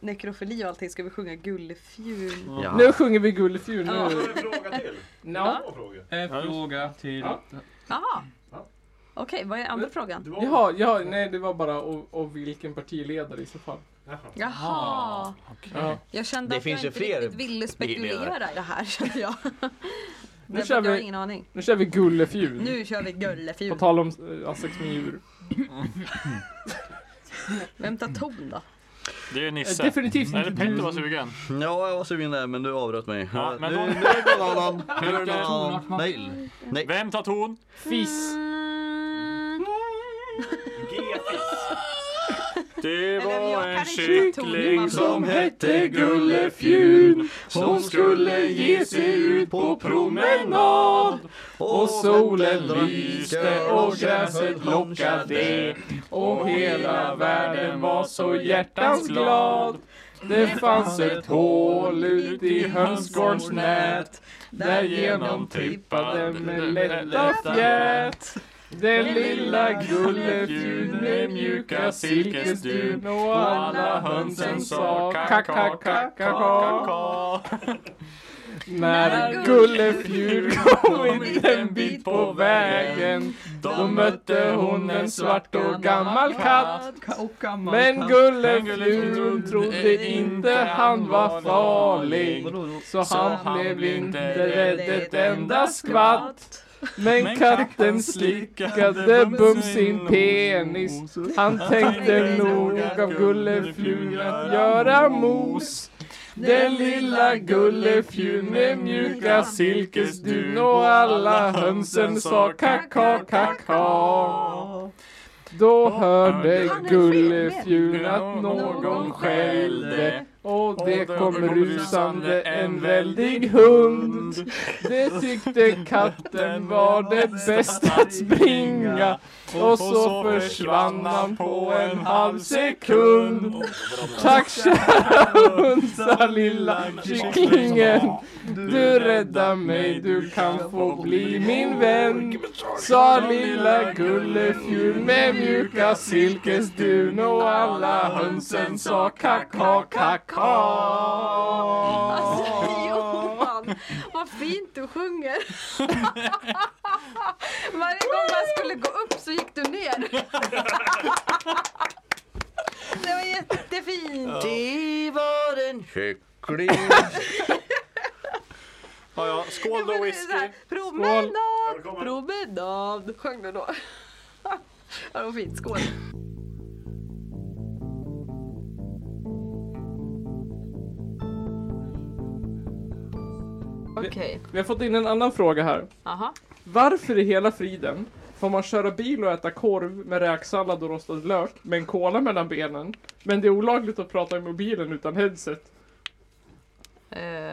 [SPEAKER 4] nekrofili och allting ska vi sjunga Gullefjun.
[SPEAKER 1] Nu sjunger vi Gullefjun.
[SPEAKER 4] Ja.
[SPEAKER 1] Nu.
[SPEAKER 8] En fråga till.
[SPEAKER 1] No.
[SPEAKER 8] Två frågor.
[SPEAKER 6] En fråga till.
[SPEAKER 1] Ja.
[SPEAKER 4] Jaha.
[SPEAKER 8] Ja.
[SPEAKER 4] Okej, vad är andra
[SPEAKER 8] Du
[SPEAKER 4] frågan?
[SPEAKER 8] var...
[SPEAKER 1] Jaha, ja, nej det var bara och, och vilken partiledare i så fall.
[SPEAKER 8] Jaha.
[SPEAKER 4] Jaha.
[SPEAKER 1] Ja.
[SPEAKER 4] Jag kände
[SPEAKER 5] Det
[SPEAKER 4] att
[SPEAKER 5] finns
[SPEAKER 4] jag
[SPEAKER 5] ju
[SPEAKER 4] inte
[SPEAKER 5] fler
[SPEAKER 4] riktigt ville spekulera i det här <laughs> kände jag. Men
[SPEAKER 1] kör
[SPEAKER 4] jag har
[SPEAKER 1] vi. Mm.
[SPEAKER 4] ingen aning.
[SPEAKER 1] Nu kör vi Gullefjun.
[SPEAKER 4] Nu kör vi
[SPEAKER 1] På
[SPEAKER 4] Gullefjun.
[SPEAKER 1] tal om eh, Assex med djur.
[SPEAKER 4] Vem tar ton då?
[SPEAKER 2] Det är Nisse.
[SPEAKER 1] Eh, definitivt
[SPEAKER 2] Nej, det är
[SPEAKER 1] inte
[SPEAKER 2] Petter
[SPEAKER 1] du.
[SPEAKER 2] var sugen.
[SPEAKER 5] Ja, jag var sugen där men du avbröt mig.
[SPEAKER 2] Ja,
[SPEAKER 5] Eh,
[SPEAKER 2] men
[SPEAKER 5] nu,
[SPEAKER 2] då-
[SPEAKER 5] nu är det någon annan. Nu är det någon
[SPEAKER 3] Tonart
[SPEAKER 5] annan.
[SPEAKER 3] man
[SPEAKER 5] Nej,
[SPEAKER 3] vill.
[SPEAKER 2] Vem tar ton?
[SPEAKER 1] Fiss.
[SPEAKER 8] G-fiss.
[SPEAKER 2] Det
[SPEAKER 4] Eller jag
[SPEAKER 2] var
[SPEAKER 4] kan
[SPEAKER 2] en
[SPEAKER 4] inte ta ton,
[SPEAKER 2] kyckling
[SPEAKER 4] man-
[SPEAKER 2] som
[SPEAKER 1] hette
[SPEAKER 2] Gullefjun.
[SPEAKER 5] Hon skulle ge sig ut på promenad.
[SPEAKER 1] Och solen
[SPEAKER 2] lyste och gräset lockade
[SPEAKER 1] Och hela världen var så hjärtans glad. Det fanns ett hål ut i hönsgårdsnät. Där genom trippade med lätta fjät. Den lilla gullefjun med mjuka silkesdun och alla hönsen sa kaka kaka kaka. När gullefjun kom en bit på vägen då mötte hon en svart och gammal katt Men gullefjun trodde inte han var farlig Så han blev inte rädd ett enda skvatt Men katten slickade bums sin penis Han tänkte nog av gullefjun att göra mos den lilla gullefjun med mjuka silkesdun och alla hönsen sa kaka kaka Då hörde
[SPEAKER 4] Han är
[SPEAKER 1] gullefjun
[SPEAKER 2] fel.
[SPEAKER 1] att någon skällde och det kom rusande en väldig hund Det tyckte katten var det bästa att springa Och så försvann han på en halv sekund Tack kära hundsa lilla kycklingen Du räddar mig, du kan få bli min vän Sa lilla gullefjun med mjuka silkesdun och alla hönsen sa kaka kaka
[SPEAKER 4] Alltså Johan, vad fint du sjunger. Varje gång man skulle gå upp så gick du ner. Det var jättefint.
[SPEAKER 5] Det var en kyckling.
[SPEAKER 2] Ja, ja. Skål
[SPEAKER 4] Men
[SPEAKER 2] då
[SPEAKER 4] det är så
[SPEAKER 2] whisky.
[SPEAKER 4] här, Promenad, promenad, sjöng du då. <laughs> Ja, det var fint. Skål. Okej,
[SPEAKER 1] Vi har fått in en annan fråga här.
[SPEAKER 4] aha.
[SPEAKER 1] Varför i hela friden får man köra bil och äta korv med räksallad och rostad lök med en kola mellan benen? Men det är olagligt att prata i mobilen utan headset.
[SPEAKER 4] Eh,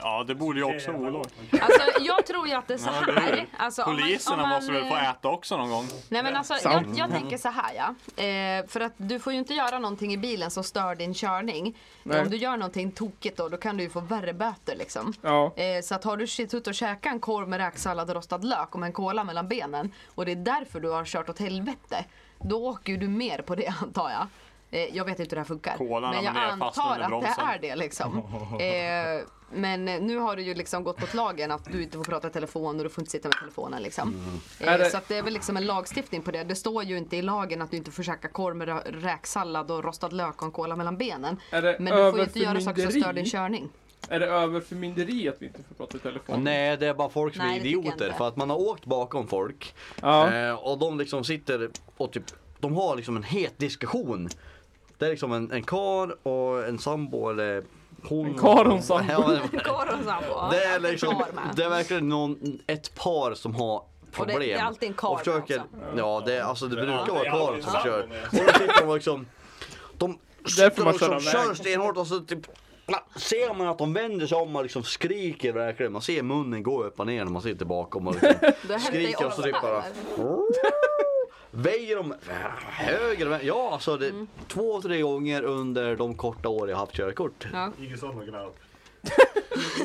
[SPEAKER 2] Ja, det borde ju också
[SPEAKER 7] Eh,
[SPEAKER 2] vara olagligt.
[SPEAKER 9] Alltså jag tror ju att det är så
[SPEAKER 2] Ja, det är
[SPEAKER 9] här. Alltså, om man- om
[SPEAKER 2] Poliserna
[SPEAKER 9] man,
[SPEAKER 2] måste väl få
[SPEAKER 9] eh,
[SPEAKER 2] äta också någon gång?
[SPEAKER 9] Nej men alltså jag, jag tänker så här ja. Eh, för att du får ju inte göra någonting i bilen som stör din körning.
[SPEAKER 1] Nej.
[SPEAKER 9] Om du gör någonting tokigt då, då kan du ju få värre böter liksom.
[SPEAKER 1] Ja.
[SPEAKER 9] Eh, så att har du shit ut och käkat en korv med räksallad och rostad lök och med en cola mellan benen och det är därför du har kört åt helvete. Då åker ju du mer på det <laughs> antar jag. Eh, jag vet inte hur det här funkar.
[SPEAKER 2] Kolan
[SPEAKER 9] men jag
[SPEAKER 2] ramlar ner fast
[SPEAKER 9] antar
[SPEAKER 2] under
[SPEAKER 9] att det
[SPEAKER 2] bromsen.
[SPEAKER 9] är
[SPEAKER 2] <laughs>
[SPEAKER 9] det liksom. Eh, men eh, nu har du ju liksom gått mot lagen att du inte får prata i telefon och du får inte sitta med telefonen liksom.
[SPEAKER 2] Mm.
[SPEAKER 9] Eh,
[SPEAKER 1] Är det-
[SPEAKER 9] Så att det är väl liksom en lagstiftning på det. Det står ju inte i lagen att du inte får käka korv med rö- räksallad och rostad lök och en cola mellan benen.
[SPEAKER 1] Är det
[SPEAKER 9] Men du får ju inte göra saker som stör din
[SPEAKER 1] överförmynderi?
[SPEAKER 9] körning.
[SPEAKER 1] Är det överförmynderi att vi inte får prata i telefon?
[SPEAKER 5] Nej, det är bara folk som
[SPEAKER 9] Nej,
[SPEAKER 5] är
[SPEAKER 9] det tycker jag
[SPEAKER 5] idioter
[SPEAKER 9] inte.
[SPEAKER 5] för att man har åkt bakom folk
[SPEAKER 1] Ja.
[SPEAKER 5] Eh, och de liksom sitter och typ, de har liksom en het diskussion. Det är liksom en, en kar och en sambo eller hon.
[SPEAKER 1] En karl och en sambo.
[SPEAKER 5] Ja,
[SPEAKER 9] Korv och sambo. ja.
[SPEAKER 5] det, är liksom,
[SPEAKER 9] Kar med.
[SPEAKER 5] det är verkligen någon, ett par som har
[SPEAKER 9] Och det-
[SPEAKER 5] problem.
[SPEAKER 9] det är alltid en kar
[SPEAKER 5] och försöker,
[SPEAKER 9] med
[SPEAKER 5] Ja, det, är- alltså, det brukar vara
[SPEAKER 8] det är alltid
[SPEAKER 5] karlen
[SPEAKER 8] en
[SPEAKER 5] som
[SPEAKER 8] sambo
[SPEAKER 5] kör.
[SPEAKER 8] med.
[SPEAKER 5] Och då sitter de liksom, de
[SPEAKER 1] Därför
[SPEAKER 5] sitter
[SPEAKER 1] man
[SPEAKER 5] och liksom
[SPEAKER 1] kör av
[SPEAKER 5] kör
[SPEAKER 1] vägen.
[SPEAKER 5] stenhårt och så typ pla- Ser man att de vänder sig om och liksom skriker verkligen, man ser munnen gå upp och ner när man sitter bakom och liksom
[SPEAKER 1] <laughs>
[SPEAKER 9] Det har hänt dig
[SPEAKER 5] skriker och så
[SPEAKER 9] ofta,
[SPEAKER 5] typ bara
[SPEAKER 9] eller?
[SPEAKER 5] Väjer de höger och vän- Ja alltså det,
[SPEAKER 9] Mm.
[SPEAKER 5] två, tre gånger under de korta år jag haft körkort.
[SPEAKER 9] Ja.
[SPEAKER 8] Iggesson och Gnarp.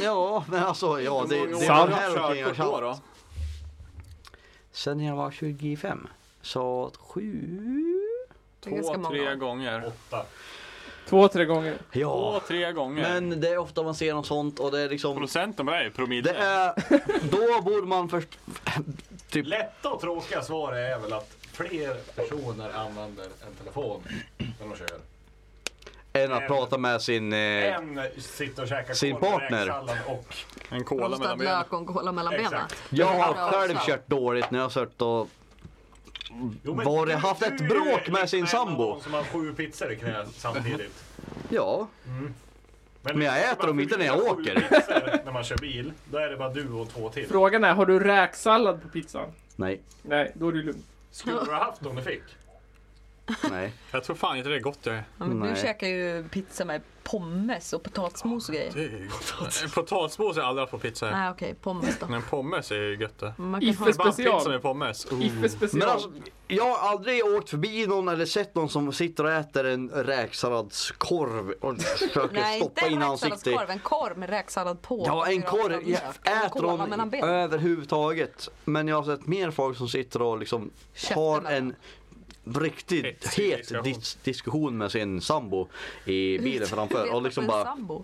[SPEAKER 5] Ja men alltså ja det, det var
[SPEAKER 2] Sant.
[SPEAKER 5] det här omkring jag
[SPEAKER 2] Körkort då, då?
[SPEAKER 5] haft. Sen jag var 25. Så sju...
[SPEAKER 9] Det är ganska
[SPEAKER 2] Två,
[SPEAKER 9] många
[SPEAKER 2] tre
[SPEAKER 9] år.
[SPEAKER 2] gånger.
[SPEAKER 8] Åtta.
[SPEAKER 1] Två, tre gånger.
[SPEAKER 5] Ja.
[SPEAKER 2] Två, tre gånger.
[SPEAKER 5] Men det är ofta man ser något sånt och det är liksom
[SPEAKER 2] Procenten på det här är promille.
[SPEAKER 5] Det är, då borde man först, typ,
[SPEAKER 7] Lätta och tråkiga svar är väl att fler personer använder en telefon när de kör.
[SPEAKER 5] än att prata med sin, eh,
[SPEAKER 7] En sitter och käkar
[SPEAKER 5] Sin
[SPEAKER 7] korv med
[SPEAKER 5] partner.
[SPEAKER 7] räksallad och
[SPEAKER 2] En cola
[SPEAKER 4] Rostad
[SPEAKER 2] mellan benen.
[SPEAKER 4] lök och en kola mellan
[SPEAKER 7] Exakt.
[SPEAKER 4] benen.
[SPEAKER 5] jag
[SPEAKER 4] Ja,
[SPEAKER 5] har själv
[SPEAKER 4] också.
[SPEAKER 5] kört dåligt när jag har suttit och
[SPEAKER 7] Jo,
[SPEAKER 5] Var det
[SPEAKER 7] du-
[SPEAKER 5] haft
[SPEAKER 7] du
[SPEAKER 5] ett
[SPEAKER 7] är ju
[SPEAKER 5] bråk med
[SPEAKER 7] en
[SPEAKER 5] sin
[SPEAKER 7] av
[SPEAKER 5] sambo?
[SPEAKER 7] de som har sju pizzor i knät samtidigt.
[SPEAKER 5] Ja, Men jag
[SPEAKER 7] det är
[SPEAKER 5] äter
[SPEAKER 7] bara
[SPEAKER 5] dem inte när jag
[SPEAKER 7] fyra,
[SPEAKER 5] åker.
[SPEAKER 7] sju pizzor när man kör bil, då är det bara du och två till.
[SPEAKER 1] Frågan är, har du räksallad på pizzan?
[SPEAKER 5] nej,
[SPEAKER 1] Nej, då är det lugnt.
[SPEAKER 7] Skulle du ha haft om du fick?
[SPEAKER 5] nej.
[SPEAKER 2] Jag tror fan inte det är gott det.
[SPEAKER 10] Ja, men du
[SPEAKER 5] Nej.
[SPEAKER 10] käkar ju pizza med pommes och potatismos och grejer.
[SPEAKER 2] det är gott. En potatismos är aldrig haft på pizza.
[SPEAKER 4] Nej okej, pommes då.
[SPEAKER 2] Men en pommes är ju gött det.
[SPEAKER 4] Man kan ha
[SPEAKER 1] Ifes- Special.
[SPEAKER 2] Bandpizza med pommes. Oh.
[SPEAKER 1] Iffe
[SPEAKER 5] Men
[SPEAKER 1] special.
[SPEAKER 5] alltså, jag har aldrig åkt förbi någon eller sett någon som sitter och äter en räksalladskorv och försöker
[SPEAKER 4] Nej,
[SPEAKER 5] stoppa
[SPEAKER 4] inte
[SPEAKER 5] in
[SPEAKER 4] en
[SPEAKER 5] ansiktet.
[SPEAKER 4] räksalladskorv. En korv med räksallad på.
[SPEAKER 5] Ja, en korv. Jag äter
[SPEAKER 4] Kola mellan
[SPEAKER 5] dem
[SPEAKER 4] benen.
[SPEAKER 5] överhuvudtaget. Men jag har sett mer folk som sitter och liksom
[SPEAKER 4] Köttar
[SPEAKER 5] har
[SPEAKER 4] mellan.
[SPEAKER 5] en riktigt
[SPEAKER 2] Hetsig
[SPEAKER 5] het
[SPEAKER 2] diskussion.
[SPEAKER 5] dis- diskussion med sin sambo i bilen framför och liksom
[SPEAKER 4] Med
[SPEAKER 5] bara
[SPEAKER 4] sambo.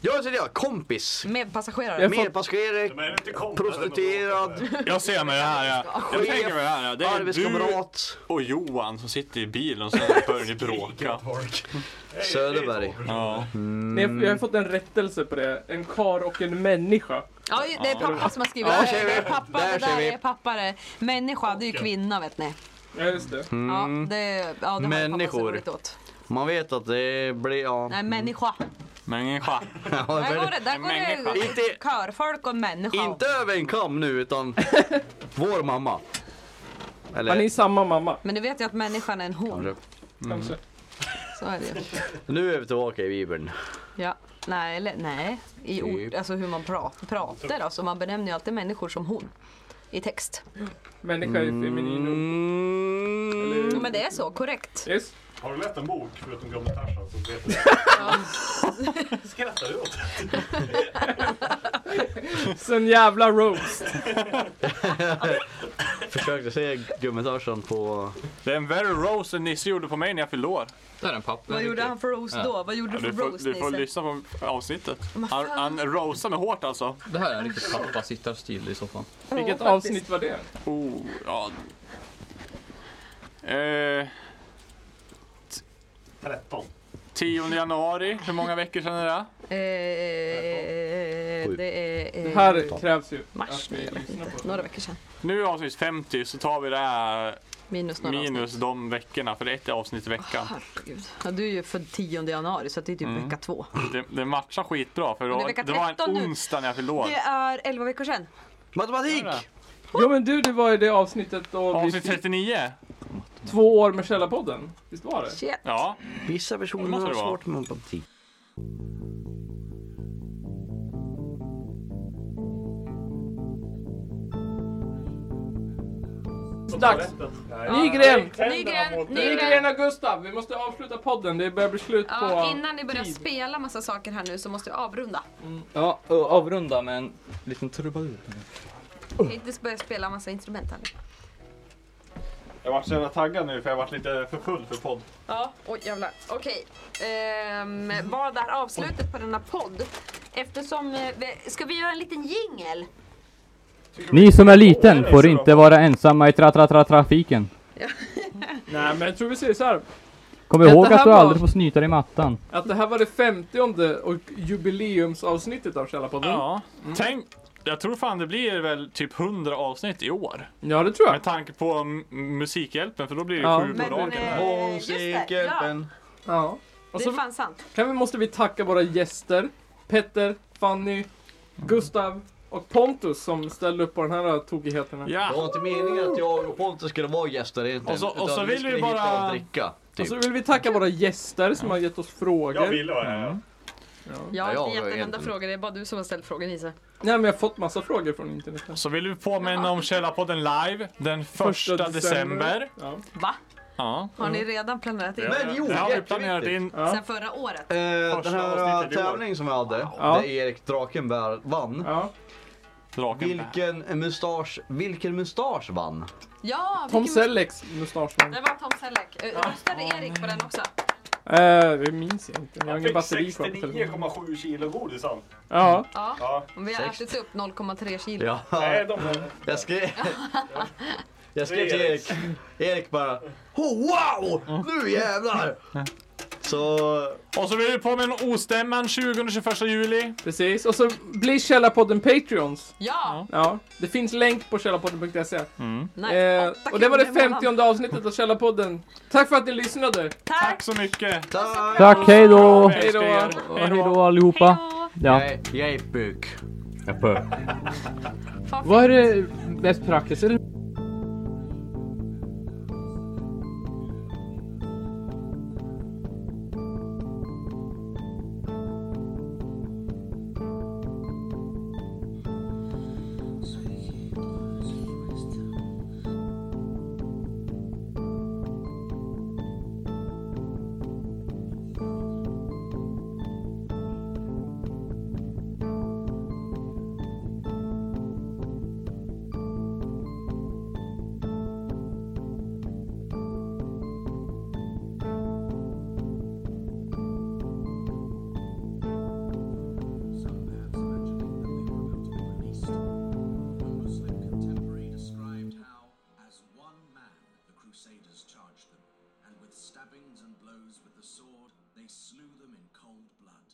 [SPEAKER 5] Jag ser jag, kompis,
[SPEAKER 4] Med passagerare.
[SPEAKER 1] Jag-
[SPEAKER 7] Men
[SPEAKER 5] medpassagerare,
[SPEAKER 7] är det inte kompis
[SPEAKER 5] prostituerad,
[SPEAKER 2] Jag ser mig det här. Jag, jag tänker mig det här. Det är du
[SPEAKER 5] arbetskamrat,
[SPEAKER 2] och Johan som sitter i bilen och sen börjar ni bråka.
[SPEAKER 5] Söderberg.
[SPEAKER 2] Ja.
[SPEAKER 1] Nej, jag- jag har fått en rättelse på det. En kar och en människa.
[SPEAKER 4] Ja, det är pappa som har skrivit
[SPEAKER 5] Ja,
[SPEAKER 4] det.
[SPEAKER 5] ser vi.
[SPEAKER 4] Det är pappa,
[SPEAKER 5] Där
[SPEAKER 4] det
[SPEAKER 5] ser
[SPEAKER 4] där
[SPEAKER 5] vi.
[SPEAKER 4] är pappa det. Människa, det är ju kvinna vet ni.
[SPEAKER 1] Ja, just det.
[SPEAKER 5] Mm.
[SPEAKER 4] Ja, det, ja, det har ju pappa så
[SPEAKER 5] Människor.
[SPEAKER 4] roligt åt.
[SPEAKER 5] Man vet att det blir, ja.
[SPEAKER 4] Nej, människa.
[SPEAKER 2] Människa.
[SPEAKER 5] <laughs> Ja, det
[SPEAKER 4] Där
[SPEAKER 5] blir-
[SPEAKER 4] går det, där går
[SPEAKER 2] Människa.
[SPEAKER 4] det
[SPEAKER 5] Inte-
[SPEAKER 4] körfolk och människa.
[SPEAKER 5] Inte över en kam nu
[SPEAKER 4] <laughs>
[SPEAKER 5] utan vår mamma. Eller
[SPEAKER 1] Man är samma mamma,
[SPEAKER 4] Men du vet ju att människan är en hon.
[SPEAKER 5] kanske.
[SPEAKER 1] kanske.
[SPEAKER 4] Så är det ju.
[SPEAKER 5] Nu är vi tillbaka i Bibeln.
[SPEAKER 4] Ja. Nej, eller nej. I ord,
[SPEAKER 5] Typ.
[SPEAKER 4] alltså hur man pratar, pratar alltså. Man benämner ju alltid människor som hon. I text.
[SPEAKER 1] Människa är feminin.
[SPEAKER 5] Mm.
[SPEAKER 4] Men det är så, korrekt.
[SPEAKER 1] Yes.
[SPEAKER 7] Har du läst en bok förutom Gamla Tarzan så vet du det. Skrattar du åt det?
[SPEAKER 1] Sen jävla roast.
[SPEAKER 4] <laughs>
[SPEAKER 5] Försökte säga gummitarzan på...
[SPEAKER 2] Det är en very roast som Nisse gjorde på mig när jag fyllde år.
[SPEAKER 11] Där är en papper.
[SPEAKER 10] Vad gjorde han för roast då? Vad gjorde du
[SPEAKER 2] Du
[SPEAKER 10] för
[SPEAKER 2] får,
[SPEAKER 10] roast
[SPEAKER 2] du får
[SPEAKER 10] Nisse?
[SPEAKER 2] lyssna på avsnittet. Han, han roastade mig hårt alltså.
[SPEAKER 11] Det här är en riktig pappa sitter still i soffan.
[SPEAKER 1] Vilket
[SPEAKER 10] faktiskt.
[SPEAKER 1] avsnitt var det?
[SPEAKER 2] Oh, ja. Eh,
[SPEAKER 7] 13.
[SPEAKER 2] 10 januari, hur många veckor sedan är det?
[SPEAKER 4] Eh, det är...
[SPEAKER 1] Det
[SPEAKER 4] Eh,
[SPEAKER 1] här krävs ju
[SPEAKER 4] Mars,
[SPEAKER 1] att
[SPEAKER 4] nej,
[SPEAKER 1] vi
[SPEAKER 4] jag vet
[SPEAKER 1] lyssnar
[SPEAKER 4] inte.
[SPEAKER 1] på
[SPEAKER 4] Några
[SPEAKER 1] det.
[SPEAKER 4] veckor sedan.
[SPEAKER 2] Nu är avsnitt 50 så tar vi det här
[SPEAKER 4] Minus några Ah.
[SPEAKER 2] minus de veckorna för det är ett avsnitt i veckan.
[SPEAKER 4] avsnitt. Herregud. Ja, du är ju född 10 januari så det är typ vecka två.
[SPEAKER 2] Det, det matchar skitbra för det
[SPEAKER 4] Men det är
[SPEAKER 2] var,
[SPEAKER 4] vecka
[SPEAKER 2] det var en
[SPEAKER 4] 13 nu.
[SPEAKER 2] onsdag när jag fyllde år.
[SPEAKER 4] Det är 11 veckor sedan.
[SPEAKER 5] Matematik!
[SPEAKER 1] Ja men du, det var ju det avsnittet då vi
[SPEAKER 2] Avsnitt
[SPEAKER 1] fick
[SPEAKER 2] 39?
[SPEAKER 1] två år med Källarpodden. Visst var det?
[SPEAKER 4] Shit.
[SPEAKER 2] Ja.
[SPEAKER 5] Vissa
[SPEAKER 2] Det
[SPEAKER 5] personer
[SPEAKER 2] måste
[SPEAKER 5] har
[SPEAKER 2] det vara.
[SPEAKER 5] svårt med matematik.
[SPEAKER 1] Dags! Nygren!
[SPEAKER 4] Nygren,
[SPEAKER 1] Nygren och Gustav, vi måste avsluta podden. Det börjar bli slut på...
[SPEAKER 4] Ja, innan ni börjar
[SPEAKER 1] tid.
[SPEAKER 4] spela massa saker här nu så måste jag avrunda.
[SPEAKER 12] Ja, och avrunda med en liten trubadur.
[SPEAKER 4] Jag kan inte börja spela massa instrument här nu.
[SPEAKER 2] Jag vart så jävla taggad nu för jag vart lite för full för podd.
[SPEAKER 4] Ja, oj jävlar. Okej. Ehm, vad är avslutet på denna podd? Eftersom... eh, vi- Ska vi göra en liten jingel?
[SPEAKER 3] Ni som är liten får inte vara ensamma i tra-tra-tra-trafiken.
[SPEAKER 1] Nej men jag tror vi säger så här.
[SPEAKER 3] Kom
[SPEAKER 1] Detta
[SPEAKER 3] ihåg att
[SPEAKER 1] här
[SPEAKER 3] du
[SPEAKER 1] var-
[SPEAKER 3] aldrig får snyta dig i mattan.
[SPEAKER 1] Att det här var det femtionde och jubileumsavsnittet av Källarpodden.
[SPEAKER 2] Ja. Tänk, jag tror fan det blir väl typ 100 avsnitt i år.
[SPEAKER 1] ja, det tror jag.
[SPEAKER 2] Med tanke på m- Musikhjälpen för då blir det
[SPEAKER 1] Ja.
[SPEAKER 2] sju
[SPEAKER 1] Men,
[SPEAKER 2] på dagen.
[SPEAKER 4] eh, just det, ja.
[SPEAKER 5] Musikhjälpen.
[SPEAKER 1] Ja. Och
[SPEAKER 4] Det är
[SPEAKER 1] så
[SPEAKER 4] fan sant.
[SPEAKER 1] kan vi, måste vi tacka våra gäster. Petter, Fanny, Gustav och Pontus som ställde upp på den här äh, tokigheten. här.
[SPEAKER 5] Det
[SPEAKER 2] Ja.
[SPEAKER 5] var inte meningen att jag och Pontus skulle vara gäster egentligen.
[SPEAKER 2] Och så- och
[SPEAKER 5] utan
[SPEAKER 2] så vill vi
[SPEAKER 5] skulle
[SPEAKER 2] bara-
[SPEAKER 5] hitta och dricka.
[SPEAKER 1] Och
[SPEAKER 5] Typ.
[SPEAKER 1] så Alltså, vill vi tacka våra gäster som har gett oss
[SPEAKER 7] Jag
[SPEAKER 1] frågor.
[SPEAKER 7] ville vara här.
[SPEAKER 4] Jag har
[SPEAKER 5] Ja,
[SPEAKER 4] inte
[SPEAKER 5] jag
[SPEAKER 4] gett en
[SPEAKER 5] vet
[SPEAKER 4] enda
[SPEAKER 5] inte.
[SPEAKER 4] fråga, det är bara du som har ställt frågan Isa.
[SPEAKER 1] Nej men jag har fått massa frågor från internet. här.
[SPEAKER 2] Så vill vi påminna om Källarpodden live den första december.
[SPEAKER 1] Ja.
[SPEAKER 4] Va?
[SPEAKER 2] Ja.
[SPEAKER 4] Har ni redan planerat in?
[SPEAKER 5] Men jo,
[SPEAKER 2] Det har vi planerat
[SPEAKER 5] jätteviktigt.
[SPEAKER 2] in.
[SPEAKER 1] Ja.
[SPEAKER 4] Sen förra året?
[SPEAKER 5] Eh, Den
[SPEAKER 2] Första
[SPEAKER 5] här
[SPEAKER 2] avsnittet i år.
[SPEAKER 5] tävlingen som vi hade,
[SPEAKER 1] Ja.
[SPEAKER 5] där Erik Drakenberg vann.
[SPEAKER 1] Ja.
[SPEAKER 2] Draken.
[SPEAKER 5] Vilken mustasch, vilken mustasch vann?
[SPEAKER 4] Ja,
[SPEAKER 1] Tom
[SPEAKER 4] vilken-
[SPEAKER 1] Sellecks mustaschman.
[SPEAKER 4] Det var Tom Selleck. Eh, Röstade Erik på den också?
[SPEAKER 1] Eh, det minns jag inte. Jag har
[SPEAKER 7] Han
[SPEAKER 1] ingen
[SPEAKER 7] fick
[SPEAKER 1] batteri kvar på telefonen.
[SPEAKER 7] 69,7 kilo godis han.
[SPEAKER 1] Ja.
[SPEAKER 7] Ja.
[SPEAKER 4] Om vi har ätit upp 0,3 kilo.
[SPEAKER 5] Ja.
[SPEAKER 7] Nej, de...
[SPEAKER 2] <laughs>
[SPEAKER 5] Jag skrev, jag skrev till Erik. Erik bara oh, Wow! Nu jävlar! Så...
[SPEAKER 2] Och så blir vi på med en ostämman 20-21 juli.
[SPEAKER 1] Precis, och så blir Källarpodden Patreons.
[SPEAKER 4] Ja!
[SPEAKER 1] Ja, det finns länk på källarpodden.se.
[SPEAKER 4] Nej,
[SPEAKER 1] Eh,
[SPEAKER 4] åtta
[SPEAKER 1] och det var det
[SPEAKER 4] kronor i månaden.
[SPEAKER 1] 50 avsnittet av Källarpodden. Tack för att ni lyssnade!
[SPEAKER 2] Tack så mycket.
[SPEAKER 3] Tack, hej då!
[SPEAKER 1] Hej då!
[SPEAKER 3] Och hej då allihopa! Ja.
[SPEAKER 5] Jag, jag är buk.
[SPEAKER 3] Vad är det bäst praktiskt? Är det
[SPEAKER 13] One Muslim contemporary described how, as one man, the Crusaders charged them, and with stabbings and blows with the sword, they slew them in cold blood.